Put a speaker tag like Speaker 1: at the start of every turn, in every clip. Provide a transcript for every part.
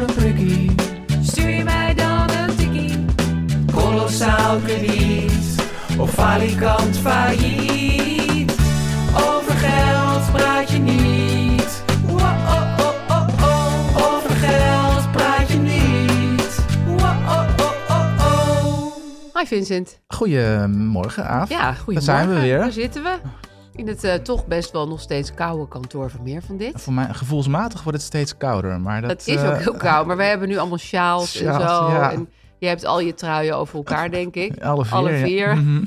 Speaker 1: een prikkie. Stuur je mij dan een tikkie. Kolossaal krediet. Of falikant failliet. Over geld praat je niet. Wa-oh-oh-oh-oh. Over geld praat je niet. Wa-oh-oh-oh-oh.
Speaker 2: Hi Vincent.
Speaker 3: Goedemorgen, Aaf.
Speaker 2: Ja, goedemorgen.
Speaker 3: Daar zijn we
Speaker 2: Daar
Speaker 3: weer.
Speaker 2: zitten we. In het eh, toch best wel nog steeds koude kantoor van meer van dit.
Speaker 3: Voor mij, gevoelsmatig wordt het steeds kouder. Maar dat,
Speaker 2: Dat is ook
Speaker 3: eh,
Speaker 2: heel koud, maar we hebben nu allemaal sjaals, en
Speaker 3: sjaals,
Speaker 2: zo.
Speaker 3: ja.
Speaker 2: En je hebt al je truien over elkaar, denk ik.
Speaker 3: Alle vier. ja.
Speaker 2: vier.
Speaker 3: Mhm.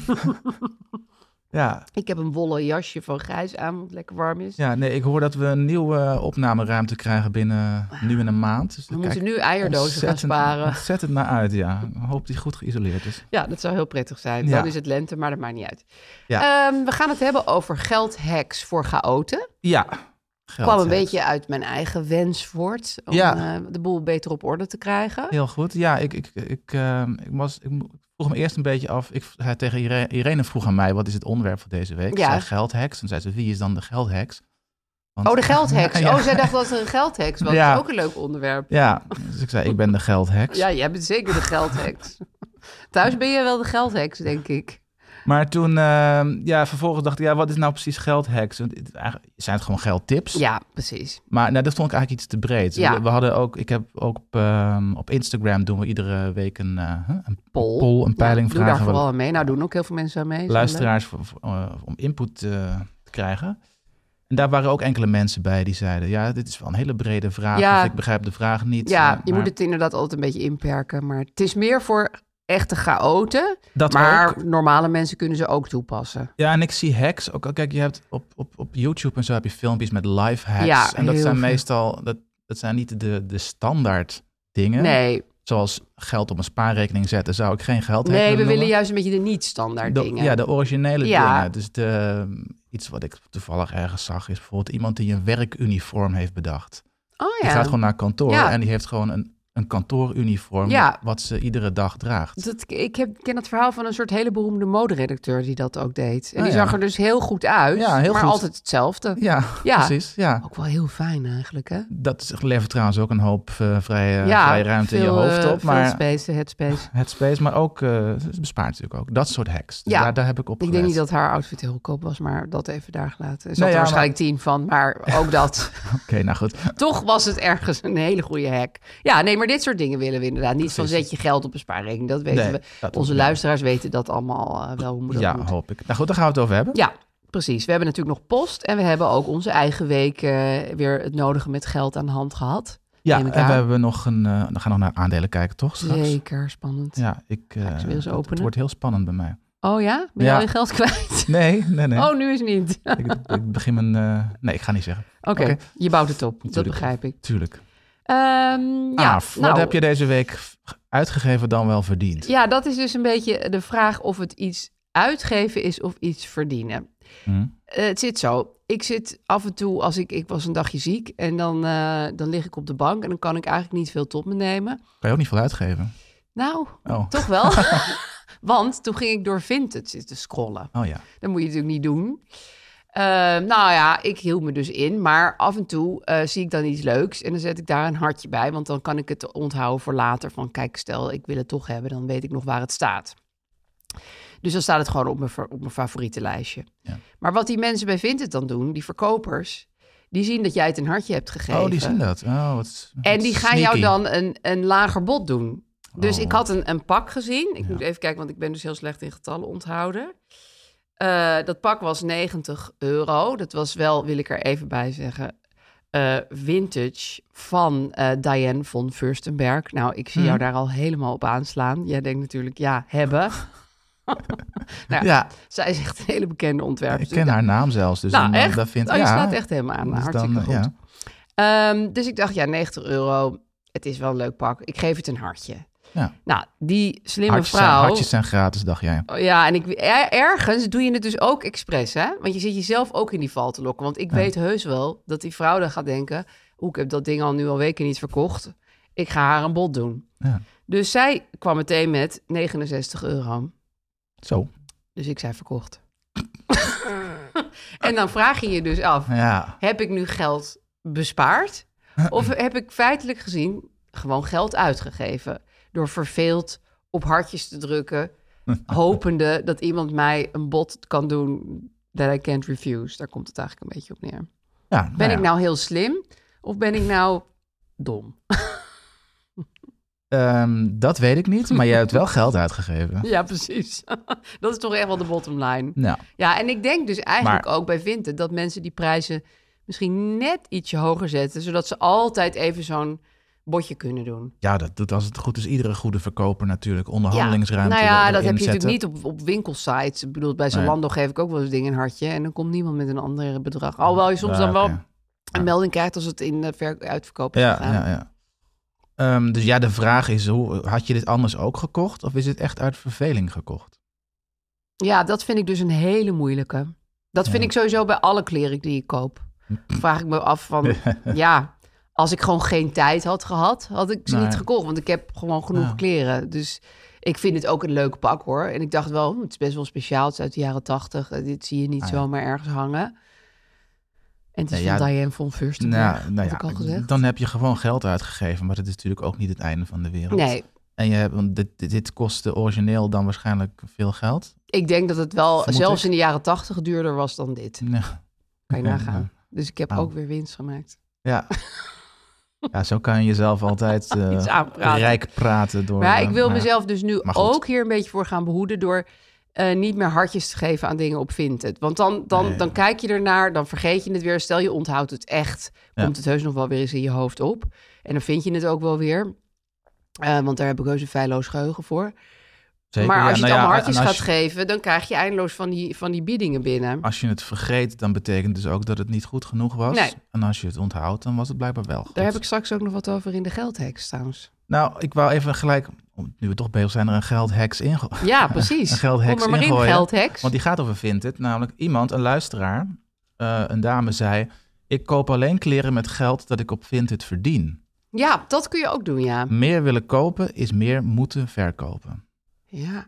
Speaker 3: Ja.
Speaker 2: Ik heb een wollen jasje van Grijs aan, want het lekker warm is.
Speaker 3: ja, nee, ik hoor dat we een nieuwe eh, opnameruimte krijgen binnen nu en een maand. Dus
Speaker 2: we moeten nu eierdozen gaan sparen.
Speaker 3: Zet het naar uit, ja. Ik hoop die goed geïsoleerd is.
Speaker 2: Ja, dat zou heel prettig zijn.
Speaker 3: Ja.
Speaker 2: Dan is het lente, maar dat maakt niet uit.
Speaker 3: Ja.
Speaker 2: Ehm, we gaan het hebben over geldhacks voor chaoten.
Speaker 3: Ja.
Speaker 2: Ik
Speaker 3: Geld
Speaker 2: kwam een
Speaker 3: heeft.
Speaker 2: beetje uit mijn eigen wens voort om
Speaker 3: Ja.
Speaker 2: eh, de boel beter op orde te krijgen.
Speaker 3: Heel goed. Ja, ik, ik, ik, ehm, ik, was, ik mo- ik vroeg me eerst een beetje af. Ik zei tegen Irene, Irene vroeg aan mij, wat is het onderwerp van deze week? Ik
Speaker 2: Ja.
Speaker 3: zei geldheks. En zei ze, wie is dan de geldheks? Want-
Speaker 2: Oh, de geldheks.
Speaker 3: Ja.
Speaker 2: Oh, zij dacht dat het een geldheks was.
Speaker 3: Ja.
Speaker 2: Dat is ook een leuk onderwerp.
Speaker 3: Ja, dus ik zei, ik ben de geldheks.
Speaker 2: Ja, jij bent zeker de geldheks. Thuis ben je wel de geldheks, denk ik.
Speaker 3: Maar toen, ehm, ja, vervolgens dacht ik, ja, wat is nou precies geldheks? Want het- eigenlijk zijn het gewoon geldtips?
Speaker 2: Ja, precies.
Speaker 3: Maar nou, dat vond ik eigenlijk iets te breed.
Speaker 2: Ja.
Speaker 3: We, we hadden ook, ik heb ook op, ehm, op Instagram doen we iedere week een, eh, huh, een
Speaker 2: Pol.
Speaker 3: poll, een peiling
Speaker 2: Ja, doe daar
Speaker 3: vragen.
Speaker 2: vooral
Speaker 3: we
Speaker 2: aan mee. Nou, doen ook heel veel mensen aan mee. Is wel
Speaker 3: luisteraars voor- voor, eh, om input eh, te krijgen. En daar waren ook enkele mensen bij die zeiden, ja, dit is wel een hele brede vraag.
Speaker 2: Ja.
Speaker 3: dus ik begrijp de vraag
Speaker 2: leuk.
Speaker 3: niet.
Speaker 2: Ja,
Speaker 3: eh,
Speaker 2: je
Speaker 3: maar
Speaker 2: moet het inderdaad altijd een beetje inperken. Maar het is meer voor echte chaoten.
Speaker 3: dat
Speaker 2: Maar
Speaker 3: ook.
Speaker 2: normale mensen kunnen ze ook toepassen.
Speaker 3: Ja, en ik zie hacks. Ook, Oh, kijk, je hebt op, op, op YouTube en zo heb je filmpjes met live hacks.
Speaker 2: Ja,
Speaker 3: en dat
Speaker 2: heel
Speaker 3: zijn
Speaker 2: veel.
Speaker 3: meestal, dat, dat zijn niet de, de standaard dingen.
Speaker 2: Nee,
Speaker 3: Zoals geld op een spaarrekening zetten, zou ik geen geld
Speaker 2: nee we
Speaker 3: willen
Speaker 2: willen
Speaker 3: noemen.
Speaker 2: juist een beetje de niet-standaard
Speaker 3: De-
Speaker 2: dingen.
Speaker 3: Ja, de originele
Speaker 2: Ja.
Speaker 3: dingen. Dus de, iets wat ik toevallig ergens zag is bijvoorbeeld iemand die een werkuniform heeft bedacht.
Speaker 2: oh
Speaker 3: Die
Speaker 2: ja,
Speaker 3: gaat gewoon naar kantoor
Speaker 2: Ja.
Speaker 3: en die heeft gewoon een, een kantooruniform
Speaker 2: Ja.
Speaker 3: wat ze iedere dag draagt.
Speaker 2: Dat, ik heb, ken het verhaal van een soort hele beroemde moderedacteur die dat ook deed. En
Speaker 3: Ah,
Speaker 2: die
Speaker 3: ja.
Speaker 2: zag er dus heel goed uit,
Speaker 3: Ja, heel
Speaker 2: maar
Speaker 3: goed.
Speaker 2: altijd hetzelfde.
Speaker 3: Ja,
Speaker 2: Ja.
Speaker 3: precies. Ja.
Speaker 2: Ook wel heel fijn eigenlijk, hè?
Speaker 3: Dat is- levert trouwens ook een hoop eh, vrije, vrije ruimte in je hoofd
Speaker 2: eh,
Speaker 3: op.
Speaker 2: veel
Speaker 3: Maar
Speaker 2: space, headspace.
Speaker 3: Headspace, maar ook, eh het bespaart natuurlijk ook. Dat soort hacks. Dus
Speaker 2: Ja.
Speaker 3: daar, daar heb ik op
Speaker 2: Ik denk niet
Speaker 3: gelet.
Speaker 2: dat haar outfit heel goedkoop was, maar dat even daar gelaten. Er zat
Speaker 3: Nee,
Speaker 2: er
Speaker 3: ja,
Speaker 2: waarschijnlijk tien van, maar ook dat.
Speaker 3: Oké, nou goed.
Speaker 2: Toch was het ergens een hele goede hack. Ja, nee, maar dit soort dingen willen we inderdaad niet. Van
Speaker 3: Precies.
Speaker 2: zet je geld op een spaarrekening, dat weten
Speaker 3: Nee,
Speaker 2: we.
Speaker 3: dat
Speaker 2: Onze
Speaker 3: hoeft niet.
Speaker 2: luisteraars weten dat allemaal eh, wel. Hoe moet dat
Speaker 3: Ja,
Speaker 2: moet.
Speaker 3: hoop ik. Nou goed, daar gaan we het over hebben.
Speaker 2: Ja, precies. We hebben natuurlijk nog post en we hebben ook onze eigen week eh, weer het nodige met geld aan de hand gehad.
Speaker 3: Ja,
Speaker 2: neem ik
Speaker 3: en
Speaker 2: aan.
Speaker 3: we hebben nog een. eh, we gaan nog naar aandelen kijken, toch? Straks?
Speaker 2: Zeker spannend.
Speaker 3: Ja, ik. eh,
Speaker 2: Ga ik ze weer eens
Speaker 3: het- Het
Speaker 2: openen?
Speaker 3: wordt heel spannend bij mij.
Speaker 2: Oh ja? Ben je
Speaker 3: Ja.
Speaker 2: al je geld kwijt?
Speaker 3: Nee, nee, nee.
Speaker 2: Oh, nu is niet. Oké,
Speaker 3: Ik, ik begin mijn. eh, nee, ik ga niet zeggen. Oké.
Speaker 2: je bouwt het op. Dat
Speaker 3: Natuurlijk.
Speaker 2: begrijp ik.
Speaker 3: Tuurlijk.
Speaker 2: Ehm, ja,
Speaker 3: Aaf, wat
Speaker 2: nou,
Speaker 3: heb je deze week uitgegeven dan wel verdiend?
Speaker 2: Ja, dat is dus een beetje de vraag of het iets uitgeven is of iets verdienen.
Speaker 3: Hm?
Speaker 2: Eh, het zit zo. Ik zit af en toe, als ik, ik was een dagje ziek en dan, eh, dan lig ik op de bank en dan kan ik eigenlijk niet veel tot me nemen.
Speaker 3: Kan je ook niet veel uitgeven?
Speaker 2: Nou,
Speaker 3: Oh.
Speaker 2: Toch wel? Want toen ging ik door Vinted zitten scrollen.
Speaker 3: Oh ja.
Speaker 2: Dat moet je natuurlijk niet doen. Eh, nou ja, ik hield me dus in. Maar af en toe eh, zie ik dan iets leuks. En dan zet ik daar een hartje bij. Want dan kan ik het onthouden voor later. Van kijk, stel ik wil het toch hebben. Dan weet ik nog waar het staat. Dus dan staat het gewoon op mijn, fa- op mijn favoriete lijstje.
Speaker 3: Ja.
Speaker 2: Maar wat die mensen bij Vinted dan doen, die verkopers... die zien dat jij het een hartje hebt gegeven.
Speaker 3: Oh, die zien dat. Oh, wat,
Speaker 2: En
Speaker 3: wat
Speaker 2: die gaan
Speaker 3: sneaky.
Speaker 2: jou dan een, een lager bod doen. Dus
Speaker 3: Oh.
Speaker 2: ik had een, een pak gezien. Ik moet even kijken, want ik ben dus heel slecht in getallen onthouden. Eh, dat pak was 90 euro. Dat was wel, wil ik er even bij zeggen, eh, vintage van eh, Diane von Furstenberg. Nou, ik zie
Speaker 3: Mhm.
Speaker 2: jou daar al helemaal op aanslaan. Jij denkt natuurlijk, ja, hebben. nou, ja.
Speaker 3: Ja,
Speaker 2: Zij is echt een hele bekende ontwerper.
Speaker 3: ik ken haar naam zelfs. Dus
Speaker 2: Nou,
Speaker 3: dan,
Speaker 2: echt?
Speaker 3: Dat vindt,
Speaker 2: oh, je
Speaker 3: ja,
Speaker 2: slaat echt helemaal aan.
Speaker 3: dus
Speaker 2: Hartstikke
Speaker 3: dan,
Speaker 2: goed.
Speaker 3: ja.
Speaker 2: Ehm, dus ik dacht, ja, 90 euro. Het is wel een leuk pak. Ik geef het een hartje.
Speaker 3: Ja.
Speaker 2: Nou, die slimme
Speaker 3: Hartjes, zijn,
Speaker 2: vrouw.
Speaker 3: hartjes zijn gratis, dacht jij.
Speaker 2: Oh, Ja, en ik, er- ergens doe je het dus ook expres, hè? Want je zit jezelf ook in die val te lokken. Want ik weet heus wel dat die vrouw dan gaat denken... hoe ik heb dat ding al nu al weken niet verkocht. Ik ga haar een bod doen.
Speaker 3: Ja.
Speaker 2: Dus zij kwam meteen met 69 euro.
Speaker 3: Zo.
Speaker 2: Dus ik zei verkocht. en dan vraag je je dus af...
Speaker 3: Ja.
Speaker 2: heb ik nu geld bespaard? Of heb ik feitelijk gezien gewoon geld uitgegeven? Door verveeld op hartjes te drukken, hopende dat iemand mij een bod kan doen dat I can't refuse. Daar komt het eigenlijk een beetje op neer.
Speaker 3: ja
Speaker 2: Ben
Speaker 3: ja.
Speaker 2: ik nou heel slim of ben ik nou dom? nou-
Speaker 3: Ehm, dat weet ik niet, maar jij hebt wel geld uitgegeven.
Speaker 2: Ja, precies. dat is toch echt wel de bottom line.
Speaker 3: Nou,
Speaker 2: Ja, en ik denk dus eigenlijk
Speaker 3: Maar-
Speaker 2: ook bij Vinted dat mensen die prijzen misschien net ietsje hoger zetten, zodat ze altijd even zo'n botje kunnen doen.
Speaker 3: ja, dat doet als het goed is iedere goede verkoper natuurlijk.
Speaker 2: Ja,
Speaker 3: Onderhandelingsruimte.
Speaker 2: nou ja,
Speaker 3: er-
Speaker 2: dat heb je
Speaker 3: inzetten.
Speaker 2: natuurlijk niet op, op winkelsites. Ik bedoel, bij
Speaker 3: Nee.
Speaker 2: Zalando geef ik ook wel eens dingen een hartje. En dan komt niemand met een ander bedrag. Alhoewel je soms
Speaker 3: Ja,
Speaker 2: dan wel
Speaker 3: oké.
Speaker 2: een melding krijgt als het in de ver- uitverkoop is
Speaker 3: Ja,
Speaker 2: gegaan.
Speaker 3: ja, ja. Ehm, dus ja, de vraag is, hoe, had je dit anders ook gekocht? Of is het echt uit verveling gekocht?
Speaker 2: Ja, dat vind ik dus een hele moeilijke. Dat vind
Speaker 3: Ja.
Speaker 2: ik sowieso bij alle kleren die ik koop. Vraag ik me af van, ja, als ik gewoon geen tijd had gehad, had ik ze
Speaker 3: Nee.
Speaker 2: niet gekocht. Want ik heb gewoon genoeg
Speaker 3: Ja.
Speaker 2: kleren. Dus ik vind het ook een leuk pak hoor. En ik dacht wel, hm, het is best wel speciaal. Het is uit de jaren tachtig. Eh, Dit zie je niet
Speaker 3: Ah, ja.
Speaker 2: zomaar ergens hangen. En het is
Speaker 3: Nee,
Speaker 2: van
Speaker 3: ja,
Speaker 2: Diane von Furstenberg,
Speaker 3: Nou, nou
Speaker 2: had ik al
Speaker 3: ja,
Speaker 2: gezegd.
Speaker 3: dan heb je gewoon geld uitgegeven. Maar dat is natuurlijk ook niet het einde van de wereld.
Speaker 2: Nee,
Speaker 3: En je hebt, want dit, dit- dit kostte origineel dan waarschijnlijk veel geld.
Speaker 2: ik denk dat het wel
Speaker 3: Vermoed
Speaker 2: zelfs
Speaker 3: ik.
Speaker 2: in de jaren tachtig duurder was dan dit.
Speaker 3: Nee.
Speaker 2: Kan je nagaan. Dus ik heb
Speaker 3: Nou.
Speaker 2: ook weer winst gemaakt.
Speaker 3: Ja. ja, zo kan je jezelf altijd eh,
Speaker 2: Iets aanpraten.
Speaker 3: rijk praten. Door,
Speaker 2: Maar
Speaker 3: eh,
Speaker 2: ik wil
Speaker 3: ja.
Speaker 2: mezelf dus nu
Speaker 3: Maar goed.
Speaker 2: ook hier een beetje voor gaan behoeden door eh, niet meer hartjes te geven aan dingen op Vinted. Want dan, dan,
Speaker 3: Nee.
Speaker 2: dan kijk je ernaar, dan vergeet je het weer. Stel je onthoudt het echt,
Speaker 3: Ja.
Speaker 2: komt het heus nog wel weer eens in je hoofd op. En dan vind je het ook wel weer. Eh, want daar heb ik heus een feilloos geheugen voor.
Speaker 3: Zeker,
Speaker 2: maar
Speaker 3: ja,
Speaker 2: als je
Speaker 3: nou
Speaker 2: het
Speaker 3: ja,
Speaker 2: allemaal hartjes
Speaker 3: en als
Speaker 2: gaat
Speaker 3: je- Ah,
Speaker 2: geven, dan krijg je eindeloos van die, van die biedingen binnen.
Speaker 3: Als je het vergeet, dan betekent dus ook dat het niet goed genoeg was.
Speaker 2: Nee.
Speaker 3: En als je het onthoudt, dan was het blijkbaar wel goed.
Speaker 2: Daar heb ik straks ook nog wat over in de geldheks trouwens.
Speaker 3: Nou, ik wou even gelijk, nu we toch bezig zijn, er een geldheks in.
Speaker 2: Ja, precies.
Speaker 3: Een geldheks
Speaker 2: Kom er maar in,
Speaker 3: ingooien.
Speaker 2: geldheks.
Speaker 3: Want die gaat over Vinted. Namelijk iemand, een luisteraar, eh, een dame zei... Ik koop alleen kleren met geld dat ik op Vinted verdien.
Speaker 2: Ja, dat kun je ook doen, ja.
Speaker 3: Meer willen kopen is meer moeten verkopen.
Speaker 2: Ja,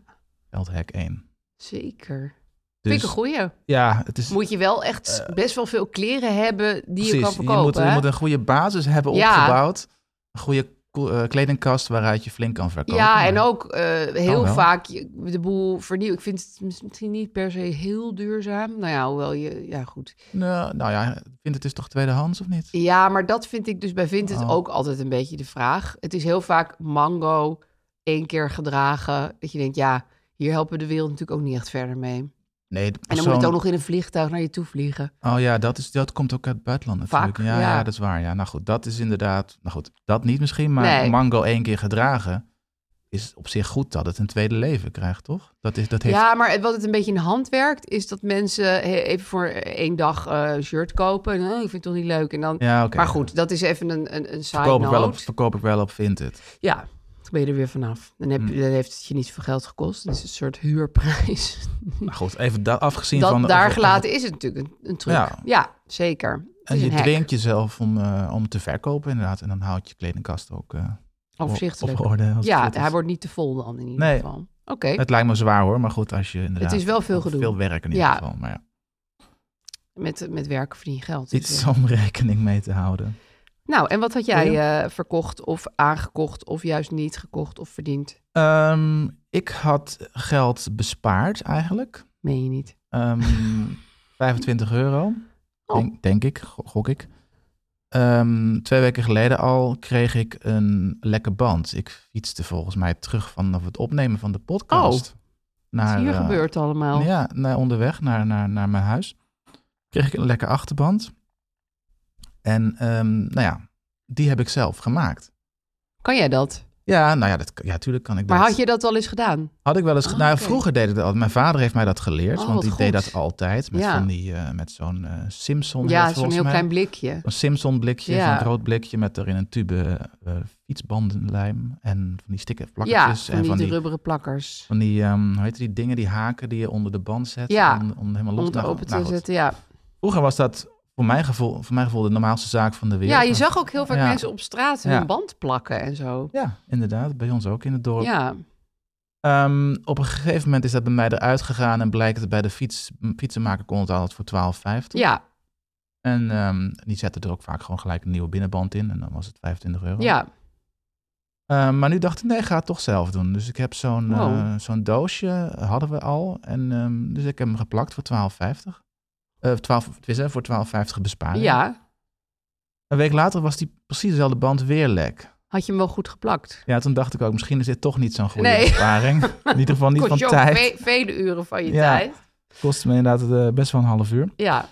Speaker 3: Geldhack 1.
Speaker 2: zeker.
Speaker 3: Dus
Speaker 2: Vind ik een goeie.
Speaker 3: ja, het is...
Speaker 2: moet je wel echt best wel veel kleren hebben die je
Speaker 3: Eh. precies,
Speaker 2: kan verkopen.
Speaker 3: moet, je
Speaker 2: hè?
Speaker 3: moet een goede basis hebben
Speaker 2: Ja.
Speaker 3: opgebouwd. Een goede ko- eh, kledingkast waaruit je flink kan verkopen.
Speaker 2: ja, en
Speaker 3: Maar-
Speaker 2: ook eh, heel
Speaker 3: Oh, wel.
Speaker 2: vaak je- de boel vernieuwen. Ik vind het misschien niet per se heel duurzaam. Nou ja, hoewel je... Ja, goed.
Speaker 3: Nou, nou ja, Vinted is toch tweedehands of niet?
Speaker 2: Ja, maar dat vind ik dus bij Vinted
Speaker 3: Oh.
Speaker 2: ook altijd een beetje de vraag. Het is heel vaak mango, één keer gedragen. Dat je denkt, ja, hier helpen we de wereld natuurlijk ook niet echt verder mee.
Speaker 3: Nee, de
Speaker 2: En dan
Speaker 3: persoon-
Speaker 2: moet het ook nog in een vliegtuig naar je toe vliegen.
Speaker 3: Oh ja, dat, is, dat komt ook uit het buitenland natuurlijk.
Speaker 2: Vaak,
Speaker 3: ja,
Speaker 2: ja.
Speaker 3: ja. dat is waar. Ja. Nou goed, dat is inderdaad... Nou goed, dat niet misschien, maar
Speaker 2: Nee.
Speaker 3: mango één keer gedragen... is op zich goed dat het een tweede leven krijgt, toch? Dat, is, dat heeft...
Speaker 2: Ja, maar het- wat het een beetje in de hand werkt, is dat mensen he- even voor één dag eh, een shirt kopen. En, "Oh, ik vind het toch niet leuk. En dan,
Speaker 3: Ja, oké.
Speaker 2: Maar goed, dat is even een, een, een side
Speaker 3: Verkoop ik, wel op,
Speaker 2: note.
Speaker 3: verkoop ik wel op Vinted.
Speaker 2: Ja, dan ben je er weer vanaf. Dan, heb, je-
Speaker 3: Hmm.
Speaker 2: dan heeft het je niet veel geld gekost. Het is een soort huurprijs.
Speaker 3: Nou goed, even da- afgezien van...
Speaker 2: Dat
Speaker 3: de-
Speaker 2: daar
Speaker 3: of-
Speaker 2: gelaten is het natuurlijk een, een truc. Ja,
Speaker 3: Ja.
Speaker 2: zeker. Het
Speaker 3: En
Speaker 2: is
Speaker 3: je
Speaker 2: een hack.
Speaker 3: dwingt jezelf om, eh, om te verkopen inderdaad. En dan houd je kledingkast ook eh, op-
Speaker 2: Overzichtelijk.
Speaker 3: op orde. als het
Speaker 2: ja,
Speaker 3: goed is.
Speaker 2: hij wordt niet te vol dan in ieder
Speaker 3: Nee.
Speaker 2: geval. Oké, Oké.
Speaker 3: Het lijkt me zwaar hoor, maar goed, als je inderdaad...
Speaker 2: is wel veel gedoe.
Speaker 3: Veel werk in ieder
Speaker 2: Ja.
Speaker 3: geval, maar ja,
Speaker 2: Met, met werken verdien je geld.
Speaker 3: iets
Speaker 2: Dus, eh.
Speaker 3: om rekening mee te houden.
Speaker 2: Nou, en wat had jij eh, verkocht of aangekocht of juist niet gekocht of verdiend?
Speaker 3: Ehm, ik had geld bespaard eigenlijk.
Speaker 2: Meen je niet?
Speaker 3: Ehm, 25 euro,
Speaker 2: Oh.
Speaker 3: denk, denk ik, go- gok ik. Ehm, twee weken geleden al kreeg ik een lekke band. Ik fietste volgens mij terug vanaf het opnemen van de podcast.
Speaker 2: Oh. Wat
Speaker 3: naar,
Speaker 2: is hier nou?
Speaker 3: eh,
Speaker 2: gebeurt allemaal?
Speaker 3: Ja, naar onderweg naar, naar, naar mijn huis. Kreeg ik een lekker achterband. En ehm, nou ja, die heb ik zelf gemaakt.
Speaker 2: Kan jij dat?
Speaker 3: Ja, nou ja, dat, ja tuurlijk kan ik
Speaker 2: Maar
Speaker 3: dat.
Speaker 2: had je dat al eens gedaan?
Speaker 3: Had ik wel eens.
Speaker 2: Ah,
Speaker 3: nou,
Speaker 2: oké.
Speaker 3: vroeger deed ik dat altijd. Mijn vader heeft mij dat geleerd.
Speaker 2: Oh,
Speaker 3: want
Speaker 2: wat
Speaker 3: die deed
Speaker 2: goed.
Speaker 3: dat altijd. Met,
Speaker 2: Ja.
Speaker 3: van die, eh, met zo'n eh, Simpson. heet
Speaker 2: ja,
Speaker 3: het
Speaker 2: zo'n
Speaker 3: volgens
Speaker 2: heel
Speaker 3: mij.
Speaker 2: klein blikje.
Speaker 3: Een Simpson blikje,
Speaker 2: Ja.
Speaker 3: zo'n rood blikje met daarin een tube eh, fietsbandenlijm. En van die stikken
Speaker 2: Ja,
Speaker 3: plakkertjes.
Speaker 2: van
Speaker 3: en
Speaker 2: die,
Speaker 3: van die,
Speaker 2: rubberen plakkers.
Speaker 3: van die ehm, hoe heet die dingen, die haken die je onder de band zet.
Speaker 2: Ja.
Speaker 3: Om, om helemaal los
Speaker 2: Om te
Speaker 3: nou,
Speaker 2: open te
Speaker 3: nou goed.
Speaker 2: zetten, ja.
Speaker 3: Vroeger was dat voor mijn gevoel, voor mijn gevoel de normaalste zaak van de wereld.
Speaker 2: Ja, je
Speaker 3: Maar-
Speaker 2: zag ook heel vaak
Speaker 3: Ja.
Speaker 2: mensen op straat hun
Speaker 3: Ja.
Speaker 2: band plakken en zo.
Speaker 3: Ja, inderdaad. Bij ons ook in het dorp.
Speaker 2: Ja,
Speaker 3: Ehm, op een gegeven moment is dat bij mij eruit gegaan en blijkt dat bij de fiets, m, fietsenmaker kon het altijd voor 12,50.
Speaker 2: ja,
Speaker 3: En ehm, die zetten er ook vaak gewoon gelijk een nieuwe binnenband in en dan was het 25 euro.
Speaker 2: ja.
Speaker 3: Ehm, maar nu dacht ik, nee, ik ga het toch zelf doen. Dus ik heb zo'n
Speaker 2: Wow.
Speaker 3: eh, zo'n doosje, hadden we al. En, ehm, dus ik heb hem geplakt voor 12,50. Eh 12, het is, hè, voor 12,50 besparing.
Speaker 2: Ja,
Speaker 3: Een week later was die precies dezelfde band weer lek.
Speaker 2: had je hem wel goed geplakt.
Speaker 3: Ja, toen dacht ik ook, misschien is dit toch niet zo'n goede
Speaker 2: Nee.
Speaker 3: ervaring. In ieder geval niet
Speaker 2: Kost
Speaker 3: van
Speaker 2: je ook
Speaker 3: tijd.
Speaker 2: ve- vele uren van je
Speaker 3: Ja.
Speaker 2: tijd.
Speaker 3: Kost me inderdaad eh, best wel een half uur.
Speaker 2: Ja,
Speaker 3: Dan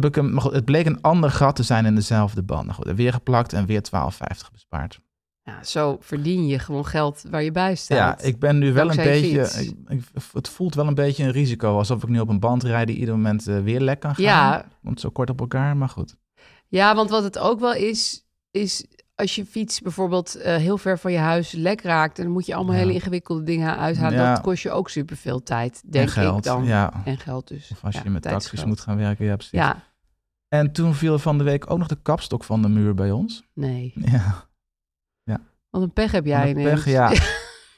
Speaker 3: heb ik hem, maar goed, het bleek een ander gat te zijn in dezelfde band. Nou Goed, weer geplakt en weer 12,50 bespaard.
Speaker 2: ja, zo verdien je gewoon geld waar je bij
Speaker 3: Ja,
Speaker 2: staat.
Speaker 3: ik ben nu wel een
Speaker 2: Dankzij je
Speaker 3: beetje...
Speaker 2: fiets.
Speaker 3: Ik, ik- het voelt wel een beetje een risico. Alsof ik nu op een band rijd die ieder moment eh, weer lek kan gaan.
Speaker 2: Ja.
Speaker 3: Want zo kort op elkaar, maar goed.
Speaker 2: Ja, want wat het ook wel is, is als je fiets bijvoorbeeld eh, heel ver van je huis lek raakt... en dan moet je allemaal
Speaker 3: Ja.
Speaker 2: hele ingewikkelde dingen uithalen.
Speaker 3: Ja.
Speaker 2: Dat kost je ook superveel tijd, denk
Speaker 3: en geld,
Speaker 2: ik dan.
Speaker 3: ja.
Speaker 2: En geld dus.
Speaker 3: Of als
Speaker 2: Ja,
Speaker 3: je met
Speaker 2: tijd is
Speaker 3: taxis
Speaker 2: geld.
Speaker 3: moet gaan werken, ja precies.
Speaker 2: Ja,
Speaker 3: En toen viel van de week ook nog de kapstok van de muur bij ons.
Speaker 2: nee.
Speaker 3: Ja,
Speaker 2: Wat een pech heb jij
Speaker 3: Wat een
Speaker 2: ineens.
Speaker 3: pech, ja.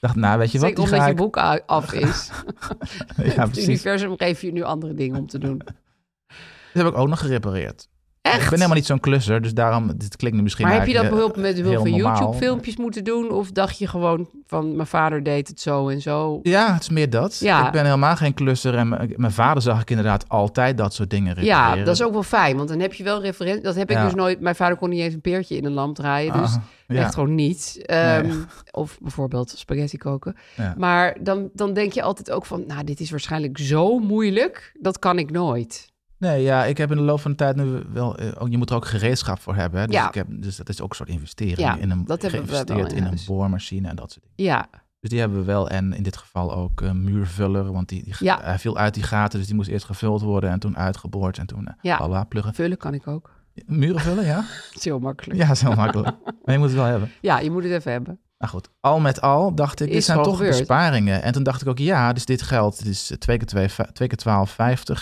Speaker 3: dacht, nou weet je wat,
Speaker 2: Zeker
Speaker 3: die
Speaker 2: omdat
Speaker 3: ga
Speaker 2: je
Speaker 3: ik...
Speaker 2: boek a- af is.
Speaker 3: Ja,
Speaker 2: het
Speaker 3: precies.
Speaker 2: universum geeft je nu andere dingen om te doen.
Speaker 3: Dat heb ik ook nog gerepareerd.
Speaker 2: Echt?
Speaker 3: Ik ben helemaal niet zo'n klusser, dus daarom, dit klinkt nu misschien
Speaker 2: maar heb je dat
Speaker 3: eigenlijk,
Speaker 2: behulp met
Speaker 3: eh,
Speaker 2: behulp
Speaker 3: heel
Speaker 2: van
Speaker 3: normaal.
Speaker 2: YouTube-filmpjes moeten doen? Of dacht je gewoon van mijn vader deed het zo en zo?
Speaker 3: Ja, het is meer dat.
Speaker 2: Ja.
Speaker 3: Ik ben helemaal geen klusser en mijn- mijn vader zag ik inderdaad altijd dat soort dingen
Speaker 2: Ja,
Speaker 3: repareren.
Speaker 2: dat is ook wel fijn, want dan heb je wel referentie. Dat heb ik
Speaker 3: Ja.
Speaker 2: dus nooit. Mijn vader kon niet eens een peertje in een lamp draaien, dus
Speaker 3: Ah, ja.
Speaker 2: echt gewoon niet. Ehm, Of bijvoorbeeld spaghetti koken.
Speaker 3: Ja.
Speaker 2: Maar dan, dan denk je altijd ook van, nou, dit is waarschijnlijk zo moeilijk, dat kan ik nooit.
Speaker 3: Nee, ja, ik heb in de loop van de tijd nu wel... eh, ook- je moet er ook gereedschap voor hebben. Hè? Dus,
Speaker 2: Ja.
Speaker 3: ik heb, dus dat is ook een soort investering.
Speaker 2: Ja,
Speaker 3: in een,
Speaker 2: dat hebben we wel dus-
Speaker 3: geïnvesteerd
Speaker 2: in
Speaker 3: in een
Speaker 2: huis.
Speaker 3: boormachine en dat soort dingen.
Speaker 2: Ja,
Speaker 3: Dus die hebben we wel. En in dit geval ook een muurvuller. Want die, die-
Speaker 2: Ja.
Speaker 3: hij viel uit die gaten, dus die moest eerst gevuld worden. En toen uitgeboord en toen... eh,
Speaker 2: Ja.
Speaker 3: bla, bla, pluggen.
Speaker 2: vullen kan ik ook.
Speaker 3: Muren vullen, ja?
Speaker 2: Het is heel makkelijk. Ja.
Speaker 3: Ja, is heel makkelijk. Maar je moet het wel hebben.
Speaker 2: je moet het even hebben.
Speaker 3: Nou goed, al met al dacht ik, dit
Speaker 2: Is
Speaker 3: zijn
Speaker 2: gewoon
Speaker 3: toch
Speaker 2: gebeurd.
Speaker 3: besparingen. En toen dacht ik ook, ja, dus dit geld, het is 2 keer, 2, 2 keer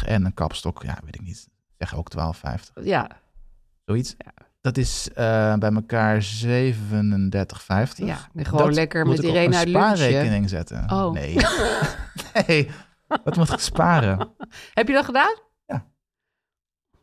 Speaker 3: 12,50 en een kapstok, ja, weet ik niet, zeg ook 12,50,
Speaker 2: Ja,
Speaker 3: zoiets. Dat is eh, bij elkaar 37,50.
Speaker 2: ja. En gewoon
Speaker 3: Dat
Speaker 2: lekker
Speaker 3: moet
Speaker 2: met
Speaker 3: ik op
Speaker 2: Irene uit
Speaker 3: een
Speaker 2: lunchen.
Speaker 3: spaarrekening zetten.
Speaker 2: Oh.
Speaker 3: Nee. nee, dat moet ik sparen.
Speaker 2: Heb je dat gedaan?
Speaker 3: Ja.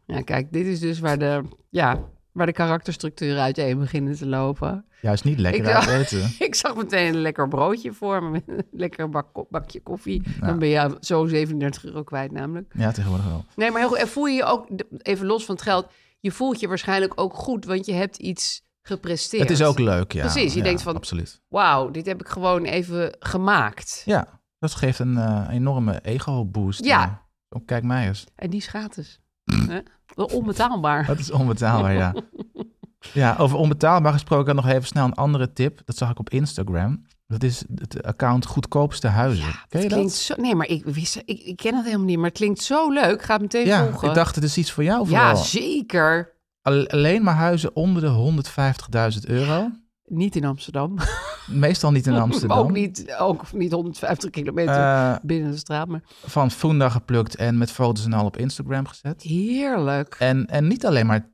Speaker 2: Ja, kijk, dit is dus waar de, ja, waar de karakterstructuren uiteen beginnen te lopen.
Speaker 3: Juist niet lekker
Speaker 2: Ik-
Speaker 3: uit eten.
Speaker 2: Ik zag meteen een lekker broodje voor me, met een lekker bak, bakje koffie. Dan
Speaker 3: Ja.
Speaker 2: ben je zo 37 euro kwijt namelijk.
Speaker 3: Ja, tegenwoordig wel.
Speaker 2: Nee, maar heel goed. En voel je je ook, even los van het geld, je voelt je waarschijnlijk ook goed, want je hebt iets gepresteerd.
Speaker 3: Het is ook leuk, ja.
Speaker 2: Precies, je
Speaker 3: Ja,
Speaker 2: denkt van-
Speaker 3: Absoluut.
Speaker 2: Wauw, dit heb ik gewoon even gemaakt.
Speaker 3: Ja, dat geeft een eh, enorme ego-boost.
Speaker 2: Ja.
Speaker 3: Oh, kijk mij eens.
Speaker 2: En die is gratis. Hè? Wel onbetaalbaar.
Speaker 3: Dat is onbetaalbaar, ja. Ja, over onbetaalbaar gesproken nog even snel een andere tip. Dat zag ik op Instagram. Dat is het account goedkoopste huizen.
Speaker 2: Ja,
Speaker 3: Ken
Speaker 2: dat
Speaker 3: je
Speaker 2: klinkt zo... Nee, maar ik, wist, ik, ik ken dat helemaal niet, maar het klinkt zo leuk. Ga het meteen
Speaker 3: Ja,
Speaker 2: volgen.
Speaker 3: ik dacht het is iets voor jou
Speaker 2: ja,
Speaker 3: vooral.
Speaker 2: zeker.
Speaker 3: Al- alleen maar huizen onder de 150.000 euro.
Speaker 2: Niet in Amsterdam.
Speaker 3: Meestal niet in Amsterdam.
Speaker 2: ook, niet, ook niet 150 kilometer
Speaker 3: Eh,
Speaker 2: binnen de straat. Maar
Speaker 3: van Funda geplukt en met foto's en al op Instagram gezet.
Speaker 2: heerlijk.
Speaker 3: En, en niet alleen maar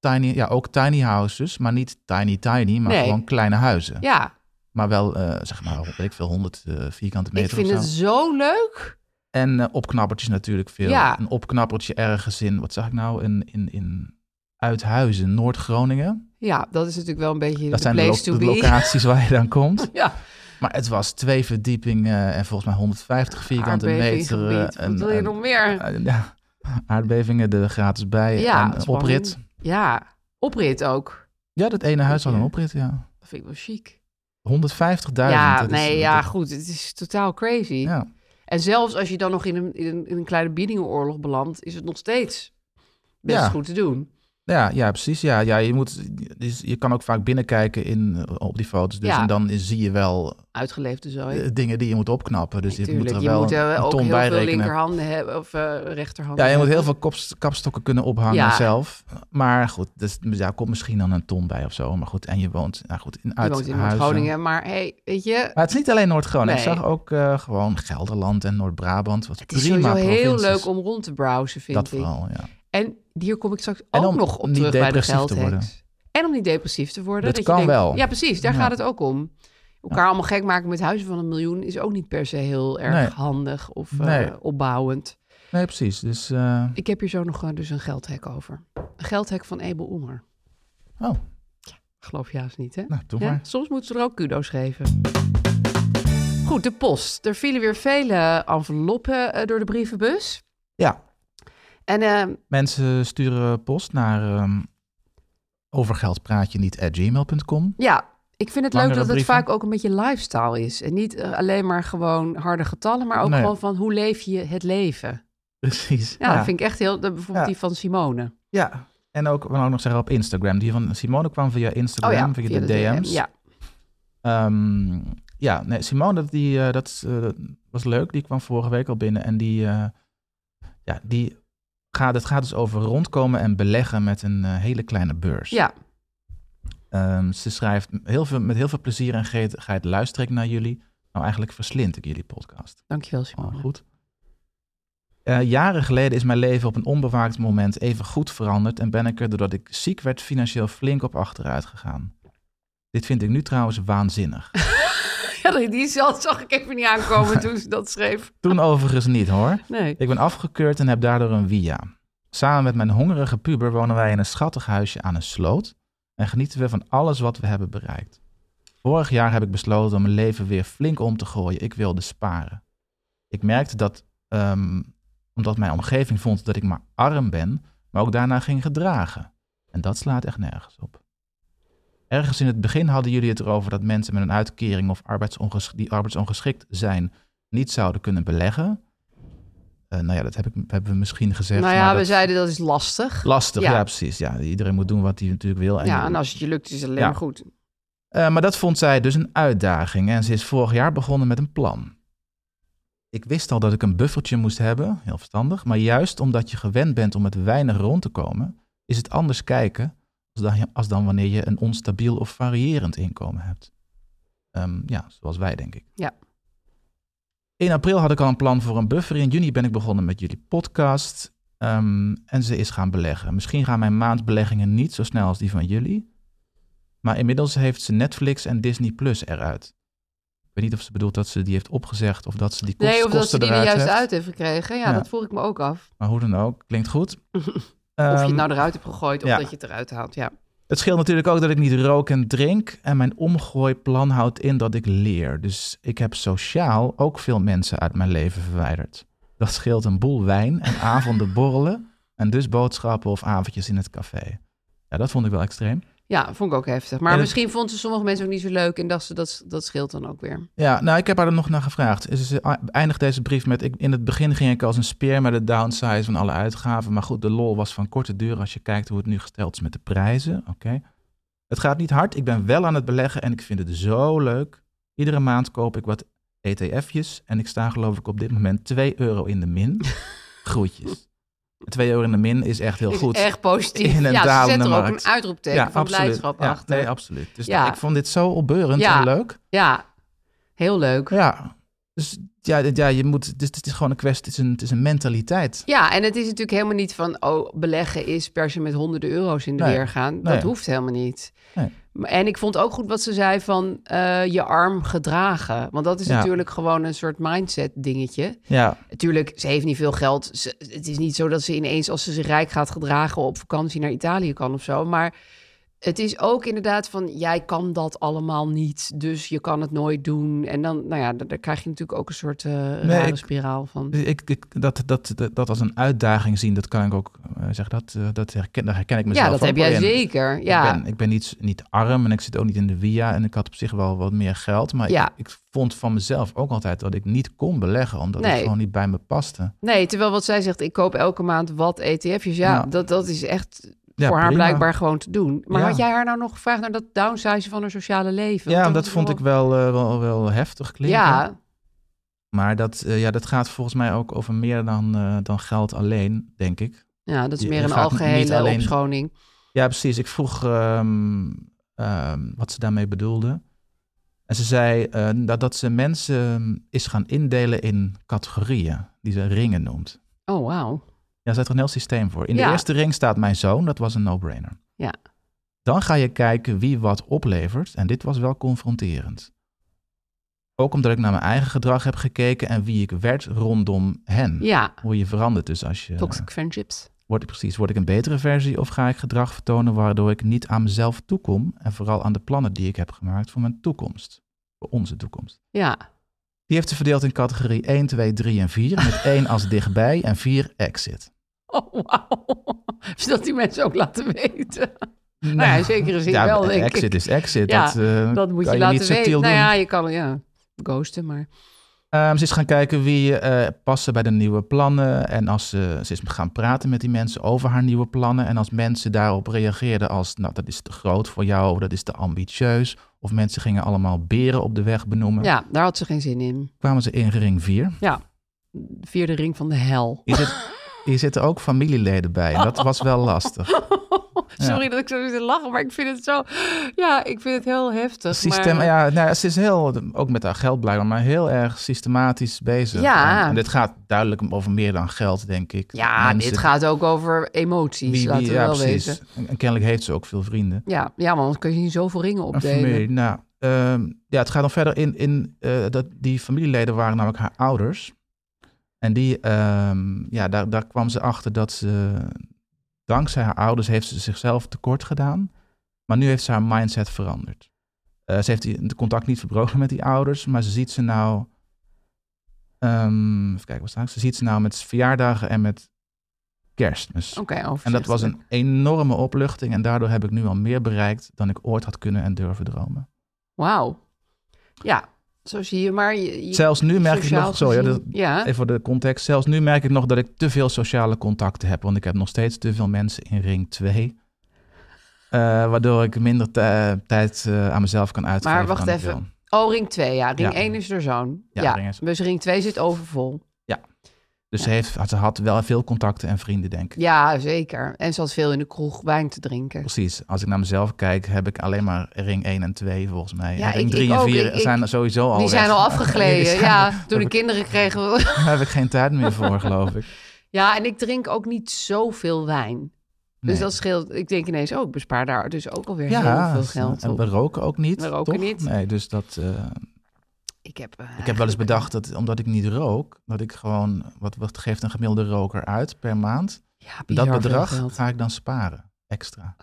Speaker 3: tiny, ja ook tiny houses, maar niet tiny tiny, maar
Speaker 2: Nee.
Speaker 3: gewoon kleine huizen.
Speaker 2: Ja,
Speaker 3: Maar wel, eh, zeg maar, weet ik veel, 100 eh, vierkante
Speaker 2: Ik
Speaker 3: meter
Speaker 2: vind
Speaker 3: of
Speaker 2: het
Speaker 3: zo.
Speaker 2: zo leuk.
Speaker 3: En eh, opknappertjes natuurlijk veel.
Speaker 2: Ja.
Speaker 3: Een opknappertje ergens in, wat zag ik nou, in, in, in Uithuizen, Noord-Groningen.
Speaker 2: Ja, dat is natuurlijk wel een beetje
Speaker 3: Dat
Speaker 2: de
Speaker 3: zijn de, lo-
Speaker 2: place to
Speaker 3: de
Speaker 2: be.
Speaker 3: locaties waar je dan komt.
Speaker 2: Ja,
Speaker 3: Maar het was twee verdiepingen en volgens mij 150 vierkante meter. eh,
Speaker 2: aardbevinggebied.
Speaker 3: een-
Speaker 2: Wat wil je
Speaker 3: een-
Speaker 2: nog meer?
Speaker 3: eh, ja, aardbevingen er gratis bij
Speaker 2: Ja,
Speaker 3: en een
Speaker 2: spannend.
Speaker 3: oprit.
Speaker 2: Ja, oprit ook.
Speaker 3: Ja, dat ene huis had een
Speaker 2: Ja.
Speaker 3: oprit, ja. 150.000.
Speaker 2: Dat vind ik wel chic. ja,
Speaker 3: dat is-
Speaker 2: nee, ja,
Speaker 3: dat-
Speaker 2: goed. Het is totaal crazy.
Speaker 3: ja.
Speaker 2: En zelfs als je dan nog in een, in een, in een kleine biedingenoorlog belandt, is het nog steeds best
Speaker 3: Ja.
Speaker 2: goed te doen.
Speaker 3: Ja, ja, precies. Ja, ja, je, moet, dus je kan ook vaak binnenkijken in, op die foto's. Dus
Speaker 2: Ja.
Speaker 3: En dan zie je wel
Speaker 2: Uitgeleefde zooi.
Speaker 3: eh, dingen die je moet opknappen. Dus je moet
Speaker 2: Tuurlijk,
Speaker 3: er
Speaker 2: je
Speaker 3: wel
Speaker 2: moet eh,
Speaker 3: een
Speaker 2: ook
Speaker 3: ton
Speaker 2: heel
Speaker 3: bij
Speaker 2: veel
Speaker 3: rekenen.
Speaker 2: linkerhanden hebben of eh, rechterhanden.
Speaker 3: Ja, je moet heel
Speaker 2: hebben.
Speaker 3: veel kops- kapstokken kunnen ophangen
Speaker 2: Ja.
Speaker 3: zelf. Maar goed, dus, ja, komt misschien dan een ton bij of zo. Maar goed, en je woont, nou goed, in
Speaker 2: Je woont in
Speaker 3: Uithuizen.
Speaker 2: Noord-Groningen, maar hey, weet je,
Speaker 3: Maar het is niet alleen Noord-Groningen.
Speaker 2: Nee.
Speaker 3: Ik zag ook eh, gewoon Gelderland en Noord-Brabant. Wat
Speaker 2: het is
Speaker 3: prima
Speaker 2: sowieso heel
Speaker 3: provincies.
Speaker 2: leuk om rond te browsen, vind
Speaker 3: Dat
Speaker 2: ik.
Speaker 3: vooral, ja.
Speaker 2: En hier kom ik straks
Speaker 3: En
Speaker 2: ook
Speaker 3: om
Speaker 2: nog op
Speaker 3: niet
Speaker 2: terug bij de
Speaker 3: depressief te worden.
Speaker 2: geldheks. En om niet depressief te worden.
Speaker 3: Dat
Speaker 2: je
Speaker 3: kan
Speaker 2: denkt-
Speaker 3: wel.
Speaker 2: Ja, precies. Daar
Speaker 3: Ja.
Speaker 2: gaat het ook om. Elkaar allemaal gek maken met huizen van een miljoen is ook niet per se heel erg
Speaker 3: Nee.
Speaker 2: handig of eh,
Speaker 3: Nee.
Speaker 2: opbouwend.
Speaker 3: Nee, precies. Dus, eh,
Speaker 2: Ik heb hier zo nog eh, dus een geldhek over. Een geldhek van Ebel Oemer.
Speaker 3: oh,
Speaker 2: Geloof je haast niet, hè?
Speaker 3: nou, doe
Speaker 2: Ja,
Speaker 3: maar.
Speaker 2: Soms moeten ze er ook kudo's geven. Goed, de post. Er vielen weer vele enveloppen eh, door de brievenbus.
Speaker 3: Ja,
Speaker 2: En eh,
Speaker 3: Mensen sturen post naar ehm overgeldpraatje niet at gmail.com.
Speaker 2: ja, ik vind het leuk
Speaker 3: Langere
Speaker 2: dat het
Speaker 3: brieven.
Speaker 2: vaak ook een beetje lifestyle is. En niet eh, alleen maar gewoon harde getallen, maar ook
Speaker 3: Nee.
Speaker 2: gewoon van hoe leef je het leven.
Speaker 3: Precies.
Speaker 2: Ja, dat vind ik echt heel... dat- Bijvoorbeeld
Speaker 3: Ja.
Speaker 2: die van Simone.
Speaker 3: ja. En ook, we ook nog zeggen op Instagram. Die van Simone kwam via
Speaker 2: Oh
Speaker 3: Instagram, via, de, DM's.
Speaker 2: Ja,
Speaker 3: Ehm, ja, nee, Simone, dat, die, eh, dat is, eh, was leuk. Die kwam vorige week al binnen. En die, eh, ja, die gaat, het gaat dus over rondkomen en beleggen met een eh, hele kleine beurs.
Speaker 2: ja,
Speaker 3: Ehm, ze schrijft heel veel, met heel veel plezier en gretigheid luister ik naar jullie. Nou, eigenlijk verslind ik jullie podcast.
Speaker 2: dankjewel
Speaker 3: Oh,
Speaker 2: Simone.
Speaker 3: goed. Eh, jaren geleden is mijn leven op een onbewaakt moment even goed veranderd en ben ik er doordat ik ziek werd financieel flink op achteruit gegaan. Dit vind ik nu trouwens waanzinnig.
Speaker 2: Ja, die- die zag zag ik even niet aankomen toen ze dat schreef.
Speaker 3: Toen overigens niet hoor.
Speaker 2: Nee.
Speaker 3: Ik ben afgekeurd en heb daardoor een via. Samen met mijn hongerige puber wonen wij in een schattig huisje aan een sloot en genieten we van alles wat we hebben bereikt. Vorig jaar heb ik besloten om mijn leven weer flink om te gooien. Ik wilde sparen. Ik merkte dat, ehm, omdat mijn omgeving vond dat ik maar arm ben, maar ook daarna ging gedragen. En dat slaat echt nergens op. Ergens in het begin hadden jullie het erover dat mensen met een uitkering of arbeidsonges- die arbeidsongeschikt zijn niet zouden kunnen beleggen. Eh, nou ja, dat heb ik, hebben we misschien gezegd.
Speaker 2: nou
Speaker 3: maar
Speaker 2: ja, we
Speaker 3: dat-
Speaker 2: zeiden dat is lastig.
Speaker 3: Lastig, ja.
Speaker 2: Ja.
Speaker 3: precies. Ja, iedereen moet doen wat hij natuurlijk wil. En
Speaker 2: Ja, en als het je lukt is het alleen
Speaker 3: Ja.
Speaker 2: maar goed.
Speaker 3: Eh, maar dat vond zij dus een uitdaging en ze is vorig jaar begonnen met een plan. Ik wist al dat ik een buffertje moest hebben, heel verstandig, maar juist omdat je gewend bent om met weinig rond te komen, is het anders kijken als dan, als dan wanneer je een onstabiel of variërend inkomen hebt. Ehm, ja, zoals wij, denk ik.
Speaker 2: Ja.
Speaker 3: In april had ik al een plan voor een buffer. In juni ben ik begonnen met jullie podcast. ehm, en ze is gaan beleggen. Misschien gaan mijn maandbeleggingen niet zo snel als die van jullie. Maar inmiddels heeft ze Netflix en Disney Plus eruit. Ik weet niet of ze bedoelt dat ze die heeft opgezegd of dat ze die kost,
Speaker 2: Nee, of dat ze
Speaker 3: kosten
Speaker 2: die er
Speaker 3: eruit
Speaker 2: juist
Speaker 3: heeft.
Speaker 2: uit heeft gekregen. Ja,
Speaker 3: Ja.
Speaker 2: dat vroeg ik me ook af.
Speaker 3: Maar hoe dan ook, klinkt goed.
Speaker 2: of je het
Speaker 3: Ehm,
Speaker 2: nou eruit hebt gegooid of
Speaker 3: ja.
Speaker 2: dat je het eruit haalt. Ja.
Speaker 3: Het scheelt natuurlijk ook dat ik niet rook en drink. En mijn omgooiplan houdt in dat ik leer. Dus ik heb sociaal ook veel mensen uit mijn leven verwijderd. Dat scheelt een boel wijn en avonden borrelen. En dus boodschappen of avondjes in het café. Ja, dat vond ik wel extreem.
Speaker 2: ja, vond ik ook heftig. Maar
Speaker 3: En het-
Speaker 2: misschien vond ze sommige mensen ook niet zo leuk en dacht ze dat, dat scheelt dan ook weer.
Speaker 3: Ja, nou, ik heb haar er nog naar gevraagd. Ze- Ze eindigt deze brief met... Ik, in het begin ging ik als een speer met de downsize van alle uitgaven. Maar goed, de lol was van korte duur als je kijkt hoe het nu gesteld is met de prijzen. Oké. Het gaat niet hard. Ik ben wel aan het beleggen en ik vind het zo leuk. Iedere maand koop ik wat ETF'jes. En ik sta geloof ik op dit moment 2 euro in de min. Groetjes. 2 euro in de min is echt heel
Speaker 2: Is
Speaker 3: goed.
Speaker 2: Echt positief.
Speaker 3: In een
Speaker 2: ja, ze zet
Speaker 3: dalende
Speaker 2: er ook
Speaker 3: markt.
Speaker 2: een uitroepteken van blijdschap
Speaker 3: ja,
Speaker 2: achter.
Speaker 3: Nee, absoluut. Dus
Speaker 2: Ja.
Speaker 3: ik vond dit zo opbeurend
Speaker 2: Ja.
Speaker 3: en leuk.
Speaker 2: ja, heel leuk.
Speaker 3: Ja, dus Ja, dit- ja je moet, het is, het is gewoon een kwestie, het is een, het is een mentaliteit.
Speaker 2: Ja, en het is natuurlijk helemaal niet van, oh, beleggen is per se met honderden euro's in de
Speaker 3: Nee.
Speaker 2: weer gaan. Dat
Speaker 3: Nee.
Speaker 2: hoeft helemaal niet.
Speaker 3: Nee.
Speaker 2: Maar- En ik vond ook goed wat ze zei van eh, je arm gedragen. Want dat is
Speaker 3: Ja.
Speaker 2: natuurlijk gewoon een soort mindset dingetje.
Speaker 3: Ja,
Speaker 2: Natuurlijk, ze heeft niet veel geld. Ze- het is niet zo dat ze ineens, als ze zich rijk gaat gedragen, op vakantie naar Italië kan of zo. Maar het is ook inderdaad van, jij kan dat allemaal niet. Dus je kan het nooit doen. En dan, nou ja, daar, daar krijg je natuurlijk ook een soort eh rare
Speaker 3: ik-
Speaker 2: spiraal van.
Speaker 3: ik, ik, dat, dat, dat, dat als een uitdaging zien, dat kan ik ook eh zeg dat, eh, dat herken, daar herken ik mezelf
Speaker 2: Ja, dat
Speaker 3: ook
Speaker 2: heb jij
Speaker 3: in.
Speaker 2: zeker.
Speaker 3: Ik
Speaker 2: Ja.
Speaker 3: ben, ik ben niet, niet arm en ik zit ook niet in de via en ik had op zich wel wat meer geld. Maar
Speaker 2: Ja.
Speaker 3: ik, ik vond van mezelf ook altijd dat ik niet kon beleggen, omdat het
Speaker 2: Nee.
Speaker 3: gewoon niet bij me paste.
Speaker 2: Nee, terwijl wat zij zegt, ik koop elke maand wat ETF'jes. Ja,
Speaker 3: Ja.
Speaker 2: Dat, dat is echt
Speaker 3: Ja,
Speaker 2: voor haar
Speaker 3: prima.
Speaker 2: blijkbaar gewoon te doen. Maar
Speaker 3: Ja.
Speaker 2: had jij haar nou nog gevraagd naar dat downsizen van haar sociale leven?
Speaker 3: Ja,
Speaker 2: Want
Speaker 3: dat
Speaker 2: is
Speaker 3: vond
Speaker 2: wel-
Speaker 3: ik wel, eh, wel, wel heftig klinken.
Speaker 2: Ja,
Speaker 3: Maar dat, eh, ja, dat gaat volgens mij ook over meer dan, eh, dan geld alleen, denk ik.
Speaker 2: ja, dat is
Speaker 3: Je-
Speaker 2: meer
Speaker 3: je
Speaker 2: een
Speaker 3: gaat niet
Speaker 2: algehele
Speaker 3: alleen-
Speaker 2: opschoning.
Speaker 3: Ja, precies. Ik vroeg ehm, ehm, wat ze daarmee bedoelde. En ze zei eh, dat, dat ze mensen ehm, is gaan indelen in categorieën, die ze ringen noemt.
Speaker 2: Oh, wauw.
Speaker 3: Ja, er zit er een heel systeem voor. In de
Speaker 2: Ja.
Speaker 3: eerste ring staat mijn zoon, dat was een no-brainer.
Speaker 2: Ja.
Speaker 3: Dan ga je kijken wie wat oplevert. En dit was wel confronterend. Ook omdat ik naar mijn eigen gedrag heb gekeken en wie ik werd rondom hen.
Speaker 2: Ja,
Speaker 3: Hoe je verandert dus als je...
Speaker 2: toxic friendships.
Speaker 3: Word ik precies, word ik een betere versie of ga ik gedrag vertonen waardoor ik niet aan mezelf toekom en vooral aan de plannen die ik heb gemaakt voor mijn toekomst, voor onze toekomst.
Speaker 2: Ja,
Speaker 3: Die heeft ze verdeeld in categorie 1, 2, 3 en 4 met 1 als dichtbij en 4 exit.
Speaker 2: oh, wauw. Is dat die mensen ook laten weten? Nou ja, in zekere zin wel, denk
Speaker 3: exit
Speaker 2: ik.
Speaker 3: is exit.
Speaker 2: Ja,
Speaker 3: dat, eh,
Speaker 2: Dat moet
Speaker 3: kan
Speaker 2: je laten
Speaker 3: niet
Speaker 2: weten.
Speaker 3: subtiel
Speaker 2: Nou
Speaker 3: doen.
Speaker 2: ja, je kan ja, ghosten, maar...
Speaker 3: Ehm, ze is gaan kijken wie eh passen bij de nieuwe plannen. En als ze, ze is gaan praten met die mensen over haar nieuwe plannen. En als mensen daarop reageerden als, nou dat is te groot voor jou, dat is te ambitieus. Of mensen gingen allemaal beren op de weg benoemen.
Speaker 2: Ja, daar had ze geen zin in.
Speaker 3: Kwamen ze in ring 4.
Speaker 2: De Vierde ring van de hel.
Speaker 3: Hier, zit, hier zitten ook familieleden bij. En dat was wel lastig.
Speaker 2: Sorry dat ik zo zit te lachen, maar ik vind het zo... Ja, ik vind het heel heftig.
Speaker 3: Systeem,
Speaker 2: maar...
Speaker 3: ja, nou, ja, ze is heel, ook met haar geld blijkbaar, maar heel erg systematisch bezig.
Speaker 2: Ja.
Speaker 3: En, en dit gaat duidelijk over meer dan geld, denk ik.
Speaker 2: Ja,
Speaker 3: Mensen-
Speaker 2: dit gaat ook over
Speaker 3: wie-
Speaker 2: emoties,
Speaker 3: wie-
Speaker 2: laten we
Speaker 3: ja,
Speaker 2: wel
Speaker 3: precies.
Speaker 2: weten.
Speaker 3: En- En kennelijk heeft ze ook veel vrienden.
Speaker 2: Ja, ja, want anders kun je niet zoveel ringen
Speaker 3: Een
Speaker 2: opdelen.
Speaker 3: familie, nou, ehm, ja, het gaat dan verder in, in eh, dat die familieleden waren namelijk haar ouders. En die, ehm, ja, daar, daar kwam ze achter dat ze, dankzij haar ouders heeft ze zichzelf tekort gedaan. Maar nu heeft ze haar mindset veranderd. Eh, ze heeft die- het contact niet verbroken met die ouders, maar ze ziet ze nou, ehm, even kijken wat staat, ze ziet ze nou met verjaardagen en met kerstmis.
Speaker 2: Oké,
Speaker 3: En dat was een enorme opluchting. En daardoor heb ik nu al meer bereikt dan ik ooit had kunnen en durven dromen.
Speaker 2: Wauw. Ja, zo zie je maar. Je, je-
Speaker 3: Zelfs nu merk ik
Speaker 2: sociaal
Speaker 3: nog, sorry,
Speaker 2: gezien-
Speaker 3: dat,
Speaker 2: ja,
Speaker 3: even voor de context. Zelfs nu merk ik nog dat ik te veel sociale contacten heb. Want ik heb nog steeds te veel mensen in ring 2. Eh, waardoor ik minder tij- tijd eh, aan mezelf kan uitgeven.
Speaker 2: Maar wacht
Speaker 3: dan ik
Speaker 2: even.
Speaker 3: wil.
Speaker 2: Oh, ring 2, ja. Ring
Speaker 3: Ja.
Speaker 2: 1 is er zo'n.
Speaker 3: Ja,
Speaker 2: Ja,
Speaker 3: ring is-
Speaker 2: dus ring 2 zit overvol.
Speaker 3: Dus ze, heeft, ze had wel veel contacten en vrienden, denk ik.
Speaker 2: Ja, zeker. En ze had veel in de kroeg wijn te drinken.
Speaker 3: Precies. Als ik naar mezelf kijk, heb ik alleen maar ring 1 en 2 volgens mij.
Speaker 2: Ja,
Speaker 3: en ring
Speaker 2: ik-
Speaker 3: 3
Speaker 2: ik
Speaker 3: en
Speaker 2: ook.
Speaker 3: 4
Speaker 2: Ik- ik-
Speaker 3: zijn sowieso al
Speaker 2: Die zijn
Speaker 3: weg.
Speaker 2: al
Speaker 3: Die
Speaker 2: afgegleden.
Speaker 3: zijn-
Speaker 2: Ja, toen de kinderen kregen. we-
Speaker 3: Daar heb ik geen tijd meer voor, geloof ik.
Speaker 2: Dus Ja, en ik drink ook niet zoveel wijn. Dus
Speaker 3: Nee.
Speaker 2: dat scheelt. Ik denk ineens, oh, ik bespaar daar dus ook alweer heel veel geld
Speaker 3: en
Speaker 2: op.
Speaker 3: we roken ook niet.
Speaker 2: We roken
Speaker 3: toch?
Speaker 2: niet.
Speaker 3: Nee, dus dat. eh,
Speaker 2: Ik heb, eh,
Speaker 3: ik heb wel eens bedacht dat omdat ik niet rook, dat ik gewoon. Wat, wat geeft een gemiddelde roker uit per maand?
Speaker 2: ja, bizar
Speaker 3: Dat
Speaker 2: veel
Speaker 3: bedrag
Speaker 2: geld.
Speaker 3: ga ik dan sparen. Extra.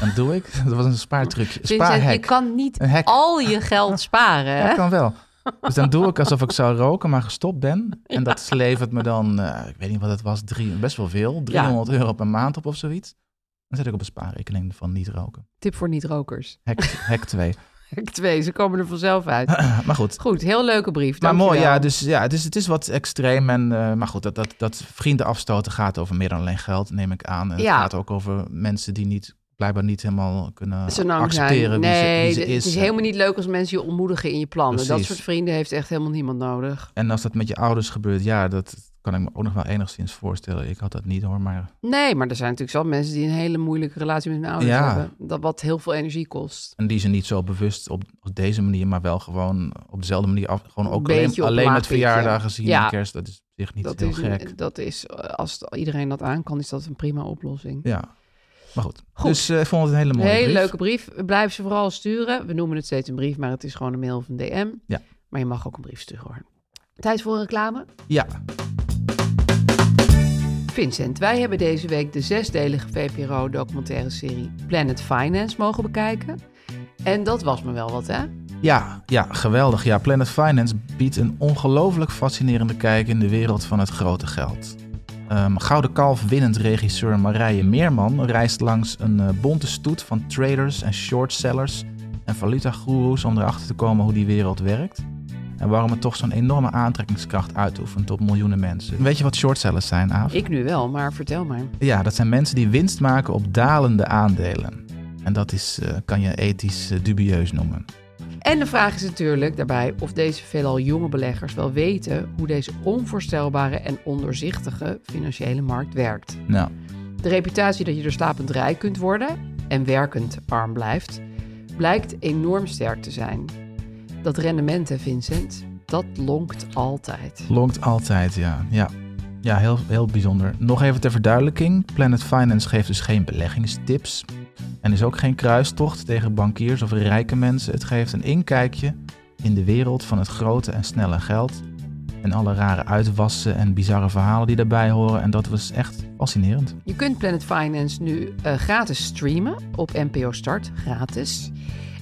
Speaker 3: Dan doe ik. Dat was een spaartrucje.
Speaker 2: Vincent, je
Speaker 3: Spaarhek.
Speaker 2: kan niet
Speaker 3: Een hek.
Speaker 2: al je geld sparen.
Speaker 3: Ja,
Speaker 2: Hè?
Speaker 3: dat kan wel. Dus dan doe ik alsof ik zou roken, maar gestopt ben. En dat levert me dan, eh, ik weet niet wat het was, drie, best wel veel. 300 euro per maand op of zoiets. Dan zet ik op een spaarrekening van niet roken.
Speaker 2: Tip voor niet-rokers.
Speaker 3: Hek, hek 2.
Speaker 2: Ik twee, ze komen er vanzelf uit.
Speaker 3: Ah, maar goed,
Speaker 2: Goed, heel leuke
Speaker 3: Maar
Speaker 2: brief. dankjewel.
Speaker 3: mooi, ja. Dus ja, het is, het is wat extreem. En, eh, maar goed, dat, dat, dat vrienden afstoten gaat over meer dan alleen geld, neem ik aan. En
Speaker 2: Ja.
Speaker 3: het gaat ook over mensen die niet, blijkbaar niet helemaal kunnen
Speaker 2: Zo lang
Speaker 3: accepteren
Speaker 2: zijn.
Speaker 3: wie ze-
Speaker 2: Nee,
Speaker 3: wie ze,
Speaker 2: d-
Speaker 3: is.
Speaker 2: het is helemaal niet leuk als mensen je ontmoedigen in je plannen. Dat
Speaker 3: Precies.
Speaker 2: soort vrienden heeft echt helemaal niemand nodig.
Speaker 3: En als dat met je ouders gebeurt, ja, dat Kan ik me ook nog wel enigszins voorstellen. Ik had dat niet hoor, maar
Speaker 2: Nee, maar er zijn natuurlijk wel mensen die een hele moeilijke relatie met hun ouders
Speaker 3: Ja.
Speaker 2: hebben. Dat wat heel veel energie kost.
Speaker 3: En die ze niet zo bewust op, op deze manier, maar wel gewoon op dezelfde manier. Af, gewoon ook
Speaker 2: Beetje
Speaker 3: alleen,
Speaker 2: op
Speaker 3: alleen met
Speaker 2: laag pitje.
Speaker 3: verjaardagen zien
Speaker 2: Ja.
Speaker 3: en kerst. Dat is op zich niet
Speaker 2: dat,
Speaker 3: heel
Speaker 2: is,
Speaker 3: gek.
Speaker 2: dat is, eh, als het- iedereen dat aan kan, is dat een prima oplossing.
Speaker 3: Ja. Maar goed.
Speaker 2: Goed.
Speaker 3: Dus eh, ik vond het een hele mooie
Speaker 2: Hele
Speaker 3: brief.
Speaker 2: leuke brief. Blijf ze vooral sturen. We noemen het steeds een brief, maar het is gewoon een mail of een DM.
Speaker 3: Ja.
Speaker 2: Maar je mag ook een brief sturen hoor. Tijd voor een reclame.
Speaker 3: Ja.
Speaker 2: Vincent, wij hebben deze week de zesdelige VPRO-documentaire serie Planet Finance mogen bekijken. En dat was me wel wat, hè?
Speaker 3: Ja, ja, geweldig. Ja, Planet Finance biedt een ongelooflijk fascinerende kijk in de wereld van het grote geld. Ehm, Gouden Kalf winnend regisseur Marije Meerman reist langs een eh, bonte stoet van traders en shortsellers en valutagoeroes om erachter te komen hoe die wereld werkt. En waarom het toch zo'n enorme aantrekkingskracht uitoefent op miljoenen mensen. Weet je wat shortsellers zijn, Aaf?
Speaker 2: Ik nu wel, maar vertel maar.
Speaker 3: Ja, dat zijn mensen die winst maken op dalende aandelen. En dat is, eh, kan je ethisch eh, dubieus noemen.
Speaker 2: En de vraag is natuurlijk daarbij of deze veelal jonge beleggers wel weten hoe deze onvoorstelbare en ondoorzichtige financiële markt werkt.
Speaker 3: Nou,
Speaker 2: De reputatie dat je er slapend rijk kunt worden en werkend arm blijft, blijkt enorm sterk te zijn. Dat rendement, hè, Vincent, dat lonkt altijd.
Speaker 3: Longt altijd, ja. Ja, ja heel, heel bijzonder. Nog even ter verduidelijking. Planet Finance geeft dus geen beleggingstips. En is ook geen kruistocht tegen bankiers of rijke mensen. Het geeft een inkijkje in de wereld van het grote en snelle geld. En alle rare uitwassen en bizarre verhalen die daarbij horen. En dat was echt fascinerend.
Speaker 2: Je kunt Planet Finance nu eh, gratis streamen op NPO Start, gratis.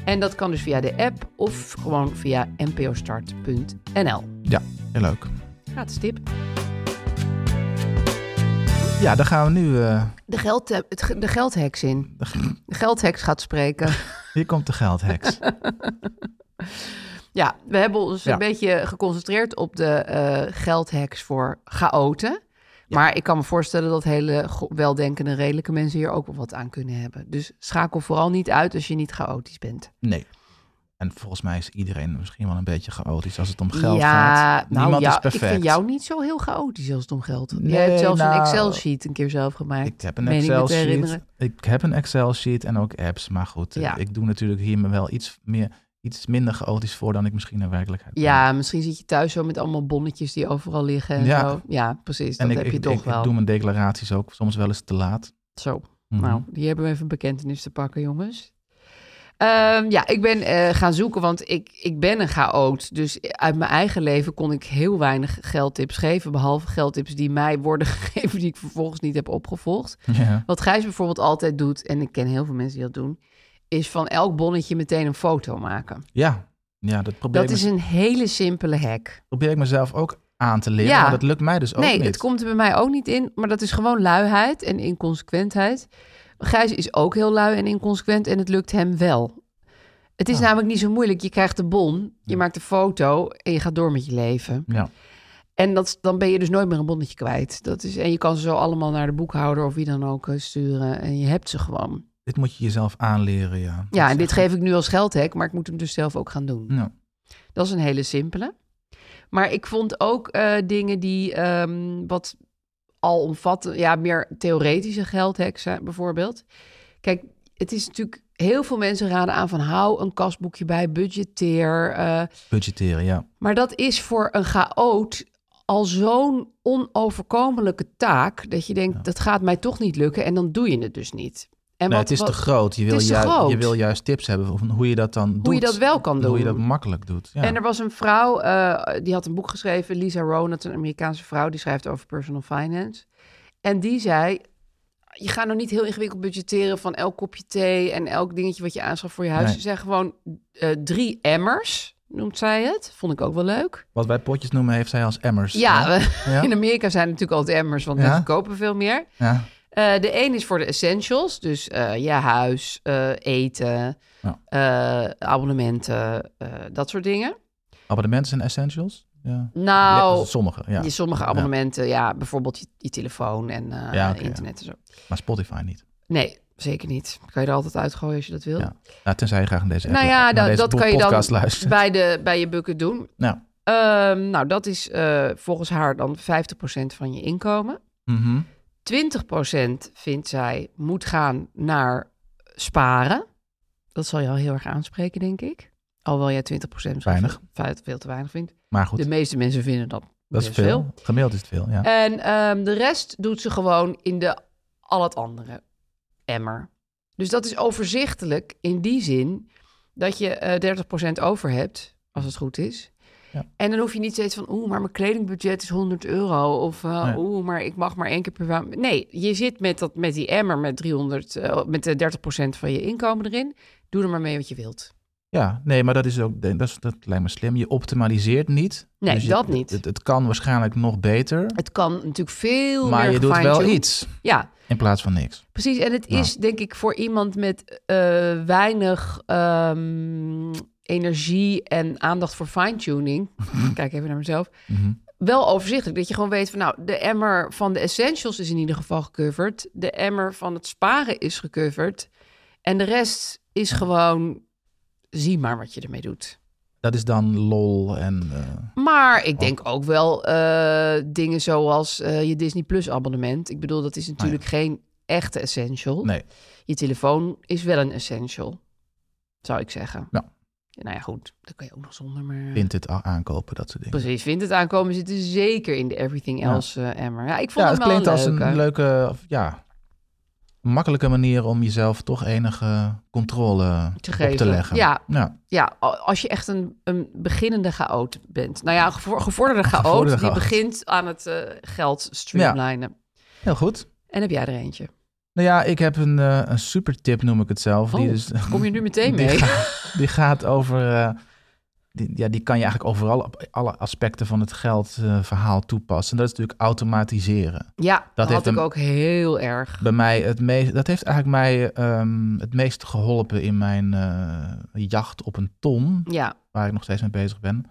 Speaker 2: En dat kan dus via de app of gewoon via npostart.nl.
Speaker 3: Ja, heel leuk.
Speaker 2: Gratis tip.
Speaker 3: Ja, dan gaan we nu... eh,
Speaker 2: De, geld, het ge- de geldheks in. De geldheks gaat spreken.
Speaker 3: hier komt de geldheks.
Speaker 2: Ja, we hebben ons
Speaker 3: Ja.
Speaker 2: een beetje geconcentreerd op de eh geldheks voor chaoten. Maar ik kan me voorstellen dat hele go- weldenkende, redelijke mensen hier ook wel wat aan kunnen hebben. Dus schakel vooral niet uit als je niet chaotisch bent.
Speaker 3: Nee. En volgens mij is iedereen misschien wel een beetje chaotisch als het om geld
Speaker 2: ja,
Speaker 3: gaat.
Speaker 2: nou
Speaker 3: Niemand
Speaker 2: ja,
Speaker 3: is perfect.
Speaker 2: Ik vind jou niet zo heel chaotisch als het om geld gaat.
Speaker 3: Nee,
Speaker 2: Jij hebt zelfs
Speaker 3: nou,
Speaker 2: een Excel-sheet een keer zelf gemaakt.
Speaker 3: Ik heb een
Speaker 2: Meen ik me te
Speaker 3: Excel sheet.
Speaker 2: herinneren.
Speaker 3: Ik heb een Excel sheet en ook apps. Maar goed, eh,
Speaker 2: Ja.
Speaker 3: ik doe natuurlijk hier me wel iets, meer, iets minder chaotisch voor dan ik misschien in werkelijkheid ben.
Speaker 2: Ja, misschien zit je thuis zo met allemaal bonnetjes die overal liggen. En
Speaker 3: Ja.
Speaker 2: ja. Zo. ja, precies.
Speaker 3: en ik,
Speaker 2: dus dat heb
Speaker 3: ik,
Speaker 2: je toch
Speaker 3: ik,
Speaker 2: wel.
Speaker 3: ik doe mijn declaraties ook soms wel eens te laat.
Speaker 2: Zo.
Speaker 3: Mhm.
Speaker 2: Nou, die hebben we even een bekentenis te pakken, jongens. Ehm, ja, ik ben eh, gaan zoeken, want ik, ik ben een chaot. Dus uit mijn eigen leven kon ik heel weinig geldtips geven. Behalve geldtips die mij worden gegeven, die ik vervolgens niet heb opgevolgd.
Speaker 3: Ja.
Speaker 2: Wat Gijs bijvoorbeeld altijd doet, en ik ken heel veel mensen die dat doen, is van elk bonnetje meteen een foto maken.
Speaker 3: ja. ja, dat probeer,
Speaker 2: Dat
Speaker 3: ik,
Speaker 2: is
Speaker 3: me-
Speaker 2: een hele simpele hack.
Speaker 3: probeer ik mezelf ook aan te leren.
Speaker 2: Ja.
Speaker 3: Maar dat lukt mij dus ook
Speaker 2: nee,
Speaker 3: niet.
Speaker 2: het komt er bij mij ook niet in. Maar dat is gewoon luiheid en inconsequentheid. Gijs is ook heel lui en inconsequent en het lukt hem wel. Het is
Speaker 3: Ah.
Speaker 2: namelijk niet zo moeilijk. Je krijgt de bon, je
Speaker 3: Ja.
Speaker 2: maakt een foto en je gaat door met je leven.
Speaker 3: Ja.
Speaker 2: En dat, dan ben je dus nooit meer een bonnetje kwijt. Dat is, en je kan ze zo allemaal naar de boekhouder of wie dan ook eh, sturen. En je hebt ze gewoon.
Speaker 3: Dit moet je jezelf aanleren, ja. Dat
Speaker 2: Ja,
Speaker 3: is
Speaker 2: en dit
Speaker 3: echt-
Speaker 2: geef ik nu als geldhek, maar ik moet hem dus zelf ook gaan doen.
Speaker 3: Nou,
Speaker 2: Dat is een hele simpele. Maar ik vond ook eh, dingen die ehm, wat al omvatten, ja, meer theoretische geldheksen bijvoorbeeld. Kijk, het is natuurlijk heel veel mensen raden aan van hou een kasboekje bij, budgeteer. eh,
Speaker 3: budgetteren, ja.
Speaker 2: maar dat is voor een chaot al zo'n onoverkomelijke taak dat je denkt dat gaat mij toch niet lukken en dan doe je het dus niet. En
Speaker 3: Nee,
Speaker 2: wat-
Speaker 3: het is
Speaker 2: wat-
Speaker 3: te groot. Je wil,
Speaker 2: is te
Speaker 3: ju-
Speaker 2: groot.
Speaker 3: je wil juist tips hebben van hoe je dat dan doet.
Speaker 2: Hoe je dat wel kan
Speaker 3: Hoe je
Speaker 2: doen.
Speaker 3: dat makkelijk doet. Ja.
Speaker 2: En er was een vrouw, eh, die had een boek geschreven, Lisa Rowan, dat is een Amerikaanse vrouw, die schrijft over personal finance. En die zei, je gaat nou niet heel ingewikkeld budgetteren van elk kopje thee en elk dingetje wat je aanschaft voor je huis.
Speaker 3: Nee.
Speaker 2: Ze zei gewoon eh, drie emmers, noemt zij het. Vond ik ook wel leuk.
Speaker 3: Wat wij potjes noemen, heeft zij als emmers.
Speaker 2: Ja,
Speaker 3: hè?
Speaker 2: we-
Speaker 3: Ja?
Speaker 2: in Amerika zijn natuurlijk altijd emmers, want
Speaker 3: Ja.
Speaker 2: mensen kopen veel meer.
Speaker 3: ja.
Speaker 2: Eh, de een is voor de essentials, dus eh, je huis, eh, eten,
Speaker 3: Ja.
Speaker 2: eh, abonnementen, eh, dat soort dingen.
Speaker 3: Abonnementen en essentials? Ja.
Speaker 2: Nou,
Speaker 3: Ja, sommige, ja.
Speaker 2: Je sommige abonnementen, ja, bijvoorbeeld je, je telefoon en eh,
Speaker 3: Ja, oké,
Speaker 2: internet en zo.
Speaker 3: Maar Spotify niet.
Speaker 2: Nee, zeker niet. Kan je er altijd uitgooien als je dat wil.
Speaker 3: Ja. Ja, tenzij je graag naar deze,
Speaker 2: nou
Speaker 3: app-
Speaker 2: ja,
Speaker 3: naar
Speaker 2: da-
Speaker 3: deze
Speaker 2: dat kan je
Speaker 3: podcast
Speaker 2: dan
Speaker 3: luistert.
Speaker 2: bij, de, bij je bukken doen.
Speaker 3: Nou,
Speaker 2: Ehm, nou, dat is eh, volgens haar dan 50% van je inkomen.
Speaker 3: Mhm.
Speaker 2: 20% vindt zij moet gaan naar sparen. Dat zal je al heel erg aanspreken, denk ik. Alhoewel jij 20% misschien
Speaker 3: Weinig.
Speaker 2: Veel, veel te weinig vindt.
Speaker 3: Maar goed,
Speaker 2: De meeste mensen vinden dat,
Speaker 3: dat is
Speaker 2: best
Speaker 3: veel. Gemiddeld is het veel, ja.
Speaker 2: En ehm, de rest doet ze gewoon in de al het andere emmer. Dus dat is overzichtelijk in die zin dat je eh 30% over hebt, als het goed is.
Speaker 3: Ja.
Speaker 2: En dan hoef je niet steeds van, oeh, maar mijn kledingbudget is 100 euro. Of eh,
Speaker 3: Nee.
Speaker 2: oeh, maar ik mag maar één keer per maand. Nee, je zit met, dat, met die emmer met, 300, eh, met de 30% van je inkomen erin. Doe er maar mee wat je wilt.
Speaker 3: Ja, nee, maar dat, is ook, dat, is, dat lijkt me slim. Je optimaliseert niet. Dus
Speaker 2: Nee,
Speaker 3: je-
Speaker 2: dat niet.
Speaker 3: Het, het kan waarschijnlijk nog beter,
Speaker 2: Het kan natuurlijk veel meer
Speaker 3: maar je doet wel
Speaker 2: gefine-tuned.
Speaker 3: iets
Speaker 2: Ja,
Speaker 3: in plaats van niks.
Speaker 2: Precies, en het
Speaker 3: Ja.
Speaker 2: is denk ik voor iemand met eh, weinig ehm, energie en aandacht voor fine-tuning, kijk even naar mezelf,
Speaker 3: Mhm.
Speaker 2: wel overzichtelijk. Dat je gewoon weet van nou, de emmer van de essentials is in ieder geval gecoverd, de emmer van het sparen is gecoverd en de rest is gewoon, zie maar wat je ermee doet.
Speaker 3: Dat is dan lol en... eh,
Speaker 2: Maar ik denk ook wel eh, dingen zoals eh, je Disney Plus abonnement. Ik bedoel, dat is natuurlijk geen echte essential.
Speaker 3: nee,
Speaker 2: Je telefoon is wel een essential, zou ik zeggen.
Speaker 3: Ja.
Speaker 2: Nou ja, goed, dat kan je ook nog zonder, maar...
Speaker 3: vindt het a- aankopen, dat soort dingen.
Speaker 2: Precies, vindt het aankomen zitten zeker in de everything
Speaker 3: Ja.
Speaker 2: else eh, emmer. Ja, ik vond
Speaker 3: Ja,
Speaker 2: hem
Speaker 3: het
Speaker 2: wel
Speaker 3: klinkt als
Speaker 2: leuke.
Speaker 3: een leuke, of ja, makkelijke manier om jezelf toch enige controle
Speaker 2: Te
Speaker 3: op
Speaker 2: geven.
Speaker 3: te leggen.
Speaker 2: Ja.
Speaker 3: ja.
Speaker 2: Ja, a- als je echt een, een beginnende chaot bent. Nou ja, een gevo- gevorderde chaot
Speaker 3: Gevorderde
Speaker 2: die
Speaker 3: chaot.
Speaker 2: begint aan het eh, geld streamlinen.
Speaker 3: Heel goed.
Speaker 2: En heb jij er eentje?
Speaker 3: Nou ja, ik heb een, eh, een super tip, noem ik het zelf. die
Speaker 2: Oh,
Speaker 3: dus,
Speaker 2: Kom je nu meteen mee?
Speaker 3: Die gaat, die gaat over. eh, die, ja, die kan je eigenlijk overal op alle aspecten van het geldverhaal verhaal toepassen. Dat is natuurlijk automatiseren.
Speaker 2: Ja, dat, had
Speaker 3: heeft
Speaker 2: ik
Speaker 3: hem-
Speaker 2: ook heel erg.
Speaker 3: Bij mij het meest, dat heeft eigenlijk mij ehm, het meest geholpen in mijn eh, jacht op een ton,
Speaker 2: Ja,
Speaker 3: waar ik nog steeds mee bezig ben.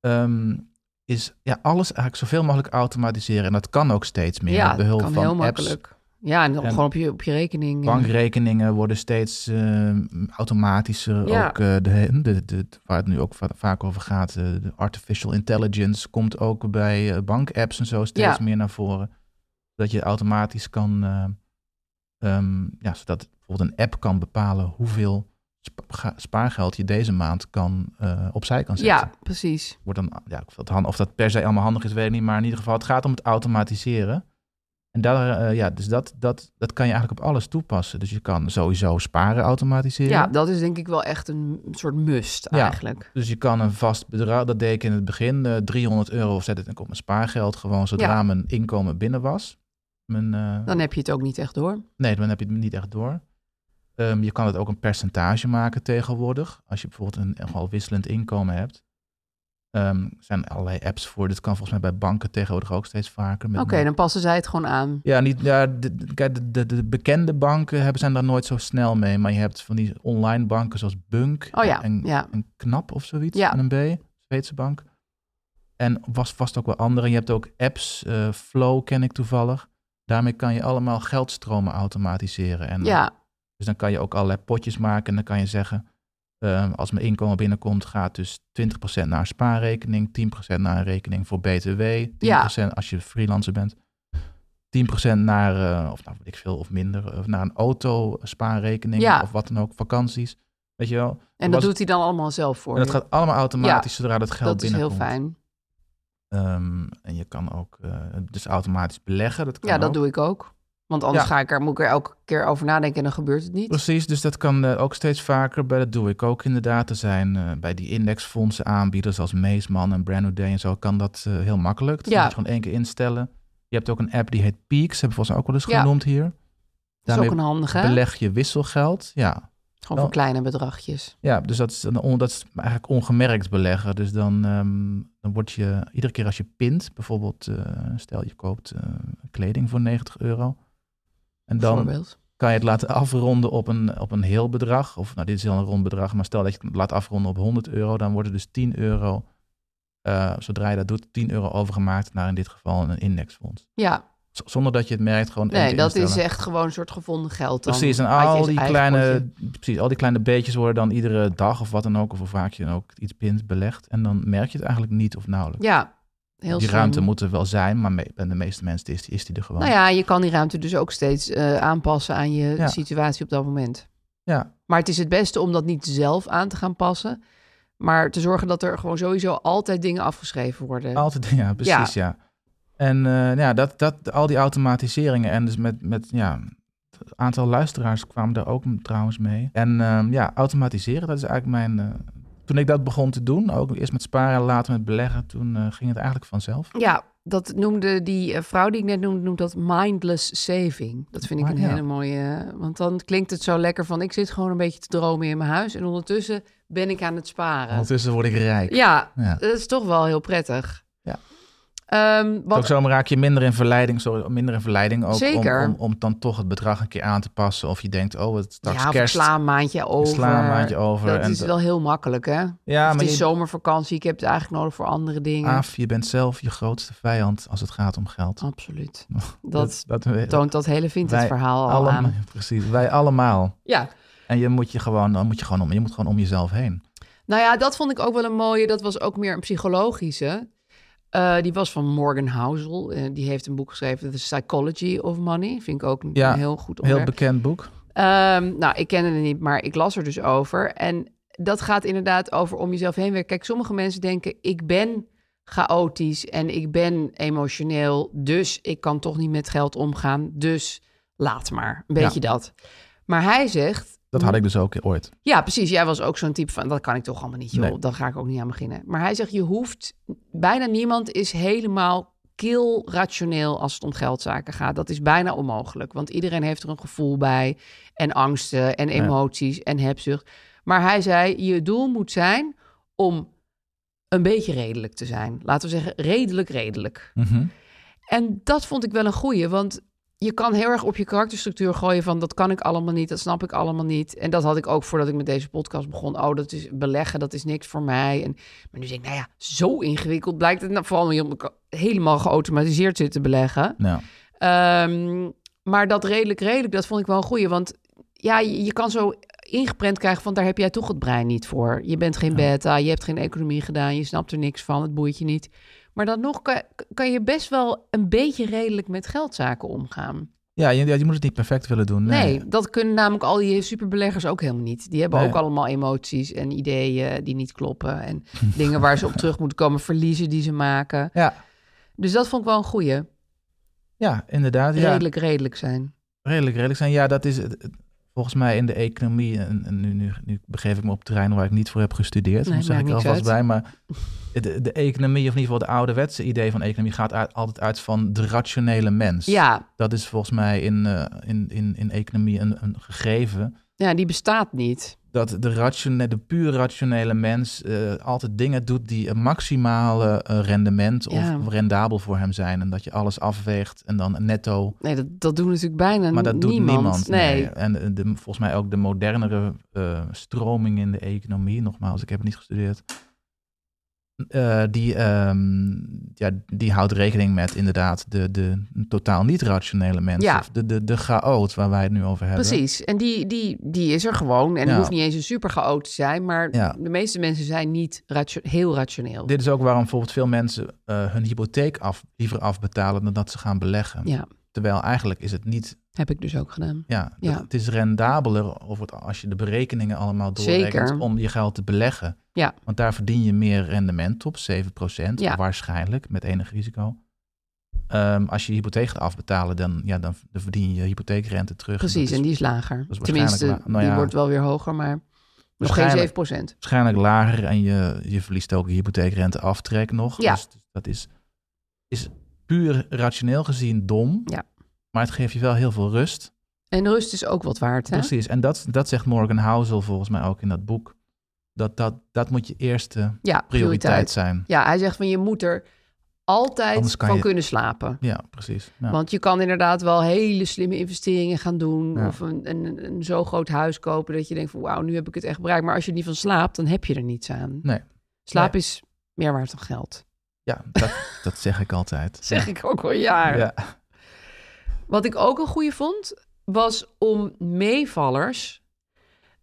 Speaker 3: Ehm, is ja, alles eigenlijk zoveel mogelijk automatiseren. En dat kan ook steeds meer.
Speaker 2: ja
Speaker 3: met behulp
Speaker 2: kan
Speaker 3: van
Speaker 2: heel
Speaker 3: apps.
Speaker 2: makkelijk. Ja, en dan
Speaker 3: En-
Speaker 2: gewoon op je, op je rekening. eh,
Speaker 3: Bankrekeningen worden steeds eh, automatischer.
Speaker 2: Ja.
Speaker 3: Ook, eh, de, de, de, waar het nu ook va- vaak over gaat, eh, de artificial intelligence komt ook bij eh, bankapps en zo steeds
Speaker 2: Ja.
Speaker 3: meer naar voren. Dat je automatisch kan, eh, ehm, ja, zodat bijvoorbeeld een app kan bepalen hoeveel spa- ga- spaargeld je deze maand kan, eh, opzij kan zetten.
Speaker 2: ja, precies.
Speaker 3: Wordt dan, ja, of, dat, han- of dat per se allemaal handig is, weet ik niet. Maar in ieder geval, het gaat om het automatiseren. En daar, eh, ja, dus dat, dat, dat kan je eigenlijk op alles toepassen. Dus je kan sowieso sparen automatiseren.
Speaker 2: Ja, dat is denk ik wel echt een soort must
Speaker 3: Ja.
Speaker 2: eigenlijk.
Speaker 3: Dus je kan een vast bedrag, dat deed ik in het begin, eh, 300 euro of zet het op mijn spaargeld. Gewoon zodra
Speaker 2: Ja.
Speaker 3: mijn inkomen binnen was. Mijn, eh,
Speaker 2: Dan heb je het ook niet echt door.
Speaker 3: Nee, dan heb je het niet echt door. Ehm, je kan het ook een percentage maken tegenwoordig. Als je bijvoorbeeld een echt wel wisselend inkomen hebt. Ehm, er zijn allerlei apps voor. Dit kan volgens mij bij banken tegenwoordig ook steeds vaker. met
Speaker 2: Oké, dan passen zij het gewoon aan.
Speaker 3: Ja, niet, ja de, de- kijk, de, de, de bekende banken hebben, zijn daar nooit zo snel mee. Maar je hebt van die online banken zoals Bunk
Speaker 2: Oh ja,
Speaker 3: en,
Speaker 2: ja.
Speaker 3: en Knap of zoiets.
Speaker 2: Ja.
Speaker 3: En een B, Zweedse bank. En was vast ook wel andere. Je hebt ook apps, eh, Flow ken ik toevallig. Daarmee kan je allemaal geldstromen automatiseren. En,
Speaker 2: Ja,
Speaker 3: Dus dan kan je ook allerlei potjes maken. En dan kan je zeggen, eh, als mijn inkomen binnenkomt, gaat dus 20% naar een spaarrekening, 10% naar een rekening voor BTW, 10% als je freelancer bent. 10% naar, eh, of nou weet ik veel, of minder, of naar een auto-spaarrekening
Speaker 2: Ja.
Speaker 3: of wat dan ook, vakanties. Weet je wel?
Speaker 2: en dat
Speaker 3: Was-
Speaker 2: doet hij dan allemaal zelf voor.
Speaker 3: En dat
Speaker 2: je.
Speaker 3: gaat allemaal automatisch zodra dat geld
Speaker 2: dat is heel
Speaker 3: binnenkomt.
Speaker 2: fijn.
Speaker 3: Ehm, en je kan ook eh, dus automatisch beleggen. Dat kan
Speaker 2: Ja, dat
Speaker 3: ook.
Speaker 2: doe ik ook. Want anders
Speaker 3: Ja.
Speaker 2: ga ik er, moet ik er elke keer over nadenken en dan gebeurt het niet.
Speaker 3: Precies, dus dat kan eh, ook steeds vaker. Bij dat doe ik ook inderdaad. Er zijn eh, bij die indexfondsen aanbieders als Meesman en Brand New Day en zo kan dat eh, heel makkelijk. Dat
Speaker 2: Ja.
Speaker 3: moet je gewoon één keer instellen. Je hebt ook een app die heet Peaks, hebben we volgens mij ook wel eens
Speaker 2: Ja.
Speaker 3: genoemd hier.
Speaker 2: Dat is ook
Speaker 3: Daarmee
Speaker 2: een handige. hè?
Speaker 3: beleg je wisselgeld. Ja,
Speaker 2: Gewoon voor kleine bedragjes.
Speaker 3: ja dus dat is, een on- dat is eigenlijk ongemerkt beleggen. Dus dan, ehm, dan word je iedere keer als je pint, bijvoorbeeld eh, stel je koopt eh, kleding voor 90 euro. En dan
Speaker 2: bijvoorbeeld.
Speaker 3: kan je het laten afronden op een, op een heel bedrag. Of nou, dit is al een rond bedrag, maar stel dat je het laat afronden op 100 euro, dan wordt er dus 10 euro, eh, zodra je dat doet, 10 euro overgemaakt naar in dit geval een indexfonds.
Speaker 2: Ja,
Speaker 3: Z- Zonder dat je het merkt, gewoon
Speaker 2: Nee,
Speaker 3: even
Speaker 2: dat is
Speaker 3: instellen.
Speaker 2: echt gewoon een soort gevonden geld. Dan
Speaker 3: Precies, en
Speaker 2: Maak je
Speaker 3: al
Speaker 2: eens
Speaker 3: die,
Speaker 2: eigen potje.
Speaker 3: kleine, precies, al die kleine beetjes worden dan iedere dag of wat dan ook, of hoe vaak je dan ook iets pint belegd. En dan merk je het eigenlijk niet of nauwelijks.
Speaker 2: Ja, heel
Speaker 3: die
Speaker 2: slim.
Speaker 3: ruimte moet er wel zijn, maar me- bij de meeste mensen is die, is die er gewoon.
Speaker 2: Nou ja, je kan die ruimte dus ook steeds eh, aanpassen aan je
Speaker 3: Ja.
Speaker 2: situatie op dat moment.
Speaker 3: Ja.
Speaker 2: Maar het is het beste om dat niet zelf aan te gaan passen. Maar te zorgen dat er gewoon sowieso altijd dingen afgeschreven worden.
Speaker 3: Altijd, ja, precies, ja. En eh, ja, dat, dat, al die automatiseringen en dus met, met ja, het aantal luisteraars kwamen daar ook m- trouwens mee. En ehm, ja, automatiseren, dat is eigenlijk mijn... eh, toen ik dat begon te doen, ook eerst met sparen, later met beleggen, toen eh, ging het eigenlijk vanzelf.
Speaker 2: Ja, dat noemde die eh, vrouw die ik net noemde, noemt dat mindless saving. Dat vind ik
Speaker 3: Maar
Speaker 2: een
Speaker 3: ja.
Speaker 2: hele mooie. eh, Want dan klinkt het zo lekker van ik zit gewoon een beetje te dromen in mijn huis. En ondertussen ben ik aan het sparen.
Speaker 3: Ondertussen word ik rijk.
Speaker 2: Ja,
Speaker 3: Ja.
Speaker 2: dat is toch wel heel prettig.
Speaker 3: Ja.
Speaker 2: Ehm,
Speaker 3: Ook
Speaker 2: wat,
Speaker 3: zo raak je minder in verleiding, sorry, minder in verleiding ook
Speaker 2: Zeker.
Speaker 3: Om, om, om dan toch het bedrag een keer aan te passen. Of je denkt, oh, het is straks
Speaker 2: ja, of ik
Speaker 3: kerst.
Speaker 2: sla een maandje
Speaker 3: ik
Speaker 2: over.
Speaker 3: sla een maandje over.
Speaker 2: Dat
Speaker 3: en
Speaker 2: is
Speaker 3: de-
Speaker 2: wel heel makkelijk, hè?
Speaker 3: ja,
Speaker 2: Of het
Speaker 3: maar
Speaker 2: is
Speaker 3: je, Ah.
Speaker 2: zomervakantie, ik heb het eigenlijk nodig voor andere dingen.
Speaker 3: Aaf, je bent zelf je grootste vijand als het gaat om geld.
Speaker 2: Absoluut.
Speaker 3: Dat
Speaker 2: Dat
Speaker 3: we-
Speaker 2: toont dat hele Vinted
Speaker 3: Wij
Speaker 2: verhaal al
Speaker 3: allemaal,
Speaker 2: aan.
Speaker 3: Precies, wij allemaal.
Speaker 2: Ja,
Speaker 3: En je moet je gewoon, dan moet je gewoon om, je moet gewoon om jezelf heen.
Speaker 2: Nou ja, dat vond ik ook wel een mooie. Dat was ook meer een psychologische. Eh, die was van Morgan Housel. Eh, die heeft een boek geschreven, The Psychology of Money. Vind ik ook een
Speaker 3: Ja,
Speaker 2: een heel goed
Speaker 3: Heel
Speaker 2: onderwerp.
Speaker 3: bekend boek.
Speaker 2: Ehm, nou, ik kende het niet, maar ik las er dus over. En dat gaat inderdaad over om jezelf heen werken. Kijk, sommige mensen denken, ik ben chaotisch en ik ben emotioneel. Dus ik kan toch niet met geld omgaan. Dus laat maar. Een beetje dat. Maar hij zegt,
Speaker 3: Dat had ik dus ook ooit.
Speaker 2: ja, precies. Jij was ook zo'n type van, dat kan ik toch allemaal niet, joh.
Speaker 3: Nee.
Speaker 2: Dan ga ik ook niet aan beginnen. Maar hij zegt, je hoeft, bijna niemand is helemaal kil rationeel als het om geldzaken gaat. Dat is bijna onmogelijk, want iedereen heeft er een gevoel bij. En angsten en emoties en hebzucht. Maar hij zei, je doel moet zijn om een beetje redelijk te zijn. Laten we zeggen, redelijk redelijk.
Speaker 3: Mhm.
Speaker 2: En dat vond ik wel een goeie, want je kan heel erg op je karakterstructuur gooien van dat kan ik allemaal niet, dat snap ik allemaal niet. En dat had ik ook voordat ik met deze podcast begon. Oh, dat is beleggen, dat is niks voor mij. En, maar nu denk ik, nou ja, zo ingewikkeld blijkt het nou, vooral omdat ik helemaal geautomatiseerd zit te beleggen.
Speaker 3: Nou,
Speaker 2: Ehm, maar dat redelijk redelijk, dat vond ik wel een goeie, want ja, je, je kan zo ingeprent krijgen van daar heb jij toch het brein niet voor. Je bent geen beta, je hebt geen economie gedaan, je snapt er niks van, het boeit je niet. Maar dan nog kan, kan je best wel een beetje redelijk met geldzaken omgaan.
Speaker 3: ja, je, ja, je moet het niet perfect willen doen.
Speaker 2: Nee,
Speaker 3: Nee,
Speaker 2: dat kunnen namelijk al die superbeleggers ook helemaal niet. Die hebben
Speaker 3: Nee.
Speaker 2: ook allemaal emoties en ideeën die niet kloppen en dingen waar ze op terug moeten komen, verliezen die ze maken.
Speaker 3: Ja,
Speaker 2: Dus dat vond ik wel een goeie.
Speaker 3: ja inderdaad. Ja.
Speaker 2: Redelijk redelijk zijn.
Speaker 3: Redelijk, redelijk zijn. Ja, dat is het- het- volgens mij in de economie. En, en nu, nu, nu begeef ik me op terreinen waar ik niet voor heb gestudeerd.
Speaker 2: Nee,
Speaker 3: dat zeg
Speaker 2: maakt
Speaker 3: ik er
Speaker 2: niks
Speaker 3: alvast bij.
Speaker 2: uit.
Speaker 3: Maar de, de economie, of in ieder geval de ouderwetse idee van economie, gaat uit- altijd uit van de rationele mens.
Speaker 2: Ja,
Speaker 3: Dat is volgens mij in, eh, in, in, in economie een, een gegeven.
Speaker 2: ja, die bestaat niet.
Speaker 3: Dat de, ratione, de puur rationele mens eh, altijd dingen doet die een maximale eh, rendement of
Speaker 2: Ja.
Speaker 3: rendabel voor hem zijn. En dat je alles afweegt en dan netto
Speaker 2: Nee, dat, dat doen natuurlijk bijna
Speaker 3: maar dat doet niemand.
Speaker 2: niemand.
Speaker 3: nee.
Speaker 2: nee.
Speaker 3: En de- de- volgens mij ook de modernere eh, stroming in de economie, nogmaals, ik heb het niet gestudeerd. eh, die, ehm, ja, die houdt rekening met inderdaad de, de totaal niet rationele mensen.
Speaker 2: Ja.
Speaker 3: Of de, de, de chaot waar wij het nu over hebben.
Speaker 2: Precies. En die, die, die is er gewoon. En
Speaker 3: Ja.
Speaker 2: hoeft niet eens een super chaot te zijn. Maar
Speaker 3: Ja.
Speaker 2: de meeste mensen zijn niet ratio- heel rationeel.
Speaker 3: Dit is ook waarom bijvoorbeeld veel mensen eh, hun hypotheek af, liever afbetalen dan dat ze gaan beleggen.
Speaker 2: Ja,
Speaker 3: Terwijl eigenlijk is het niet,
Speaker 2: heb ik dus ook gedaan.
Speaker 3: ja, dat-
Speaker 2: Ja.
Speaker 3: het is rendabeler of het, als je de berekeningen allemaal doorrekent
Speaker 2: Zeker.
Speaker 3: om je geld te beleggen.
Speaker 2: Ja,
Speaker 3: Want daar verdien je meer rendement op, 7%
Speaker 2: Ja.
Speaker 3: waarschijnlijk, met enig risico. Ehm, als je je hypotheek gaat afbetalen, dan, ja, dan dan verdien je je hypotheekrente terug. En
Speaker 2: precies.
Speaker 3: dat is
Speaker 2: En die is lager.
Speaker 3: waarschijnlijk
Speaker 2: Tenminste,
Speaker 3: la- nou
Speaker 2: die
Speaker 3: ja.
Speaker 2: wordt wel weer hoger, maar nog geen
Speaker 3: Waarschijnlijk.
Speaker 2: 7 procent.
Speaker 3: waarschijnlijk lager en je, je verliest ook je hypotheekrente aftrek nog.
Speaker 2: Ja.
Speaker 3: Dus dat is, is puur rationeel gezien dom.
Speaker 2: Ja.
Speaker 3: Maar het geeft je wel heel veel rust.
Speaker 2: En rust is ook wat waard, hè?
Speaker 3: Precies. En dat, dat zegt Morgan Housel volgens mij ook in dat boek. Dat, dat, dat moet je eerste prioriteit,
Speaker 2: Ja, prioriteit.
Speaker 3: zijn.
Speaker 2: Ja, hij zegt van je moet er altijd
Speaker 3: Anders kan
Speaker 2: van
Speaker 3: je-
Speaker 2: kunnen slapen.
Speaker 3: Ja, precies. Ja.
Speaker 2: Want je kan inderdaad wel hele slimme investeringen gaan doen.
Speaker 3: Ja.
Speaker 2: Of een, een, een zo groot huis kopen dat je denkt van wauw, nu heb ik het echt bereikt. Maar als je er niet van slaapt, dan heb je er niets aan.
Speaker 3: Nee.
Speaker 2: Slaap is meer waard dan geld.
Speaker 3: Ja, dat, dat zeg ik altijd.
Speaker 2: Zeg ik ook al jaren.
Speaker 3: Ja.
Speaker 2: Wat ik ook een goede vond, was om meevallers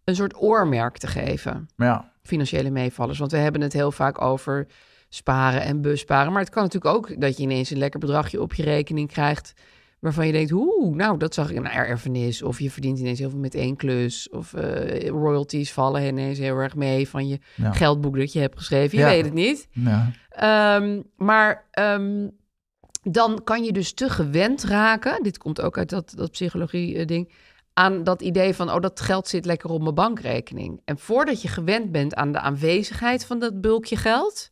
Speaker 2: een soort oormerk te geven.
Speaker 3: Maar ja,
Speaker 2: Financiële meevallers. Want we hebben het heel vaak over sparen en busparen. Maar het kan natuurlijk ook dat je ineens een lekker bedragje op je rekening krijgt. Waarvan je denkt, oeh, nou, dat zag ik een erfenis. Of je verdient ineens heel veel met één klus. Of eh, royalties vallen ineens heel erg mee van je
Speaker 3: Ja.
Speaker 2: geldboek dat je hebt geschreven. Je
Speaker 3: Ja.
Speaker 2: weet het niet.
Speaker 3: ja.
Speaker 2: Ehm, maar ehm, dan kan je dus te gewend raken. Dit komt ook uit dat, dat psychologie-ding. Aan dat idee van, oh, dat geld zit lekker op mijn bankrekening. En voordat je gewend bent aan de aanwezigheid van dat bulkje geld,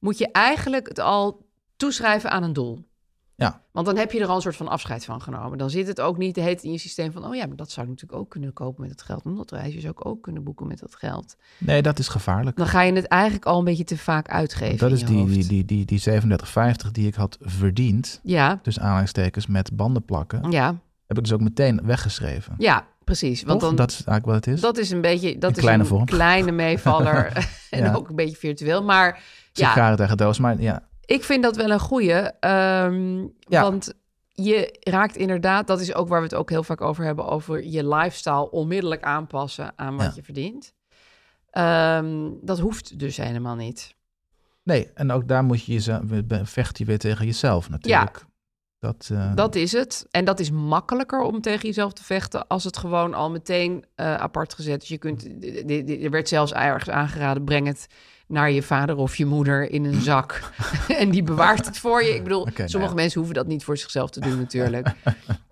Speaker 2: moet je eigenlijk het al toeschrijven aan een doel.
Speaker 3: Ja.
Speaker 2: Want dan heb je er al een soort van afscheid van genomen. Dan zit het ook niet de hele tijd in je systeem van, oh ja, maar dat zou ik natuurlijk ook kunnen kopen met dat geld. En dat reisje zou ik ook kunnen boeken met dat geld.
Speaker 3: Nee, dat is gevaarlijk.
Speaker 2: Dan ga je het eigenlijk al een beetje te vaak uitgeven.
Speaker 3: Dat
Speaker 2: in
Speaker 3: is
Speaker 2: je
Speaker 3: die,
Speaker 2: hoofd.
Speaker 3: die, die, die, die 37,50 die ik had verdiend.
Speaker 2: Ja,
Speaker 3: Dus aanhalingstekens met banden plakken.
Speaker 2: ja,
Speaker 3: Heb ik dus ook meteen weggeschreven.
Speaker 2: ja, precies. Want
Speaker 3: Want
Speaker 2: dan,
Speaker 3: dat is eigenlijk wat het is.
Speaker 2: dat is een beetje dat
Speaker 3: Een
Speaker 2: is
Speaker 3: kleine
Speaker 2: een
Speaker 3: vorm.
Speaker 2: kleine meevaller en
Speaker 3: Ja.
Speaker 2: ook een beetje virtueel. Maar ja,
Speaker 3: Sigaren tegen doos. Maar ja,
Speaker 2: ik vind dat wel een goede,
Speaker 3: Ja.
Speaker 2: want je raakt inderdaad, dat is ook waar we het ook heel vaak over hebben, over je lifestyle onmiddellijk aanpassen aan wat
Speaker 3: Ja.
Speaker 2: je verdient. Ehm, dat hoeft dus helemaal niet.
Speaker 3: nee. En ook daar moet je jezelf, vecht je weer tegen jezelf natuurlijk. Dat, eh,
Speaker 2: Dat is het. En dat is makkelijker om tegen jezelf te vechten als het gewoon al meteen eh, apart gezet is. Je kunt, d- d- d- er werd zelfs ergens aangeraden, breng het naar je vader of je moeder in een zak. en die bewaart het voor je. Ik bedoel,
Speaker 3: Oké, nou
Speaker 2: sommige
Speaker 3: ja.
Speaker 2: mensen hoeven dat niet voor zichzelf te doen natuurlijk.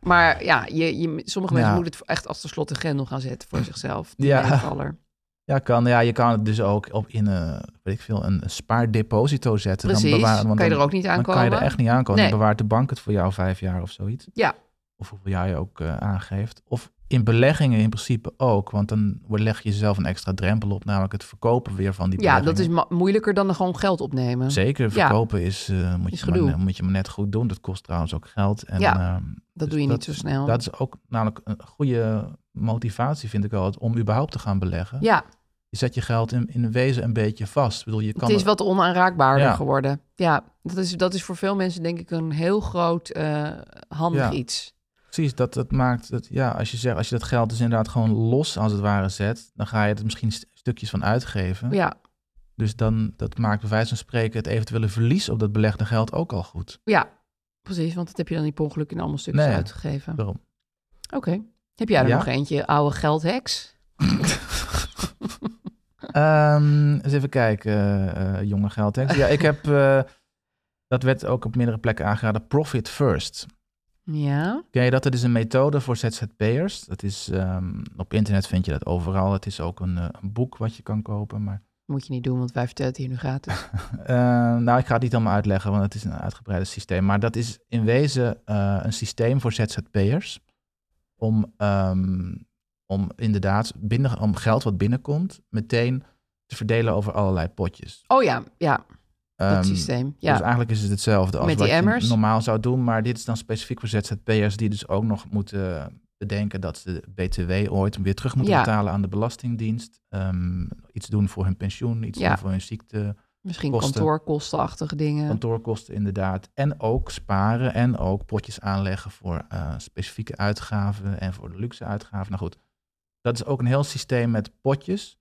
Speaker 2: maar ja, je, je, sommige
Speaker 3: Ja.
Speaker 2: mensen moeten het echt achter slot en grendel gaan zetten voor zichzelf. Die
Speaker 3: Ja.
Speaker 2: meevaller.
Speaker 3: ja, kan, ja, je kan het dus ook op in een, weet ik veel, een spaardeposito zetten.
Speaker 2: Precies.
Speaker 3: bewaren-
Speaker 2: kan je
Speaker 3: dan-
Speaker 2: er ook niet
Speaker 3: Dan
Speaker 2: aankomen.
Speaker 3: kan je er echt niet aankomen.
Speaker 2: Nee.
Speaker 3: Dan bewaart de bank het voor jou vijf jaar of zoiets.
Speaker 2: Ja.
Speaker 3: Of hoeveel jaar je ook eh, aangeeft. Of in beleggingen in principe ook. Want dan leg je jezelf een extra drempel op. Namelijk het verkopen weer van die
Speaker 2: ja,
Speaker 3: beleggingen.
Speaker 2: dat is ma- moeilijker dan er gewoon geld opnemen.
Speaker 3: Zeker,
Speaker 2: Ja.
Speaker 3: verkopen is, eh, moet,
Speaker 2: Is
Speaker 3: je maar,
Speaker 2: gedoe.
Speaker 3: ne- moet je maar net goed doen. Dat kost trouwens ook geld. En,
Speaker 2: Ja,
Speaker 3: ehm,
Speaker 2: Dat
Speaker 3: dus
Speaker 2: doe je niet zo snel.
Speaker 3: Dat is ook namelijk een goede motivatie, vind ik altijd, om überhaupt te gaan beleggen.
Speaker 2: ja.
Speaker 3: Je zet je geld in, in wezen een beetje vast. Ik bedoel, je kan
Speaker 2: het is
Speaker 3: er-
Speaker 2: wat onaanraakbaarder
Speaker 3: Ja.
Speaker 2: geworden. Ja, dat is, dat is voor veel mensen denk ik een heel groot eh, handig
Speaker 3: Ja.
Speaker 2: iets.
Speaker 3: Precies, dat, dat maakt het, ja, als je, zegt, als je dat geld dus inderdaad gewoon los als het ware zet, dan ga je er misschien st- stukjes van uitgeven.
Speaker 2: Ja,
Speaker 3: Dus dan, dat maakt bij wijze van spreken het eventuele verlies op dat belegde geld ook al goed.
Speaker 2: ja, precies. Want dat heb je dan niet per ongeluk in allemaal stukjes
Speaker 3: Nee.
Speaker 2: uitgegeven. Oké.
Speaker 3: Daarom.
Speaker 2: Heb jij er
Speaker 3: Ja?
Speaker 2: nog eentje, oude geldheks?
Speaker 3: Ehm, eens even kijken, eh, eh, jonge geldheks. Ja, ik heb, eh, dat werd ook op meerdere plekken aangeraden, Profit First.
Speaker 2: Ja,
Speaker 3: Ken je dat? Dat is een methode voor ZZP'ers. Dat is, ehm, op internet vind je dat overal. Het is ook een, eh, een boek wat je kan kopen. Maar,
Speaker 2: moet je niet doen, want wij vertellen het hier nu gratis.
Speaker 3: eh, nou, ik ga het niet allemaal uitleggen, want het is een uitgebreider systeem. Maar dat is in wezen eh, een systeem voor ZZP'ers. Om, ehm, om inderdaad binnen, om geld wat binnenkomt, meteen te verdelen over allerlei potjes.
Speaker 2: Oh ja, ja, dat
Speaker 3: Ehm,
Speaker 2: systeem. Ja,
Speaker 3: Dus eigenlijk is het hetzelfde als
Speaker 2: Met die
Speaker 3: wat
Speaker 2: emmers?
Speaker 3: je normaal zou doen. Maar dit is dan specifiek voor ZZP'ers die dus ook nog moeten bedenken dat ze BTW ooit weer terug moeten
Speaker 2: Ja.
Speaker 3: betalen aan de Belastingdienst. Ehm, iets doen voor hun pensioen, iets
Speaker 2: Ja.
Speaker 3: doen voor hun ziekte,
Speaker 2: misschien
Speaker 3: kosten.
Speaker 2: kantoorkostenachtige dingen.
Speaker 3: kantoorkosten inderdaad. En ook sparen en ook potjes aanleggen voor eh, specifieke uitgaven en voor de luxe uitgaven. Nou goed, dat is ook een heel systeem met potjes.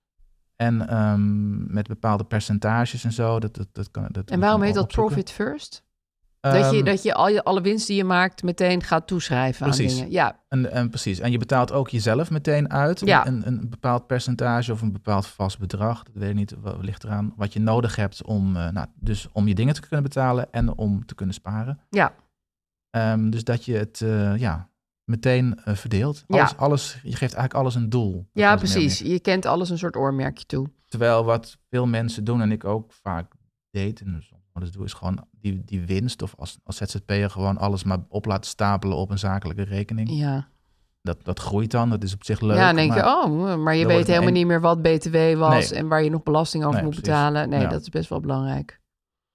Speaker 3: En ehm, met bepaalde percentages en zo. Dat, dat, dat kan, dat moet je
Speaker 2: en waarom
Speaker 3: maar
Speaker 2: heet dat
Speaker 3: opzoeken.
Speaker 2: profit first? dat je,
Speaker 3: Ehm,
Speaker 2: dat je al je, alle winst die je maakt meteen gaat toeschrijven
Speaker 3: Precies.
Speaker 2: aan dingen. Ja,
Speaker 3: En, en precies. En je betaalt ook jezelf meteen uit.
Speaker 2: Ja.
Speaker 3: Een, een bepaald percentage of een bepaald vast bedrag. Dat weet ik niet. wa- Ligt eraan wat je nodig hebt om, eh, nou, dus om je dingen te kunnen betalen en om te kunnen sparen.
Speaker 2: Ja.
Speaker 3: Ehm, dus dat je het eh, ja, meteen eh, verdeelt.
Speaker 2: Ja.
Speaker 3: Alles, alles, je geeft eigenlijk alles een doel. Dat
Speaker 2: ja
Speaker 3: was meer
Speaker 2: precies.
Speaker 3: meer.
Speaker 2: Je kent alles een soort oormerkje toe.
Speaker 3: Terwijl wat veel mensen doen en ik ook vaak deed en soms wel eens doe, is gewoon die, die winst of als, als ZZP'er gewoon alles maar op laten stapelen op een zakelijke rekening.
Speaker 2: Ja,
Speaker 3: Dat, dat groeit dan, dat is op zich leuk.
Speaker 2: ja dan denk
Speaker 3: maar-
Speaker 2: je, oh, maar je
Speaker 3: dan
Speaker 2: weet
Speaker 3: wordt het
Speaker 2: helemaal
Speaker 3: een-
Speaker 2: niet meer wat BTW was
Speaker 3: Nee.
Speaker 2: en waar je nog belasting over
Speaker 3: Nee,
Speaker 2: moet
Speaker 3: precies.
Speaker 2: betalen. Nee,
Speaker 3: Ja.
Speaker 2: dat is best wel belangrijk.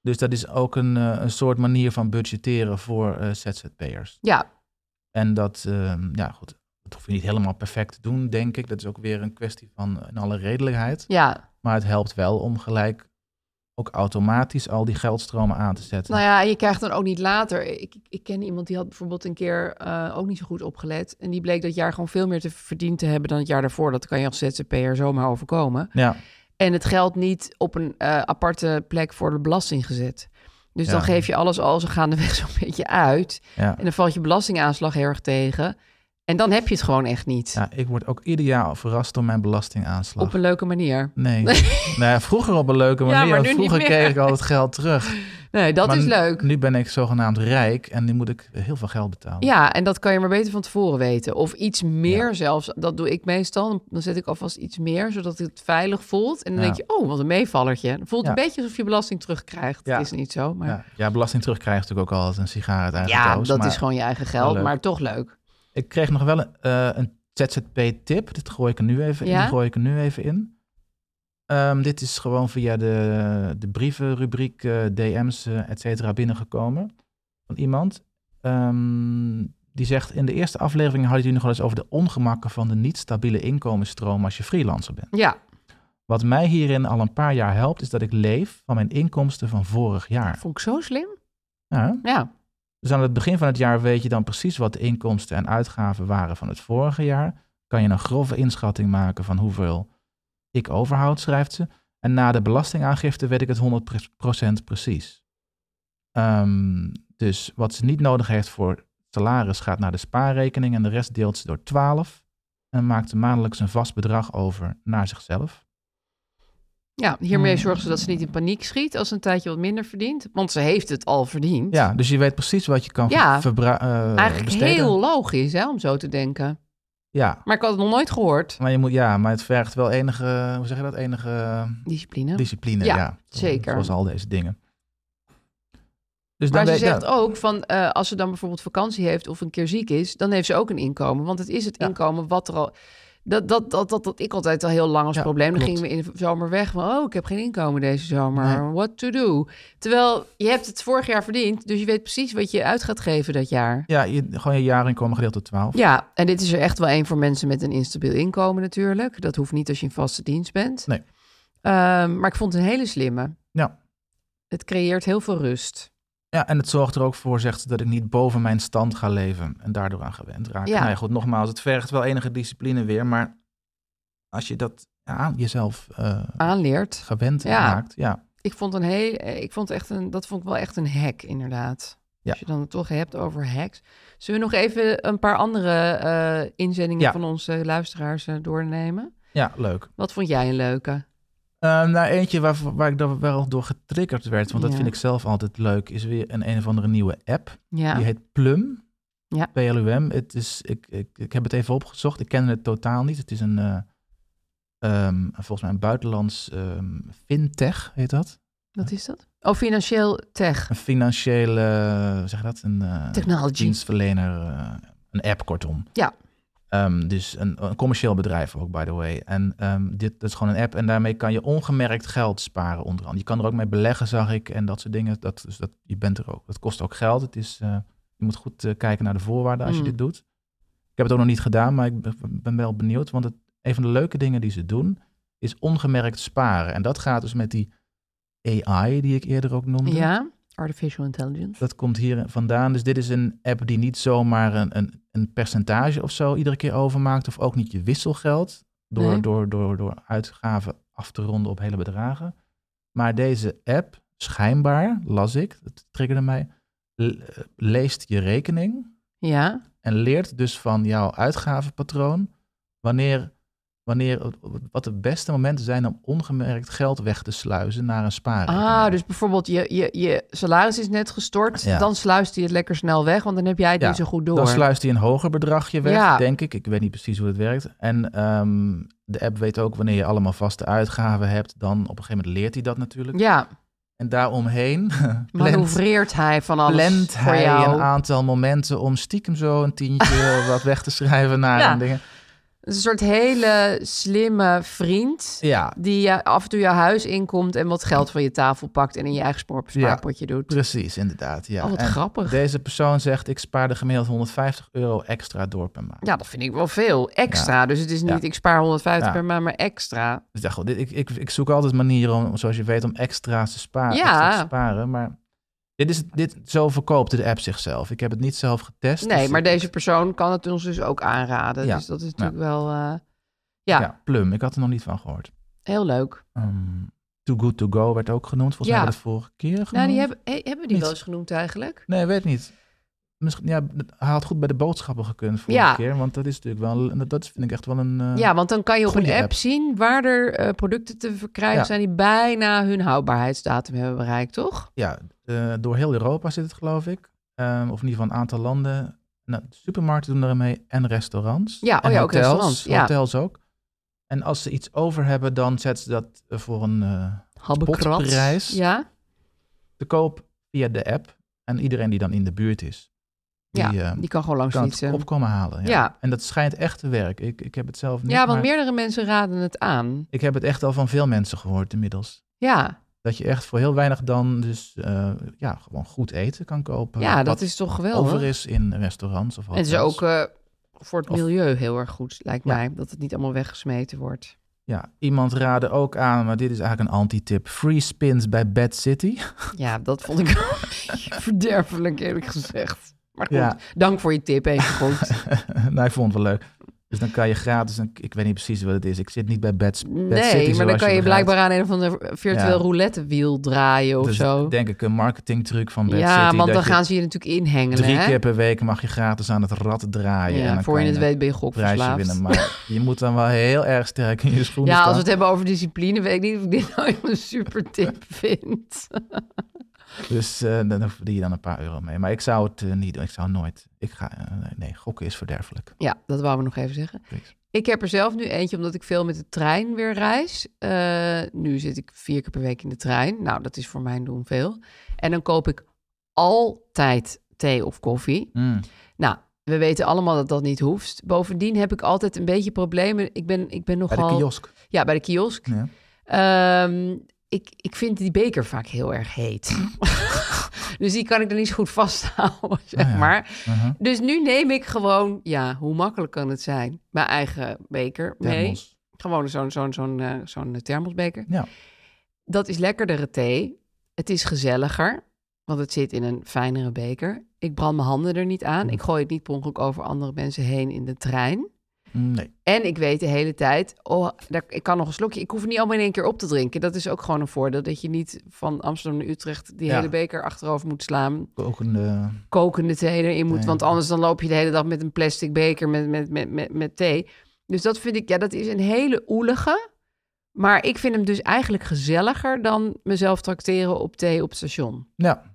Speaker 3: Dus dat is ook een, eh, een soort manier van budgetteren voor eh, ZZP'ers.
Speaker 2: Ja,
Speaker 3: En dat, ehm, ja goed, dat hoef je niet helemaal perfect te doen, denk ik. Dat is ook weer een kwestie van eh, in alle redelijkheid.
Speaker 2: ja,
Speaker 3: Maar het helpt wel om gelijk ook automatisch al die geldstromen aan te zetten.
Speaker 2: Nou ja, en je krijgt dan ook niet later. Ik, ik- ik ken iemand die had bijvoorbeeld een keer eh, ook niet zo goed opgelet. En die bleek dat jaar gewoon veel meer te verdiend te hebben dan het jaar daarvoor. Dat kan je als ZZP'er zomaar overkomen.
Speaker 3: ja.
Speaker 2: En het geld niet op een eh, aparte plek voor de belasting gezet. Dus
Speaker 3: Ja.
Speaker 2: dan geef je alles al zo gaandeweg zo'n beetje uit.
Speaker 3: ja.
Speaker 2: En dan valt je belastingaanslag heel erg tegen. En dan heb je het gewoon echt niet.
Speaker 3: Ja, ik word ook ieder jaar verrast door mijn belastingaanslag.
Speaker 2: Op een leuke manier.
Speaker 3: Nee. nou ja, vroeger op een leuke
Speaker 2: Ja,
Speaker 3: manier.
Speaker 2: maar
Speaker 3: want
Speaker 2: nu niet
Speaker 3: vroeger
Speaker 2: meer.
Speaker 3: kreeg ik al het geld terug.
Speaker 2: Nee, dat
Speaker 3: Maar
Speaker 2: is
Speaker 3: nu-
Speaker 2: leuk.
Speaker 3: Nu ben ik zogenaamd rijk en nu moet ik heel veel geld betalen.
Speaker 2: Ja, en dat kan je maar beter van tevoren weten. Of iets meer zelfs. Dat doe ik meestal. Dan zet ik alvast iets meer, zodat het veilig voelt. En dan
Speaker 3: Ja.
Speaker 2: denk je, oh, wat een meevallertje. Dan voelt het
Speaker 3: Ja.
Speaker 2: een beetje alsof je belasting terugkrijgt.
Speaker 3: Ja.
Speaker 2: Het is niet zo, maar...
Speaker 3: Ja, ja, belasting terugkrijg natuurlijk ook altijd een sigaar uit eigen
Speaker 2: Ja,
Speaker 3: doos,
Speaker 2: dat
Speaker 3: maar
Speaker 2: is gewoon je eigen
Speaker 3: wel
Speaker 2: geld,
Speaker 3: leuk.
Speaker 2: maar toch leuk.
Speaker 3: Ik kreeg nog wel een, eh, een ZZP-tip. Dit gooi ik er nu even in.
Speaker 2: Ja?
Speaker 3: Die gooi ik er nu even in. Ehm, dit is gewoon via de, de brievenrubriek, eh, DM's, eh, et cetera, binnengekomen. Van iemand. Ehm, die zegt, in de eerste aflevering hadden jullie nog wel eens over de ongemakken van de niet stabiele inkomensstroom als je freelancer bent.
Speaker 2: Ja,
Speaker 3: Wat mij hierin al een paar jaar helpt, is dat ik leef van mijn inkomsten van vorig jaar.
Speaker 2: vond ik zo slim.
Speaker 3: Ja,
Speaker 2: Ja,
Speaker 3: dus aan het begin van het jaar weet je dan precies wat de inkomsten en uitgaven waren van het vorige jaar. Kan je een grove inschatting maken van hoeveel ik overhoud, schrijft ze. En na de belastingaangifte weet ik het 100% precies. Ehm, dus wat ze niet nodig heeft voor salaris gaat naar de spaarrekening en de rest deelt ze door 12 en maakt maandelijks een vast bedrag over naar zichzelf.
Speaker 2: ja hiermee
Speaker 3: Hmm.
Speaker 2: zorgt ze dat ze niet in paniek schiet als ze een tijdje wat minder verdient. Want ze heeft het al verdiend.
Speaker 3: Ja, dus je weet precies wat je kan
Speaker 2: Ja,
Speaker 3: verbra- eh,
Speaker 2: Eigenlijk
Speaker 3: besteden.
Speaker 2: heel logisch hè, om zo te denken.
Speaker 3: Ja,
Speaker 2: Maar ik had het nog nooit gehoord.
Speaker 3: maar je moet, ja, maar het vergt wel enige, hoe zeg je dat, enige
Speaker 2: Discipline.
Speaker 3: discipline. Ja,
Speaker 2: Ja, zeker.
Speaker 3: Zoals al deze dingen. Dus
Speaker 2: Maar ze
Speaker 3: weet-
Speaker 2: zegt
Speaker 3: ja,
Speaker 2: ook van eh, als ze dan bijvoorbeeld vakantie heeft of een keer ziek is, dan heeft ze ook een inkomen. Want het is het
Speaker 3: Ja.
Speaker 2: inkomen wat er al. Dat, dat, dat, dat, dat ik altijd al heel lang als
Speaker 3: Ja,
Speaker 2: probleem. Dan
Speaker 3: klopt.
Speaker 2: gingen we in de zomer weg. Van, oh, ik heb geen inkomen deze zomer.
Speaker 3: Nee.
Speaker 2: What to do? Terwijl je hebt het vorig jaar verdiend. Dus je weet precies wat je uit gaat geven dat jaar.
Speaker 3: ja, je, gewoon je jaarinkomen gedeeld door 12.
Speaker 2: Ja, en dit is er echt wel één voor mensen met een instabiel inkomen natuurlijk. Dat hoeft niet als je in vaste dienst bent.
Speaker 3: Nee.
Speaker 2: Ehm, maar ik vond het een hele slimme.
Speaker 3: Ja.
Speaker 2: Het creëert heel veel rust.
Speaker 3: Ja, en het zorgt er ook voor, zegt ze, dat ik niet boven mijn stand ga leven en daardoor aan gewend raak.
Speaker 2: Ja.
Speaker 3: Nou ja, goed, nogmaals, het vergt wel enige discipline weer, maar als je dat aan jezelf eh,
Speaker 2: Aanleert.
Speaker 3: gewend
Speaker 2: Ja.
Speaker 3: raakt, ja.
Speaker 2: Ik vond een heel, eh, ik vond echt een, dat vond ik wel echt een hack inderdaad.
Speaker 3: Ja.
Speaker 2: Als je dan het toch hebt over hacks. Zullen we nog even een paar andere eh, inzendingen
Speaker 3: Ja.
Speaker 2: van onze luisteraars eh, doornemen?
Speaker 3: Ja, leuk.
Speaker 2: Wat vond jij een leuke?
Speaker 3: Eh, nou, eentje waar, waar ik dan wel door getriggerd werd, want dat
Speaker 2: Ja.
Speaker 3: vind ik zelf altijd leuk, is weer een een of andere nieuwe app.
Speaker 2: Ja.
Speaker 3: Die heet Plum.
Speaker 2: Ja.
Speaker 3: PLUM. Het is, ik, ik, ik heb het even opgezocht. Ik ken het totaal niet. Het is een, eh, ehm, volgens mij een buitenlands ehm, fintech, heet dat.
Speaker 2: Wat is dat? Oh, financieel tech.
Speaker 3: Een financiële, eh, hoe zeg je dat? Een eh,
Speaker 2: Technology.
Speaker 3: dienstverlener, eh, een app kortom.
Speaker 2: Ja.
Speaker 3: Ehm, dus een, een commercieel bedrijf ook, by the way. En ehm, dit dat is gewoon een app en daarmee kan je ongemerkt geld sparen onder andere. Je kan er ook mee beleggen, zag ik, en dat soort dingen. Dat, dus dat, je bent er ook. Dat kost ook geld. Het is, eh, je moet goed eh, kijken naar de voorwaarden als
Speaker 2: Mm.
Speaker 3: je dit doet. Ik heb het ook nog niet gedaan, maar ik ben- ben wel benieuwd. Want het, een van de leuke dingen die ze doen, is ongemerkt sparen. En dat gaat dus met die AI die ik eerder ook noemde.
Speaker 2: Ja. Artificial intelligence.
Speaker 3: Dat komt hier vandaan. Dus dit is een app die niet zomaar een, een, een percentage of zo iedere keer overmaakt. Of ook niet je wisselgeld. Door,
Speaker 2: Nee.
Speaker 3: door, door, door uitgaven af te ronden op hele bedragen. Maar deze app, schijnbaar, las ik, dat triggerde mij, le- leest je rekening.
Speaker 2: Ja.
Speaker 3: En leert dus van jouw uitgavenpatroon wanneer, wanneer, wat de beste momenten zijn om ongemerkt geld weg te sluizen naar een spaarrekening.
Speaker 2: Ah, dus bijvoorbeeld je, je, je salaris is net gestort.
Speaker 3: Ja.
Speaker 2: Dan sluist hij het lekker snel weg, want dan heb jij het
Speaker 3: Ja,
Speaker 2: niet zo goed door.
Speaker 3: Dan sluist hij een hoger bedragje weg,
Speaker 2: Ja.
Speaker 3: denk ik. Ik weet niet precies hoe dat werkt. En ehm, de app weet ook wanneer je allemaal vaste uitgaven hebt. Dan op een gegeven moment leert hij dat natuurlijk.
Speaker 2: Ja,
Speaker 3: En daaromheen plant,
Speaker 2: manoeuvreert hij van alles
Speaker 3: plant
Speaker 2: voor
Speaker 3: hij
Speaker 2: jou.
Speaker 3: een aantal momenten om stiekem zo een tientje wat weg te schrijven naar
Speaker 2: Ja.
Speaker 3: en dingen.
Speaker 2: Een soort hele slimme vriend.
Speaker 3: Ja,
Speaker 2: Die je af en toe jouw huis inkomt en wat geld van je tafel pakt en in je eigen spaar- spaarpotje doet.
Speaker 3: precies, inderdaad. Ja.
Speaker 2: Oh, wat
Speaker 3: En
Speaker 2: grappig.
Speaker 3: Deze persoon zegt, ik spaarde gemiddeld 150 euro extra door per maand.
Speaker 2: Ja, dat vind ik wel veel. Extra. Dus het is niet
Speaker 3: Ja.
Speaker 2: ik spaar 150
Speaker 3: Ja.
Speaker 2: per maand, maar extra.
Speaker 3: Dus ik dacht, goed, dit- ik, ik, ik zoek altijd manieren om, zoals je weet, om extra's te sparen.
Speaker 2: Ja.
Speaker 3: extra te sparen maar dit is, dit, zo verkoopt de app zichzelf. Ik heb het niet zelf getest.
Speaker 2: Nee,
Speaker 3: dus
Speaker 2: maar
Speaker 3: ik-
Speaker 2: deze persoon kan het ons dus ook aanraden.
Speaker 3: Ja.
Speaker 2: Dus dat is natuurlijk wel eh, ja,
Speaker 3: Ja, Plum. Ik had er nog niet van gehoord.
Speaker 2: heel leuk.
Speaker 3: Ehm, Too Good To Go werd ook genoemd. Volgens mij
Speaker 2: Ja.
Speaker 3: werd het vorige keer genoemd.
Speaker 2: Nou, die hebben, he- hebben we die
Speaker 3: Niet.
Speaker 2: wel eens genoemd eigenlijk?
Speaker 3: Nee, weet niet. Misschien, ja, hij had goed bij de boodschappen gekund vorige
Speaker 2: Ja.
Speaker 3: keer. Want dat is natuurlijk wel... een- Dat vind ik echt wel een... eh,
Speaker 2: Ja, want dan kan je op een
Speaker 3: goeie
Speaker 2: app,
Speaker 3: app.
Speaker 2: zien waar er eh, producten te verkrijgen
Speaker 3: Ja.
Speaker 2: zijn die bijna hun houdbaarheidsdatum hebben bereikt, toch?
Speaker 3: ja, eh, door heel Europa zit het, geloof ik. Ehm, of in ieder geval een aantal landen. Nou, supermarkten doen er aan mee en restaurants.
Speaker 2: Ja, oh
Speaker 3: en
Speaker 2: ja, ook
Speaker 3: hotels,
Speaker 2: restaurants, ja.
Speaker 3: Hotels ook. En als ze iets over hebben, dan zetten ze dat eh, voor een eh,
Speaker 2: Habbekrat.
Speaker 3: Spotprijs.
Speaker 2: Ja,
Speaker 3: te koop via de app. En iedereen die dan in de buurt is, die,
Speaker 2: ja,
Speaker 3: eh,
Speaker 2: die kan gewoon langs
Speaker 3: kan het
Speaker 2: fietsen.
Speaker 3: opkomen halen. Ja.
Speaker 2: Ja.
Speaker 3: En dat schijnt echt te werken. Ik, ik heb het zelf niet,
Speaker 2: Ja, want
Speaker 3: maar
Speaker 2: meerdere mensen raden het aan.
Speaker 3: ik heb het echt al van veel mensen gehoord inmiddels.
Speaker 2: Ja,
Speaker 3: Dat je echt voor heel weinig dan dus eh, ja, gewoon goed eten kan kopen.
Speaker 2: ja dat
Speaker 3: wat
Speaker 2: is toch geweldig.
Speaker 3: over is in restaurants of
Speaker 2: En het is
Speaker 3: hotels.
Speaker 2: ook eh, voor het
Speaker 3: Of-
Speaker 2: milieu heel erg goed, lijkt
Speaker 3: Ja.
Speaker 2: mij. Dat het niet allemaal weggesmeten wordt.
Speaker 3: Ja, iemand raadde ook aan, maar dit is eigenlijk een anti-tip. Free spins bij Bad City.
Speaker 2: Ja, dat vond ik verderfelijk, eerlijk gezegd. Maar goed,
Speaker 3: Ja.
Speaker 2: dank voor je tip, even goed.
Speaker 3: nou, ik vond het wel leuk. Dus dan kan je gratis, een, ik weet niet precies wat het is. Ik zit niet bij Bad, Bad City.
Speaker 2: Nee, maar dan
Speaker 3: zoals
Speaker 2: kan je,
Speaker 3: begrijpt.
Speaker 2: blijkbaar aan een van de virtueel
Speaker 3: Ja.
Speaker 2: roulette wiel draaien of
Speaker 3: Dus
Speaker 2: zo.
Speaker 3: denk ik een marketingtruc van Bad City.
Speaker 2: ja, want
Speaker 3: dat
Speaker 2: dan
Speaker 3: je
Speaker 2: gaan ze je natuurlijk inhengelen.
Speaker 3: Drie
Speaker 2: hè?
Speaker 3: keer per week mag je gratis aan het rad draaien. en
Speaker 2: ja,
Speaker 3: dan
Speaker 2: voor je
Speaker 3: kan
Speaker 2: het weet
Speaker 3: een
Speaker 2: ben je gokverslaafd.
Speaker 3: prijsje winnen. Maar je moet dan wel heel erg sterk in je schoenen
Speaker 2: Ja, als we
Speaker 3: staan.
Speaker 2: het hebben over discipline, weet ik niet of ik dit nou een super tip vind.
Speaker 3: Dus eh, dan verdien je dan een paar euro mee. Maar ik zou het eh, niet doen. Ik zou nooit. Ik ga, eh, nee, gokken is verderfelijk.
Speaker 2: Ja, dat wou we nog even zeggen.
Speaker 3: Precies.
Speaker 2: Ik heb er zelf nu eentje, omdat ik veel met de trein weer reis. Eh, nu zit ik vier keer per week in de trein. Nou, dat is voor mijn doen veel. En dan koop ik altijd thee of koffie.
Speaker 3: Mm.
Speaker 2: Nou, we weten allemaal dat dat niet hoeft. Bovendien heb ik altijd een beetje problemen. Ik ben, ik ben
Speaker 3: Bij de
Speaker 2: nogal...
Speaker 3: kiosk.
Speaker 2: Ja, bij de kiosk.
Speaker 3: Ja.
Speaker 2: Ehm, ik, ik vind die beker vaak heel erg heet. dus die kan ik dan niet zo goed vasthouden, zeg
Speaker 3: Nou ja.
Speaker 2: maar.
Speaker 3: Mhm.
Speaker 2: Dus nu neem ik gewoon, ja, hoe makkelijk kan het zijn? Mijn eigen beker mee.
Speaker 3: Thermos.
Speaker 2: Gewoon zo'n zo'n zo'n eh, zo'n thermosbeker.
Speaker 3: Ja.
Speaker 2: Dat is lekkerdere thee. Het is gezelliger, want het zit in een fijnere beker. Ik brand mijn handen er niet
Speaker 3: Mm.
Speaker 2: aan. Ik gooi het niet per ongeluk over andere mensen heen in de trein.
Speaker 3: Nee.
Speaker 2: En ik weet de hele tijd, oh, daar, ik kan nog een slokje. Ik hoef het niet allemaal in één keer op te drinken. Dat is ook gewoon een voordeel. Dat je niet van Amsterdam naar Utrecht die
Speaker 3: Ja.
Speaker 2: hele beker achterover moet slaan.
Speaker 3: Ook een. eh,
Speaker 2: Kokende thee erin moet.
Speaker 3: Nee.
Speaker 2: Want anders dan loop je de hele dag met een plastic beker met, met, met, met, met thee. Dus dat vind ik, ja, dat is een hele oelige. Maar ik vind hem dus eigenlijk gezelliger dan mezelf tracteren op thee op het station.
Speaker 3: ja,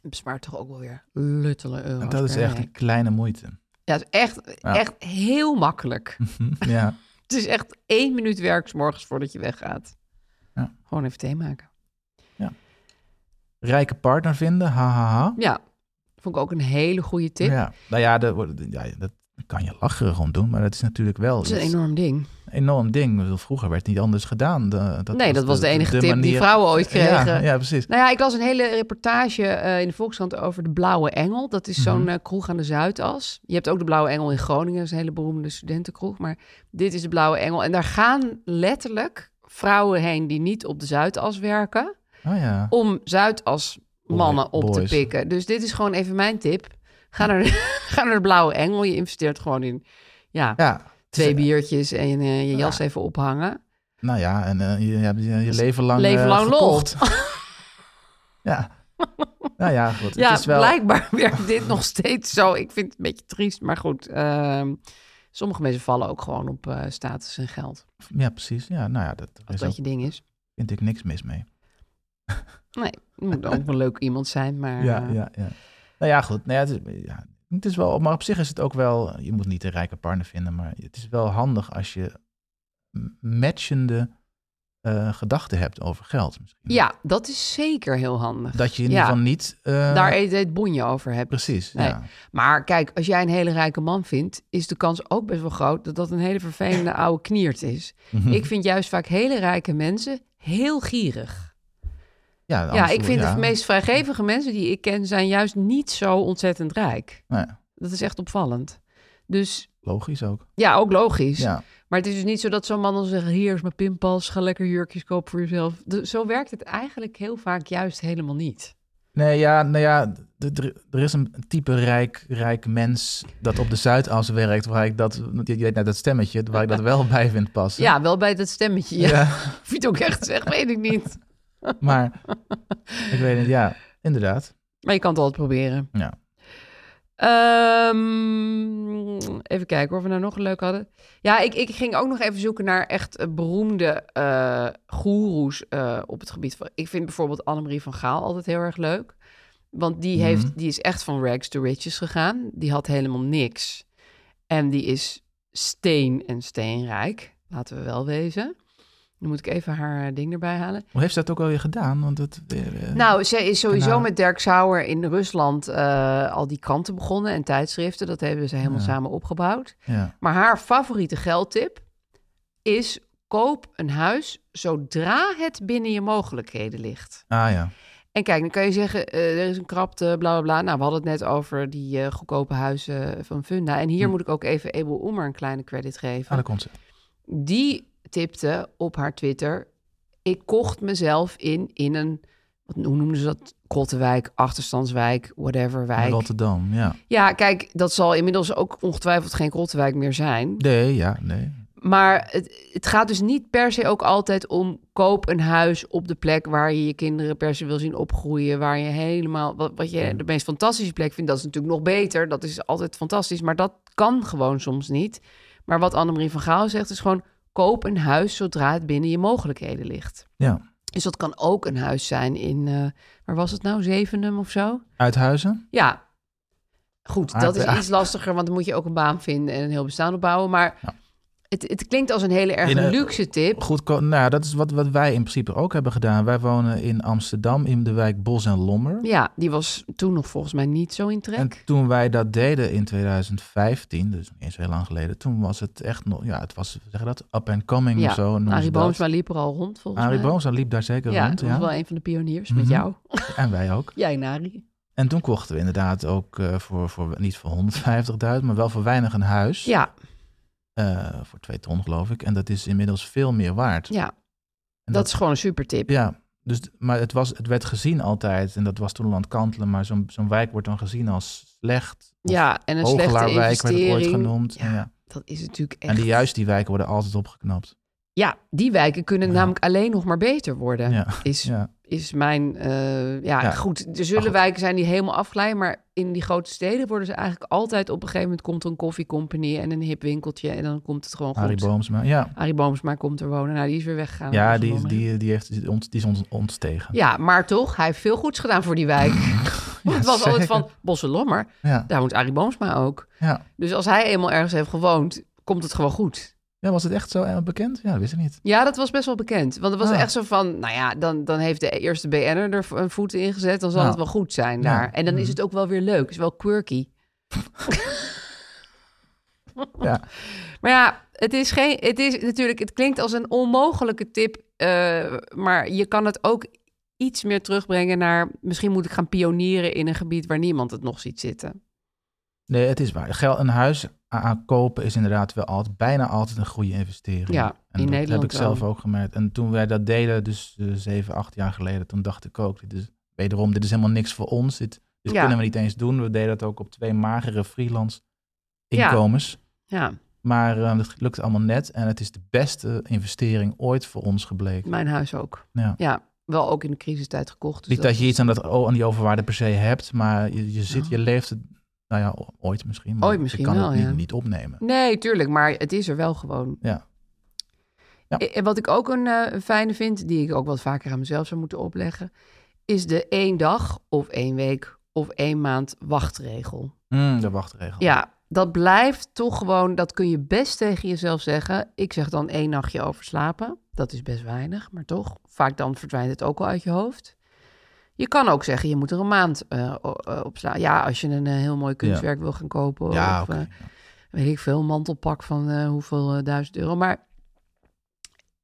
Speaker 2: Het bespaart toch ook wel weer luttele euro's
Speaker 3: en dat is
Speaker 2: per
Speaker 3: echt
Speaker 2: week.
Speaker 3: een kleine moeite.
Speaker 2: Ja, het is echt,
Speaker 3: Ja.
Speaker 2: echt heel makkelijk.
Speaker 3: ja.
Speaker 2: Het is echt één minuut werk 's morgens voordat je weggaat.
Speaker 3: Ja.
Speaker 2: Gewoon even thee maken.
Speaker 3: Rijke partner vinden, hahaha.
Speaker 2: Ja, vond ik ook een hele goede tip.
Speaker 3: Ja. Nou ja, de, wordt- ja, dat kan je lacherig om doen, maar dat is natuurlijk wel
Speaker 2: Dat is een
Speaker 3: iets-
Speaker 2: enorm ding.
Speaker 3: een enorm ding. Ik bedoel, Vroeger werd het niet anders gedaan. De-
Speaker 2: nee, dat was de enige tip die
Speaker 3: manier-
Speaker 2: vrouwen ooit kregen.
Speaker 3: Ja, ja, precies.
Speaker 2: Nou ja, ik las een hele reportage eh, in de Volkskrant over de Blauwe Engel. Dat is zo'n
Speaker 3: Mhm.
Speaker 2: eh, kroeg aan de Zuidas. Je hebt ook de Blauwe Engel in Groningen. Dat is een hele beroemde studentenkroeg. Maar dit is de Blauwe Engel. En daar gaan letterlijk vrouwen heen die niet op de Zuidas werken.
Speaker 3: Oh ja.
Speaker 2: om Zuidas mannen
Speaker 3: Boy-
Speaker 2: op te
Speaker 3: boys.
Speaker 2: pikken. Dus dit is gewoon even mijn tip. Ga naar, de, ga naar de Blauwe Engel. Je investeert gewoon in ja,
Speaker 3: ja.
Speaker 2: twee
Speaker 3: Dus,
Speaker 2: biertjes en eh, je jas even ophangen.
Speaker 3: Nou ja, en eh, je, je hebt je, je leven lang,
Speaker 2: Dus leven
Speaker 3: eh,
Speaker 2: lang lol.
Speaker 3: gekocht. ja. Nou ja, goed.
Speaker 2: Ja,
Speaker 3: het is wel...
Speaker 2: blijkbaar werkt dit nog steeds zo. Ik vind het een beetje triest, maar goed. ehm, sommige mensen vallen ook gewoon op eh, status en geld.
Speaker 3: Ja, precies. Ja, nou ja, dat daar
Speaker 2: Als
Speaker 3: is
Speaker 2: dat
Speaker 3: ook,
Speaker 2: je ding is.
Speaker 3: vind ik niks mis mee.
Speaker 2: Nee, je moet dan ook een leuk iemand zijn, maar...
Speaker 3: Ja,
Speaker 2: eh,
Speaker 3: ja, ja. Nou ja, goed. Nou ja, het, is, ja, het is wel, maar op zich is het ook wel, je moet niet een rijke partner vinden, maar het is wel handig als je m- matchende eh, eh, gedachten hebt over geld. Misschien.
Speaker 2: Ja, dat is zeker heel handig.
Speaker 3: Dat je in
Speaker 2: Ja.
Speaker 3: ieder geval niet... eh,
Speaker 2: Daar eet het bonje over hebt.
Speaker 3: Precies,
Speaker 2: Nee.
Speaker 3: ja.
Speaker 2: Maar kijk, als jij een hele rijke man vindt, is de kans ook best wel groot dat dat een hele vervelende oude kniert is.
Speaker 3: Mhm.
Speaker 2: Ik vind juist vaak hele rijke mensen heel gierig.
Speaker 3: Ja,
Speaker 2: ja,
Speaker 3: anders-
Speaker 2: ik vind
Speaker 3: ja.
Speaker 2: de meest vrijgevige mensen die ik ken zijn juist niet zo ontzettend rijk.
Speaker 3: Nee,
Speaker 2: Dat is echt opvallend. Dus
Speaker 3: Nou logisch ook.
Speaker 2: ja, ook logisch.
Speaker 3: Ja.
Speaker 2: Maar het is dus niet zo dat zo'n man dan zegt: hier is mijn pinpas, ga lekker jurkjes kopen voor jezelf. De- zo werkt het eigenlijk heel vaak juist helemaal niet.
Speaker 3: Nee, ja, nou ja, d- d- er is een type rijk, rijk mens dat op de Zuidas werkt, waar ik dat, je weet net dat stemmetje, waar ik dat wel bij vind passen.
Speaker 2: Ja, wel bij dat stemmetje. Ja.
Speaker 3: Ja,
Speaker 2: Of je het ook echt zegt, weet ik niet.
Speaker 3: maar ik weet het, ja, inderdaad.
Speaker 2: Maar je kan het altijd proberen.
Speaker 3: Ja.
Speaker 2: Ehm, even kijken hoor, of we nou nog een leuk hadden. Ja, ik, ik ging ook nog even zoeken naar echt eh, beroemde eh goeroes eh, op het gebied van... Ik vind bijvoorbeeld Annemarie van Gaal altijd heel erg leuk. Want die, heeft, die is echt van rags to riches gegaan. Die had helemaal niks. En die is steen en steenrijk, laten we wel wezen. Dan moet ik even haar eh, ding erbij halen.
Speaker 3: Hoe heeft ze dat ook alweer gedaan? Want het, eh,
Speaker 2: Nou, ze is sowieso
Speaker 3: Kanalen.
Speaker 2: met Dirk Sauer in Rusland eh, al die kranten begonnen en tijdschriften. Dat hebben ze helemaal samen opgebouwd.
Speaker 3: ja.
Speaker 2: Maar haar favoriete geldtip is: koop een huis zodra het binnen je mogelijkheden ligt.
Speaker 3: Ah ja,
Speaker 2: En kijk, dan kan je zeggen, eh, er is een krapte, bla bla bla. Nou, we hadden het net over die eh, goedkope huizen van Funda. En hier moet ik ook even Ebel Oemer een kleine credit geven
Speaker 3: ah, daar komt ze.
Speaker 2: die tipte op haar Twitter: ik kocht mezelf in in een wat, hoe noemden ze dat? Krottenwijk, achterstandswijk, whatever wijk.
Speaker 3: Rotterdam, ja.
Speaker 2: Ja, kijk, dat zal inmiddels ook ongetwijfeld geen Krottenwijk meer zijn.
Speaker 3: Nee, ja, nee.
Speaker 2: Maar het, het gaat dus niet per se ook altijd om koop een huis op de plek waar je je kinderen per se wil zien opgroeien, waar je helemaal wat, wat je de meest fantastische plek vindt. Dat is natuurlijk nog beter. Dat is altijd fantastisch, maar dat kan gewoon soms niet. Maar wat Annemarie van Gaal zegt is gewoon koop een huis zodra het binnen je mogelijkheden ligt.
Speaker 3: Ja.
Speaker 2: Dus dat kan ook een huis zijn in eh, waar was het nou Zevenum of zo?
Speaker 3: Uithuizen?
Speaker 2: Ja. Goed,
Speaker 3: Ah,
Speaker 2: dat is
Speaker 3: ja.
Speaker 2: iets lastiger, want dan moet je ook een baan vinden en een heel bestaan opbouwen. Maar
Speaker 3: Ja.
Speaker 2: het, het klinkt als een hele erg
Speaker 3: In een-
Speaker 2: luxe tip.
Speaker 3: Goed, ko- nou ja, dat is wat, wat wij in principe ook hebben gedaan. Wij wonen in Amsterdam in de wijk Bos en Lommer.
Speaker 2: Ja, die was toen nog volgens mij niet zo in trek.
Speaker 3: En toen wij dat deden in 2015, dus niet eens heel lang geleden, toen was het echt nog, ja, het was, zeg je dat, up and coming of
Speaker 2: ja,
Speaker 3: zo. noemen
Speaker 2: Arie
Speaker 3: ze dat.
Speaker 2: Boomsma liep er al rond volgens
Speaker 3: Arie
Speaker 2: mij.
Speaker 3: Boomsma liep daar zeker
Speaker 2: ja,
Speaker 3: rond,
Speaker 2: dat was
Speaker 3: ja.
Speaker 2: wel een van de pioniers
Speaker 3: Mhm.
Speaker 2: met jou.
Speaker 3: En wij ook.
Speaker 2: Jij en Arie.
Speaker 3: En toen kochten we inderdaad ook eh, voor, voor, niet voor 150.000, maar wel voor weinig een huis.
Speaker 2: Ja,
Speaker 3: Eh, voor twee ton, geloof ik. En dat is inmiddels veel meer waard.
Speaker 2: ja
Speaker 3: En
Speaker 2: dat, is gewoon een super tip.
Speaker 3: Ja, dus, maar het, was, het werd gezien altijd, en dat was toen landkantelen, maar zo'n zo'n wijk wordt dan gezien als slecht. of
Speaker 2: Ja, en een slechte
Speaker 3: Hogelaarwijk werd het ooit
Speaker 2: investering.
Speaker 3: genoemd.
Speaker 2: Ja,
Speaker 3: ja.
Speaker 2: Dat is natuurlijk echt...
Speaker 3: En die, juist die wijken worden altijd opgeknapt.
Speaker 2: Ja, die wijken kunnen
Speaker 3: Ja.
Speaker 2: namelijk alleen nog maar beter worden.
Speaker 3: Ja.
Speaker 2: Is
Speaker 3: Ja.
Speaker 2: is mijn. eh, ja,
Speaker 3: Ja.
Speaker 2: goed. Er
Speaker 3: Maar
Speaker 2: zullen
Speaker 3: goed.
Speaker 2: wijken zijn die helemaal afglijden. Maar in die grote steden worden ze eigenlijk altijd op een gegeven moment komt er een koffiecompany en een hip winkeltje. En dan komt het gewoon
Speaker 3: Harry
Speaker 2: goed.
Speaker 3: Boomsma. Ja,
Speaker 2: Arie Boomsma komt er wonen. Nou, die is weer weggegaan.
Speaker 3: ja
Speaker 2: Dat is
Speaker 3: die,
Speaker 2: jammer.
Speaker 3: die, die, heeft, die, ont, die is ons ontstegen.
Speaker 2: Ja, maar toch, hij heeft veel goeds gedaan voor die wijk. Want het was altijd
Speaker 3: zeker.
Speaker 2: van Bosselommer.
Speaker 3: Ja.
Speaker 2: Daar woont Arie Boomsma ook.
Speaker 3: Ja.
Speaker 2: Dus als hij eenmaal ergens heeft gewoond, komt het gewoon goed.
Speaker 3: ja, was het echt zo eh, bekend? Ja, dat wist ik niet.
Speaker 2: Ja, dat was best wel bekend. Want het was
Speaker 3: Ah.
Speaker 2: echt zo van, nou ja, dan, dan heeft de eerste BN'er er een voet in gezet. Dan zal
Speaker 3: Ja.
Speaker 2: het wel goed zijn
Speaker 3: Nou. Ja. Mhm.
Speaker 2: daar. En dan is het ook wel weer leuk. Is wel quirky.
Speaker 3: Ja.
Speaker 2: Maar ja, het is geen. Het is natuurlijk. Het klinkt als een onmogelijke tip. eh, maar je kan het ook iets meer terugbrengen naar. Misschien moet ik gaan pionieren in een gebied waar niemand het nog ziet zitten.
Speaker 3: Nee, het is waar. Geld, een huis a- aankopen is inderdaad wel altijd, bijna altijd een goede investering.
Speaker 2: Ja,
Speaker 3: en
Speaker 2: in
Speaker 3: dat
Speaker 2: Nederland
Speaker 3: heb ik zelf
Speaker 2: wel.
Speaker 3: ook gemerkt. En toen wij dat deden, dus eh, zeven, acht jaar geleden, toen dacht ik ook, dit is, wederom, dit is helemaal niks voor ons. Dit, dit
Speaker 2: Ja.
Speaker 3: kunnen we niet eens doen. We deden dat ook op twee magere freelance inkomens.
Speaker 2: Ja,
Speaker 3: Maar eh, dat lukt allemaal net en het is de beste investering ooit voor ons gebleken.
Speaker 2: mijn huis ook.
Speaker 3: Ja.
Speaker 2: Ja, wel ook in de crisistijd gekocht. Dus
Speaker 3: Niet dat je iets aan, dat, aan die overwaarde per se hebt, maar je, je zit, je leeft het, nou ja, o- ooit misschien. Maar
Speaker 2: Ooit misschien
Speaker 3: je kan
Speaker 2: wel,
Speaker 3: het niet,
Speaker 2: ja.
Speaker 3: niet opnemen.
Speaker 2: Nee, tuurlijk, maar het is er wel gewoon.
Speaker 3: Ja. Ja.
Speaker 2: En wat ik ook een eh, fijne vind, die ik ook wat vaker aan mezelf zou moeten opleggen, is de één dag of één week of één maand wachtregel.
Speaker 3: Oh. Mm, de wachtregel.
Speaker 2: Ja, dat blijft toch gewoon, dat kun je best tegen jezelf zeggen. Ik zeg dan één nachtje overslapen. Dat is best weinig, maar toch. Vaak dan verdwijnt het ook al uit je hoofd. Je kan ook zeggen, je moet er een maand eh, o- eh, op slaan. Ja, als je een eh, heel mooi kunstwerk wil gaan kopen.
Speaker 3: Ja,
Speaker 2: of,
Speaker 3: oké.
Speaker 2: eh, weet ik veel, een mantelpak van eh, hoeveel eh, duizend euro. Maar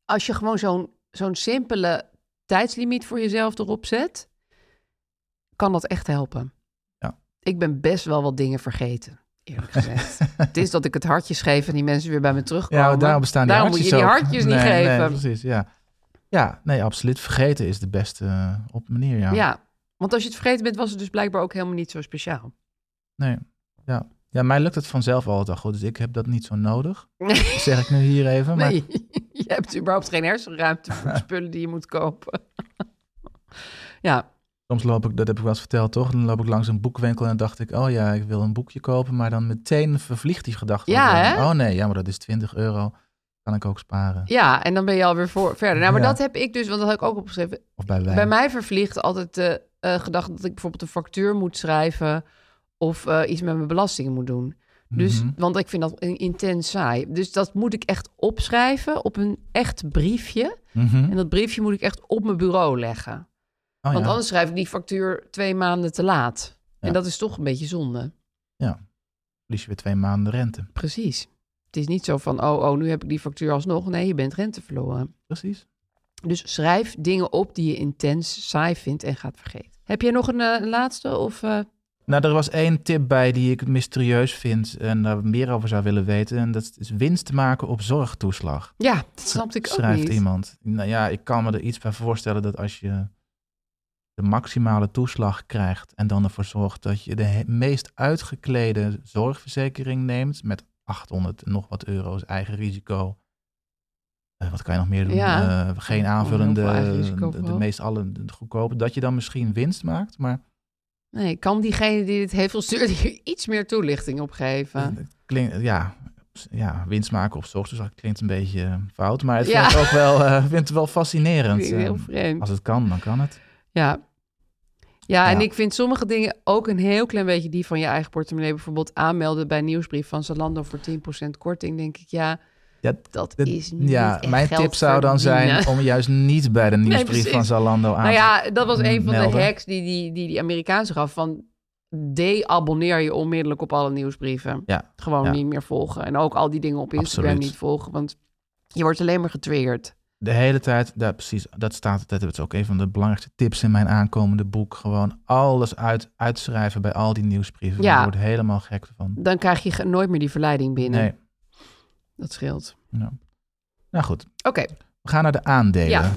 Speaker 2: als je gewoon zo'n zo'n simpele tijdslimiet voor jezelf erop zet, kan dat echt helpen.
Speaker 3: Ja.
Speaker 2: Ik ben best wel wat dingen vergeten, eerlijk gezegd. het is dat ik het hartje geef en die mensen weer bij me terugkomen.
Speaker 3: Ja, want daarom bestaan die
Speaker 2: Daarom moet
Speaker 3: hartjes
Speaker 2: je die
Speaker 3: ook.
Speaker 2: hartjes niet
Speaker 3: Nee,
Speaker 2: geven.
Speaker 3: Nee, precies, ja. Ja, nee, absoluut. Vergeten is de beste eh, op manier, ja.
Speaker 2: ja. want als je het vergeten bent, was het dus blijkbaar ook helemaal niet zo speciaal.
Speaker 3: Nee, ja. Ja, mij lukt het vanzelf altijd al goed, dus ik heb dat niet zo nodig. Dat zeg ik nu hier even. Maar
Speaker 2: Nee, je hebt überhaupt geen hersenruimte voor de spullen die je moet kopen. ja,
Speaker 3: soms loop ik, dat heb ik wel eens verteld toch, dan loop ik langs een boekwinkel en dan dacht ik, oh ja, ik wil een boekje kopen. Maar dan meteen vervliegt die gedachte.
Speaker 2: Ja,
Speaker 3: alweer.
Speaker 2: hè?
Speaker 3: Oh nee, ja, maar dat is 20 euro. Kan ik ook sparen.
Speaker 2: Ja, en dan ben je alweer voor, verder. Nou, maar
Speaker 3: Ja.
Speaker 2: dat heb ik dus, want dat had ik ook opgeschreven.
Speaker 3: Of bij wijn.
Speaker 2: Bij mij vervliegt altijd de eh, gedachte dat ik bijvoorbeeld een factuur moet schrijven of eh, iets met mijn belastingen moet doen. Dus,
Speaker 3: Mhm.
Speaker 2: Want ik vind dat een intens saai. Dus dat moet ik echt opschrijven op een echt briefje.
Speaker 3: Mhm.
Speaker 2: En dat briefje moet ik echt op mijn bureau leggen.
Speaker 3: Oh,
Speaker 2: want
Speaker 3: ja.
Speaker 2: anders schrijf ik die factuur twee maanden te laat.
Speaker 3: Ja.
Speaker 2: En dat is toch een beetje zonde.
Speaker 3: verlies je weer twee maanden rente.
Speaker 2: Precies. Het is niet zo van, oh, oh, nu heb ik die factuur alsnog. Nee, je bent rente verloren.
Speaker 3: Precies.
Speaker 2: Dus schrijf dingen op die je intens saai vindt en gaat vergeten. Heb jij nog een eh, een laatste? Of, eh,
Speaker 3: Nou, er was één tip bij die ik mysterieus vind en daar meer over zou willen weten. En dat is winst maken op zorgtoeslag.
Speaker 2: Ja, dat snapte ik ook
Speaker 3: Schrijft
Speaker 2: niet.
Speaker 3: iemand. Nou ja, ik kan me er iets bij voorstellen dat als je de maximale toeslag krijgt en dan ervoor zorgt dat je de he- meest uitgeklede zorgverzekering neemt met 800 en nog wat euro's eigen risico. Eh, wat kan je nog meer doen?
Speaker 2: Ja.
Speaker 3: Eh, geen
Speaker 2: Heel
Speaker 3: aanvullende,
Speaker 2: veel eigen risico
Speaker 3: de, de
Speaker 2: vooral.
Speaker 3: meest alle de goedkope. Dat je dan misschien winst maakt, maar
Speaker 2: Nee, kan diegene die dit heeft gestuurd hier iets meer toelichting op geven?
Speaker 3: Het Klinkt, ja, ja, winst maken op zorg, dus dat klinkt een beetje eh, fout. Maar het
Speaker 2: Ja.
Speaker 3: vind ik ook wel, eh, vind het wel fascinerend.
Speaker 2: Vind ik Heel
Speaker 3: eh,
Speaker 2: vreemd.
Speaker 3: als het kan, dan kan het.
Speaker 2: Ja. Ja, en
Speaker 3: Ja.
Speaker 2: ik vind sommige dingen ook een heel klein beetje die van je eigen portemonnee. Bijvoorbeeld aanmelden bij nieuwsbrief van Zalando voor 10% korting. Denk ik, ja,
Speaker 3: Ja,
Speaker 2: dat
Speaker 3: dat-
Speaker 2: is niet
Speaker 3: Ja,
Speaker 2: echt
Speaker 3: mijn
Speaker 2: geld
Speaker 3: tip zou dan
Speaker 2: verdienen.
Speaker 3: zijn om juist niet bij de nieuwsbrief
Speaker 2: precies.
Speaker 3: van Zalando aan
Speaker 2: Nou
Speaker 3: te
Speaker 2: ja, dat was een van de
Speaker 3: melden.
Speaker 2: hacks die die, die, die Amerikaanse gaf. Van de-abonneer je onmiddellijk op alle nieuwsbrieven.
Speaker 3: Ja,
Speaker 2: Gewoon
Speaker 3: ja.
Speaker 2: niet meer volgen. En ook al die dingen op Instagram
Speaker 3: Absoluut.
Speaker 2: niet volgen. Want je wordt alleen maar getriggerd.
Speaker 3: de hele tijd, daar, precies, dat staat, dat is ook een van de belangrijkste tips in mijn aankomende boek. Gewoon alles uit, uitschrijven bij al die nieuwsbrieven.
Speaker 2: Ja.
Speaker 3: Ja. wordt helemaal gek van.
Speaker 2: Dan krijg je ge- nooit meer die verleiding binnen.
Speaker 3: Nee,
Speaker 2: Dat scheelt.
Speaker 3: nou. nou goed,
Speaker 2: Oké,
Speaker 3: we gaan naar de aandelen.
Speaker 2: Ja.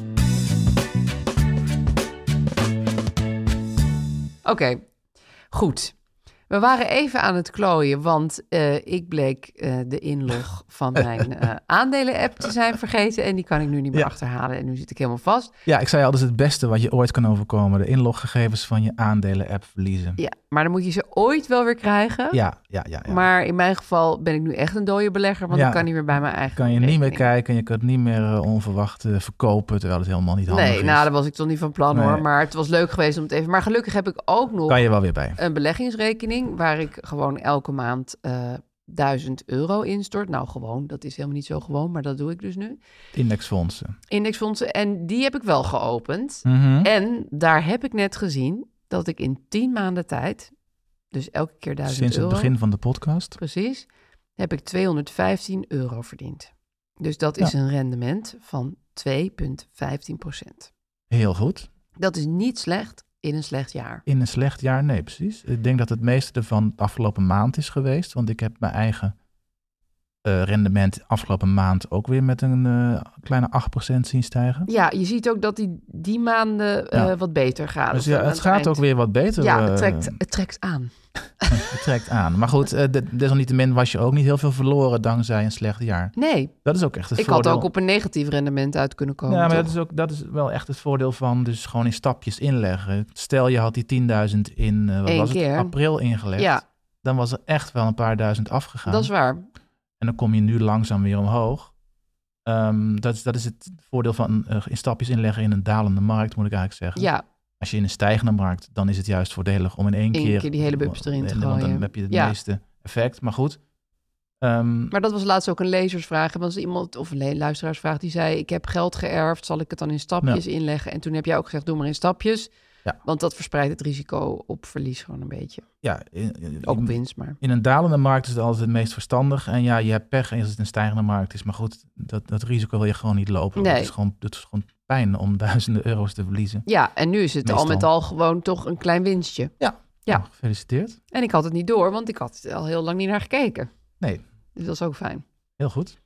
Speaker 2: oké. Goed. We waren even aan het klooien, want eh, ik bleek eh, de inlog van mijn eh, aandelen-app te zijn vergeten. En die kan ik nu niet meer
Speaker 3: Ja.
Speaker 2: achterhalen. En nu zit ik helemaal vast.
Speaker 3: Ja, ik zei al, dat is het beste wat je ooit kan overkomen. De inloggegevens van je aandelen-app verliezen.
Speaker 2: Ja, maar dan moet je ze ooit wel weer krijgen.
Speaker 3: Ja, ja, ja. ja.
Speaker 2: Maar in mijn geval ben ik nu echt een dode belegger, want
Speaker 3: Ja.
Speaker 2: ik kan niet meer bij mijn eigen.
Speaker 3: kan je niet meer
Speaker 2: rekening.
Speaker 3: kijken en je kan het niet meer eh, onverwacht eh, verkopen, terwijl het helemaal niet handig
Speaker 2: Nee,
Speaker 3: is.
Speaker 2: nou, daar was ik toch niet van plan hoor.
Speaker 3: Nee.
Speaker 2: Maar het was leuk geweest om het even. Maar gelukkig heb ik ook nog
Speaker 3: Kan je wel weer bij.
Speaker 2: een beleggingsrekening waar ik gewoon elke maand eh 1000 euro instort. Nou, gewoon, dat is helemaal niet zo gewoon, maar dat doe ik dus nu.
Speaker 3: Indexfondsen.
Speaker 2: Indexfondsen. En die heb ik wel geopend.
Speaker 3: Mhm.
Speaker 2: En daar heb ik net gezien dat ik in 10 maanden tijd, dus elke keer 1000
Speaker 3: Sinds het
Speaker 2: euro.
Speaker 3: begin van de podcast.
Speaker 2: Precies. Heb ik 215 euro verdiend. Dus dat is een rendement van 2,15
Speaker 3: Heel goed.
Speaker 2: Dat is niet slecht in een slecht jaar.
Speaker 3: In een slecht jaar, nee, precies. Ik denk dat het meeste ervan de afgelopen maand is geweest, want ik heb mijn eigen eh, rendement afgelopen maand ook weer met een eh, kleine 8% zien stijgen.
Speaker 2: Ja, je ziet ook dat die, die maanden eh,
Speaker 3: Ja.
Speaker 2: wat beter gaan.
Speaker 3: Dus
Speaker 2: Of
Speaker 3: ja,
Speaker 2: aan
Speaker 3: het gaat
Speaker 2: eind.
Speaker 3: ook weer wat beter.
Speaker 2: Ja, het
Speaker 3: eh,
Speaker 2: trekt, het trekt aan.
Speaker 3: Het trekt aan. Maar goed, eh, de- desalniettemin was je ook niet heel veel verloren dankzij een slecht jaar.
Speaker 2: Nee,
Speaker 3: Dat is ook echt het
Speaker 2: ik had
Speaker 3: voordeel.
Speaker 2: ook op een negatief rendement uit kunnen komen.
Speaker 3: ja, maar
Speaker 2: toch?
Speaker 3: dat is, ook, dat is wel echt het voordeel van dus gewoon in stapjes inleggen. Stel je had die 10.000 in eh, wat
Speaker 2: Eén
Speaker 3: was het,
Speaker 2: keer.
Speaker 3: april ingelegd.
Speaker 2: Ja.
Speaker 3: Dan was er echt wel een paar duizend afgegaan.
Speaker 2: dat is waar.
Speaker 3: En dan kom je nu langzaam weer omhoog. Ehm, dat, is, dat is het voordeel van eh, in stapjes inleggen in een dalende markt, moet ik eigenlijk zeggen.
Speaker 2: Ja,
Speaker 3: Als je in een stijgende markt, dan is het juist voordelig om in één
Speaker 2: Eén keer die hele bubs erin te
Speaker 3: Want dan
Speaker 2: gooien.
Speaker 3: heb je het
Speaker 2: Ja.
Speaker 3: meeste effect. Maar goed. Ehm,
Speaker 2: Maar dat was laatst ook een lezersvraag. Er was iemand, of een le- luisteraarsvraag, die zei... ik heb geld geërfd, zal ik het dan in stapjes inleggen? En toen heb jij ook gezegd, doe maar in stapjes.
Speaker 3: Ja.
Speaker 2: Want dat verspreidt het risico op verlies gewoon een beetje.
Speaker 3: ja, in, in-
Speaker 2: Ook
Speaker 3: in-
Speaker 2: winst, maar...
Speaker 3: in een dalende markt is het altijd het meest verstandig. En ja, je hebt pech en als het een stijgende markt is. Maar goed, dat, dat risico wil je gewoon niet lopen.
Speaker 2: Nee.
Speaker 3: Het, is gewoon, het is gewoon pijn om duizenden euro's te verliezen.
Speaker 2: Ja, en nu is het al
Speaker 3: Meestal.
Speaker 2: met al gewoon toch een klein winstje. Ja.
Speaker 3: Nou, gefeliciteerd.
Speaker 2: En ik had het niet door, want ik had al heel lang niet naar gekeken.
Speaker 3: Nee.
Speaker 2: Dus dat is ook fijn.
Speaker 3: Heel goed.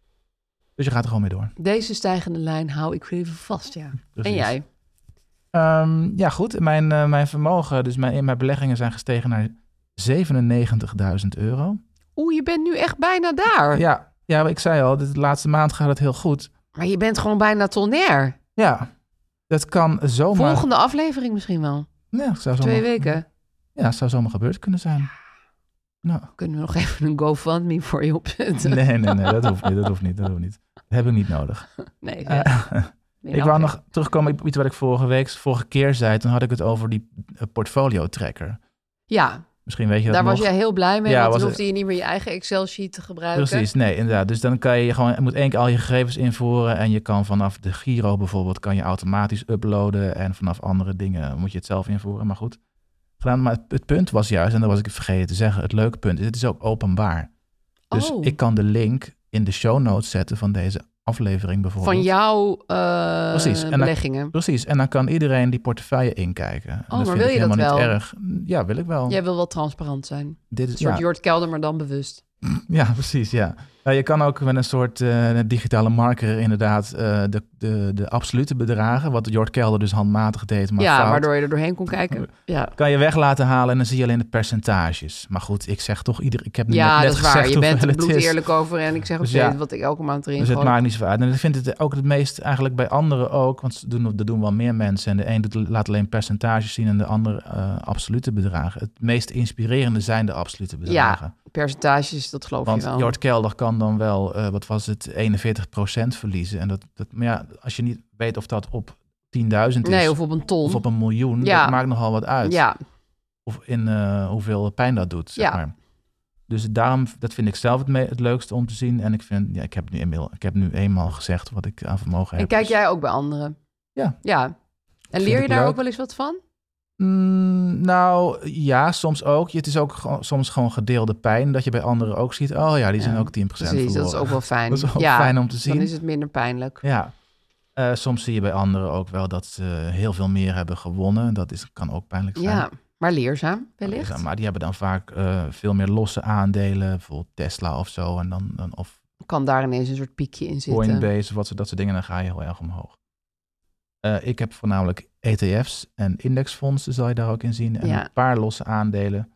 Speaker 3: Dus je gaat er gewoon mee door.
Speaker 2: Deze stijgende lijn hou ik even vast, ja.
Speaker 3: Precies.
Speaker 2: En jij?
Speaker 3: Ehm, ja, goed. Mijn, eh, mijn vermogen, dus mijn, mijn beleggingen zijn gestegen naar 97.000 euro.
Speaker 2: Oeh, je bent nu echt bijna daar.
Speaker 3: Ja, ja, maar ik zei al, dit, de laatste maand gaat het heel goed.
Speaker 2: Maar je bent gewoon bijna tonner.
Speaker 3: Ja, dat kan zomaar...
Speaker 2: Volgende aflevering misschien wel.
Speaker 3: Ja, zou zomaar,
Speaker 2: Twee weken.
Speaker 3: Ja, het zou zomaar gebeurd kunnen zijn. Nou,
Speaker 2: Kunnen we nog even een GoFundMe voor je opzetten?
Speaker 3: nee, nee, nee, dat hoeft niet, dat hoeft niet, dat hoeft niet. Dat heb ik niet nodig.
Speaker 2: Nee,
Speaker 3: Eh,
Speaker 2: zeg. Nee,
Speaker 3: ik
Speaker 2: nou,
Speaker 3: wou
Speaker 2: oké.
Speaker 3: nog terugkomen op iets wat ik vorige week, vorige keer zei. Toen had ik het over die eh, portfolio tracker.
Speaker 2: Ja,
Speaker 3: Misschien weet je dat
Speaker 2: daar
Speaker 3: nog.
Speaker 2: was jij heel blij mee.
Speaker 3: Ja,
Speaker 2: want
Speaker 3: was
Speaker 2: toen
Speaker 3: het-
Speaker 2: hoefde je niet meer je eigen Excel-sheet te gebruiken.
Speaker 3: Precies, nee, inderdaad. Dus dan kan je je gewoon, je moet één keer al je gegevens invoeren en je kan vanaf de Giro bijvoorbeeld, kan je automatisch uploaden en vanaf andere dingen moet je het zelf invoeren, maar goed. Gedaan, maar het, het punt was juist, en dat was ik vergeten te zeggen, het leuke punt is, het is ook openbaar. Dus
Speaker 2: Oh.
Speaker 3: ik kan de link in de show notes zetten van deze aflevering bijvoorbeeld.
Speaker 2: Van jouw eh,
Speaker 3: Precies, en dan-
Speaker 2: beleggingen.
Speaker 3: Precies, en dan kan iedereen die portefeuille inkijken. En
Speaker 2: Oh, maar
Speaker 3: vind
Speaker 2: wil
Speaker 3: ik
Speaker 2: je dat
Speaker 3: helemaal niet
Speaker 2: wel?
Speaker 3: erg. Ja, wil ik wel.
Speaker 2: Jij wil wel transparant zijn.
Speaker 3: Dit is,
Speaker 2: Een soort
Speaker 3: ja.
Speaker 2: Jort Kelder, maar dan bewust.
Speaker 3: Ja, precies, ja. Nou, je kan ook met een soort eh, digitale marker inderdaad eh, de, de, de absolute bedragen, wat Jort Kelder dus handmatig deed, maar
Speaker 2: ja,
Speaker 3: fout,
Speaker 2: waardoor je er doorheen kon kijken. Ja,
Speaker 3: kan je weg laten halen en dan zie je alleen de percentages. Maar goed, ik zeg toch ieder, ik heb net,
Speaker 2: ja
Speaker 3: net
Speaker 2: dat is
Speaker 3: gezegd
Speaker 2: waar. Je bent er
Speaker 3: hoeveel het
Speaker 2: bloed
Speaker 3: is.
Speaker 2: eerlijk over. En ik zeg ook
Speaker 3: Dus ja.
Speaker 2: steeds wat ik elke maand erin
Speaker 3: Dus het
Speaker 2: gooi.
Speaker 3: maakt niet zoveel uit. En ik vind het ook het meest eigenlijk bij anderen ook, want ze doen, dat doen wel meer mensen. En de een doet, laat alleen percentages zien en de ander eh, absolute bedragen. Het meest inspirerende zijn de absolute bedragen.
Speaker 2: Percentages, dat geloof
Speaker 3: Want
Speaker 2: je wel.
Speaker 3: Jort Kelder kan dan wel, eh, wat was het, 41% verliezen. En dat, dat, maar ja, als je niet weet of dat op 10.000 is
Speaker 2: Nee, of op een ton.
Speaker 3: of op een miljoen,
Speaker 2: Ja.
Speaker 3: dat maakt nogal wat uit.
Speaker 2: ja,
Speaker 3: Of in eh, hoeveel pijn dat doet, zeg
Speaker 2: Ja.
Speaker 3: maar. Dus daarom, dat vind ik zelf het, me- het leukste om te zien. En ik vind, ja, ik heb nu, eenmaal, ik heb nu eenmaal gezegd wat ik aan vermogen heb.
Speaker 2: en kijk
Speaker 3: Dus,
Speaker 2: jij ook bij anderen?
Speaker 3: Ja.
Speaker 2: ja. En
Speaker 3: Vind
Speaker 2: leer je
Speaker 3: ik
Speaker 2: daar
Speaker 3: leuk.
Speaker 2: ook wel eens wat van?
Speaker 3: mm, nou, ja, soms ook. Het is ook gewoon- soms gewoon gedeelde pijn. Dat je bij anderen ook ziet, oh ja, die zijn
Speaker 2: Ja,
Speaker 3: ook 10%
Speaker 2: Precies, dat is
Speaker 3: verloren.
Speaker 2: ook wel fijn.
Speaker 3: Dat is ook
Speaker 2: ja,
Speaker 3: fijn om te zien.
Speaker 2: Dan is het minder pijnlijk.
Speaker 3: Ja. Eh, soms zie je bij anderen ook wel dat ze heel veel meer hebben gewonnen. Dat is, kan ook pijnlijk zijn.
Speaker 2: Ja, maar leerzaam wellicht.
Speaker 3: Maar die hebben dan vaak eh, veel meer losse aandelen. Bijvoorbeeld Tesla of zo. En dan, dan, of
Speaker 2: Kan daar ineens een soort piekje in zitten.
Speaker 3: Coinbase of wat, zo- dat soort dingen. Dan ga je heel erg omhoog. Eh, ik heb voornamelijk ETF's en indexfondsen zal je daar ook in zien. En
Speaker 2: Ja.
Speaker 3: een paar losse aandelen.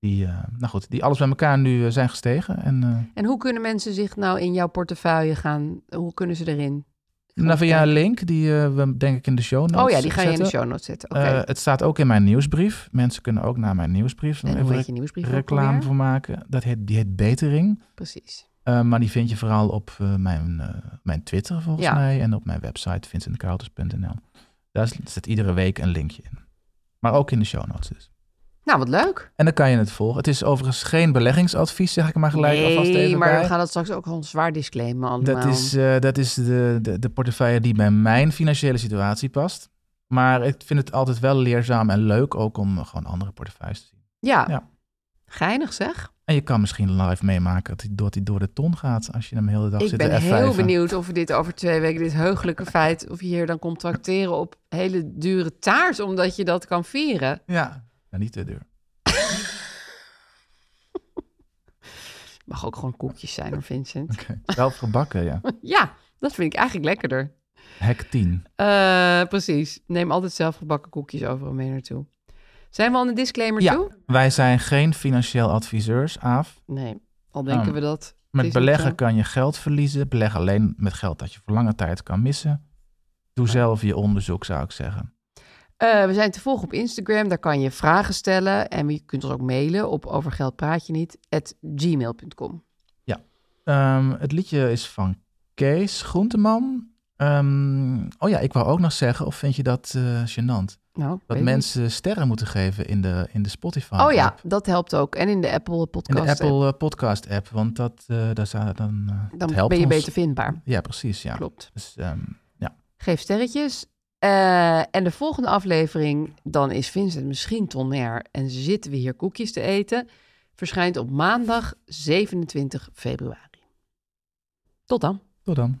Speaker 3: Die, eh, nou goed, die alles bij elkaar nu eh, zijn gestegen. En eh,
Speaker 2: En hoe kunnen mensen zich nou in jouw portefeuille gaan? Hoe kunnen ze erin?
Speaker 3: nou, via een link die eh, we denk ik in de show notes
Speaker 2: oh ja, die ga je in de
Speaker 3: zetten.
Speaker 2: show notes zetten. Oké.
Speaker 3: Eh, het staat ook in mijn nieuwsbrief. Mensen kunnen ook naar mijn nieuwsbrief.
Speaker 2: en hoe
Speaker 3: Even
Speaker 2: heet je nieuwsbrief? ook
Speaker 3: reclame
Speaker 2: alweer?
Speaker 3: voor maken. Dat heet, die heet Betering.
Speaker 2: Precies.
Speaker 3: Eh, maar die vind je vooral op eh, mijn, eh, mijn Twitter volgens
Speaker 2: Ja.
Speaker 3: mij. En op mijn website vincentcarltus.nl. Daar zit- zit iedere week een linkje in. Maar ook in de show notes dus.
Speaker 2: Nou, wat leuk.
Speaker 3: En dan kan je het volgen. Het is overigens geen beleggingsadvies, zeg ik maar gelijk alvast
Speaker 2: nee,
Speaker 3: even
Speaker 2: maar
Speaker 3: bij.
Speaker 2: we gaan dat straks ook gewoon zwaar disclaimen allemaal.
Speaker 3: Dat is, eh, dat is de, de, de portefeuille die bij mijn financiële situatie past. Maar ik vind het altijd wel leerzaam en leuk ook om eh, gewoon andere portefeuilles te zien.
Speaker 2: ja.
Speaker 3: ja.
Speaker 2: geinig zeg.
Speaker 3: En je kan misschien live meemaken dat hij door, die door de ton gaat als je hem de hele dag
Speaker 2: Ik
Speaker 3: zit
Speaker 2: ben
Speaker 3: te
Speaker 2: heel
Speaker 3: F5'en.
Speaker 2: benieuwd of we dit over twee weken, dit heugelijke feit, of je hier dan komt tracteren op hele dure taart, omdat je dat kan vieren.
Speaker 3: Ja, nou, niet te duur.
Speaker 2: Mag ook gewoon koekjes zijn hoor, Vincent.
Speaker 3: Oké. Wel gebakken, ja.
Speaker 2: Ja, dat vind ik eigenlijk lekkerder.
Speaker 3: Hek 10.
Speaker 2: Eh, precies. Neem altijd zelf gebakken koekjes overal mee naartoe. Zijn we al een disclaimer
Speaker 3: Ja,
Speaker 2: toe?
Speaker 3: wij zijn geen financieel adviseurs, Aaf.
Speaker 2: Nee, al denken
Speaker 3: Oh.
Speaker 2: we dat.
Speaker 3: Met
Speaker 2: Het is niet
Speaker 3: beleggen
Speaker 2: zo.
Speaker 3: kan je geld verliezen. Beleg alleen met geld dat je voor lange tijd kan missen. Doe zelf je onderzoek, zou ik zeggen.
Speaker 2: Eh, we zijn te volgen op Instagram. Daar kan je vragen stellen. En je kunt ons ook mailen op overgeldpraatjeniet@gmail.com. gmail.com.
Speaker 3: Ehm, het liedje is van Kees Groenteman. Ehm, oh ja, ik wou ook nog zeggen, of vind je dat eh gênant?
Speaker 2: Nou, weet
Speaker 3: Dat
Speaker 2: ik
Speaker 3: mensen sterren moeten geven in de, in de Spotify.
Speaker 2: niet. Oh ja,
Speaker 3: app.
Speaker 2: dat helpt ook. En in de Apple
Speaker 3: In
Speaker 2: podcast.
Speaker 3: de Apple eh, podcast app. Want dat, eh, daar staat dan. eh, dat
Speaker 2: Dan
Speaker 3: helpt
Speaker 2: ben je
Speaker 3: ons.
Speaker 2: beter vindbaar.
Speaker 3: Ja, precies. Ja.
Speaker 2: Klopt.
Speaker 3: Dus, ehm, ja.
Speaker 2: Geef sterretjes. Eh, en de volgende aflevering, dan is Vincent misschien tonner en zitten we hier koekjes te eten, verschijnt op maandag 27 februari. Tot dan.
Speaker 3: Tot dan.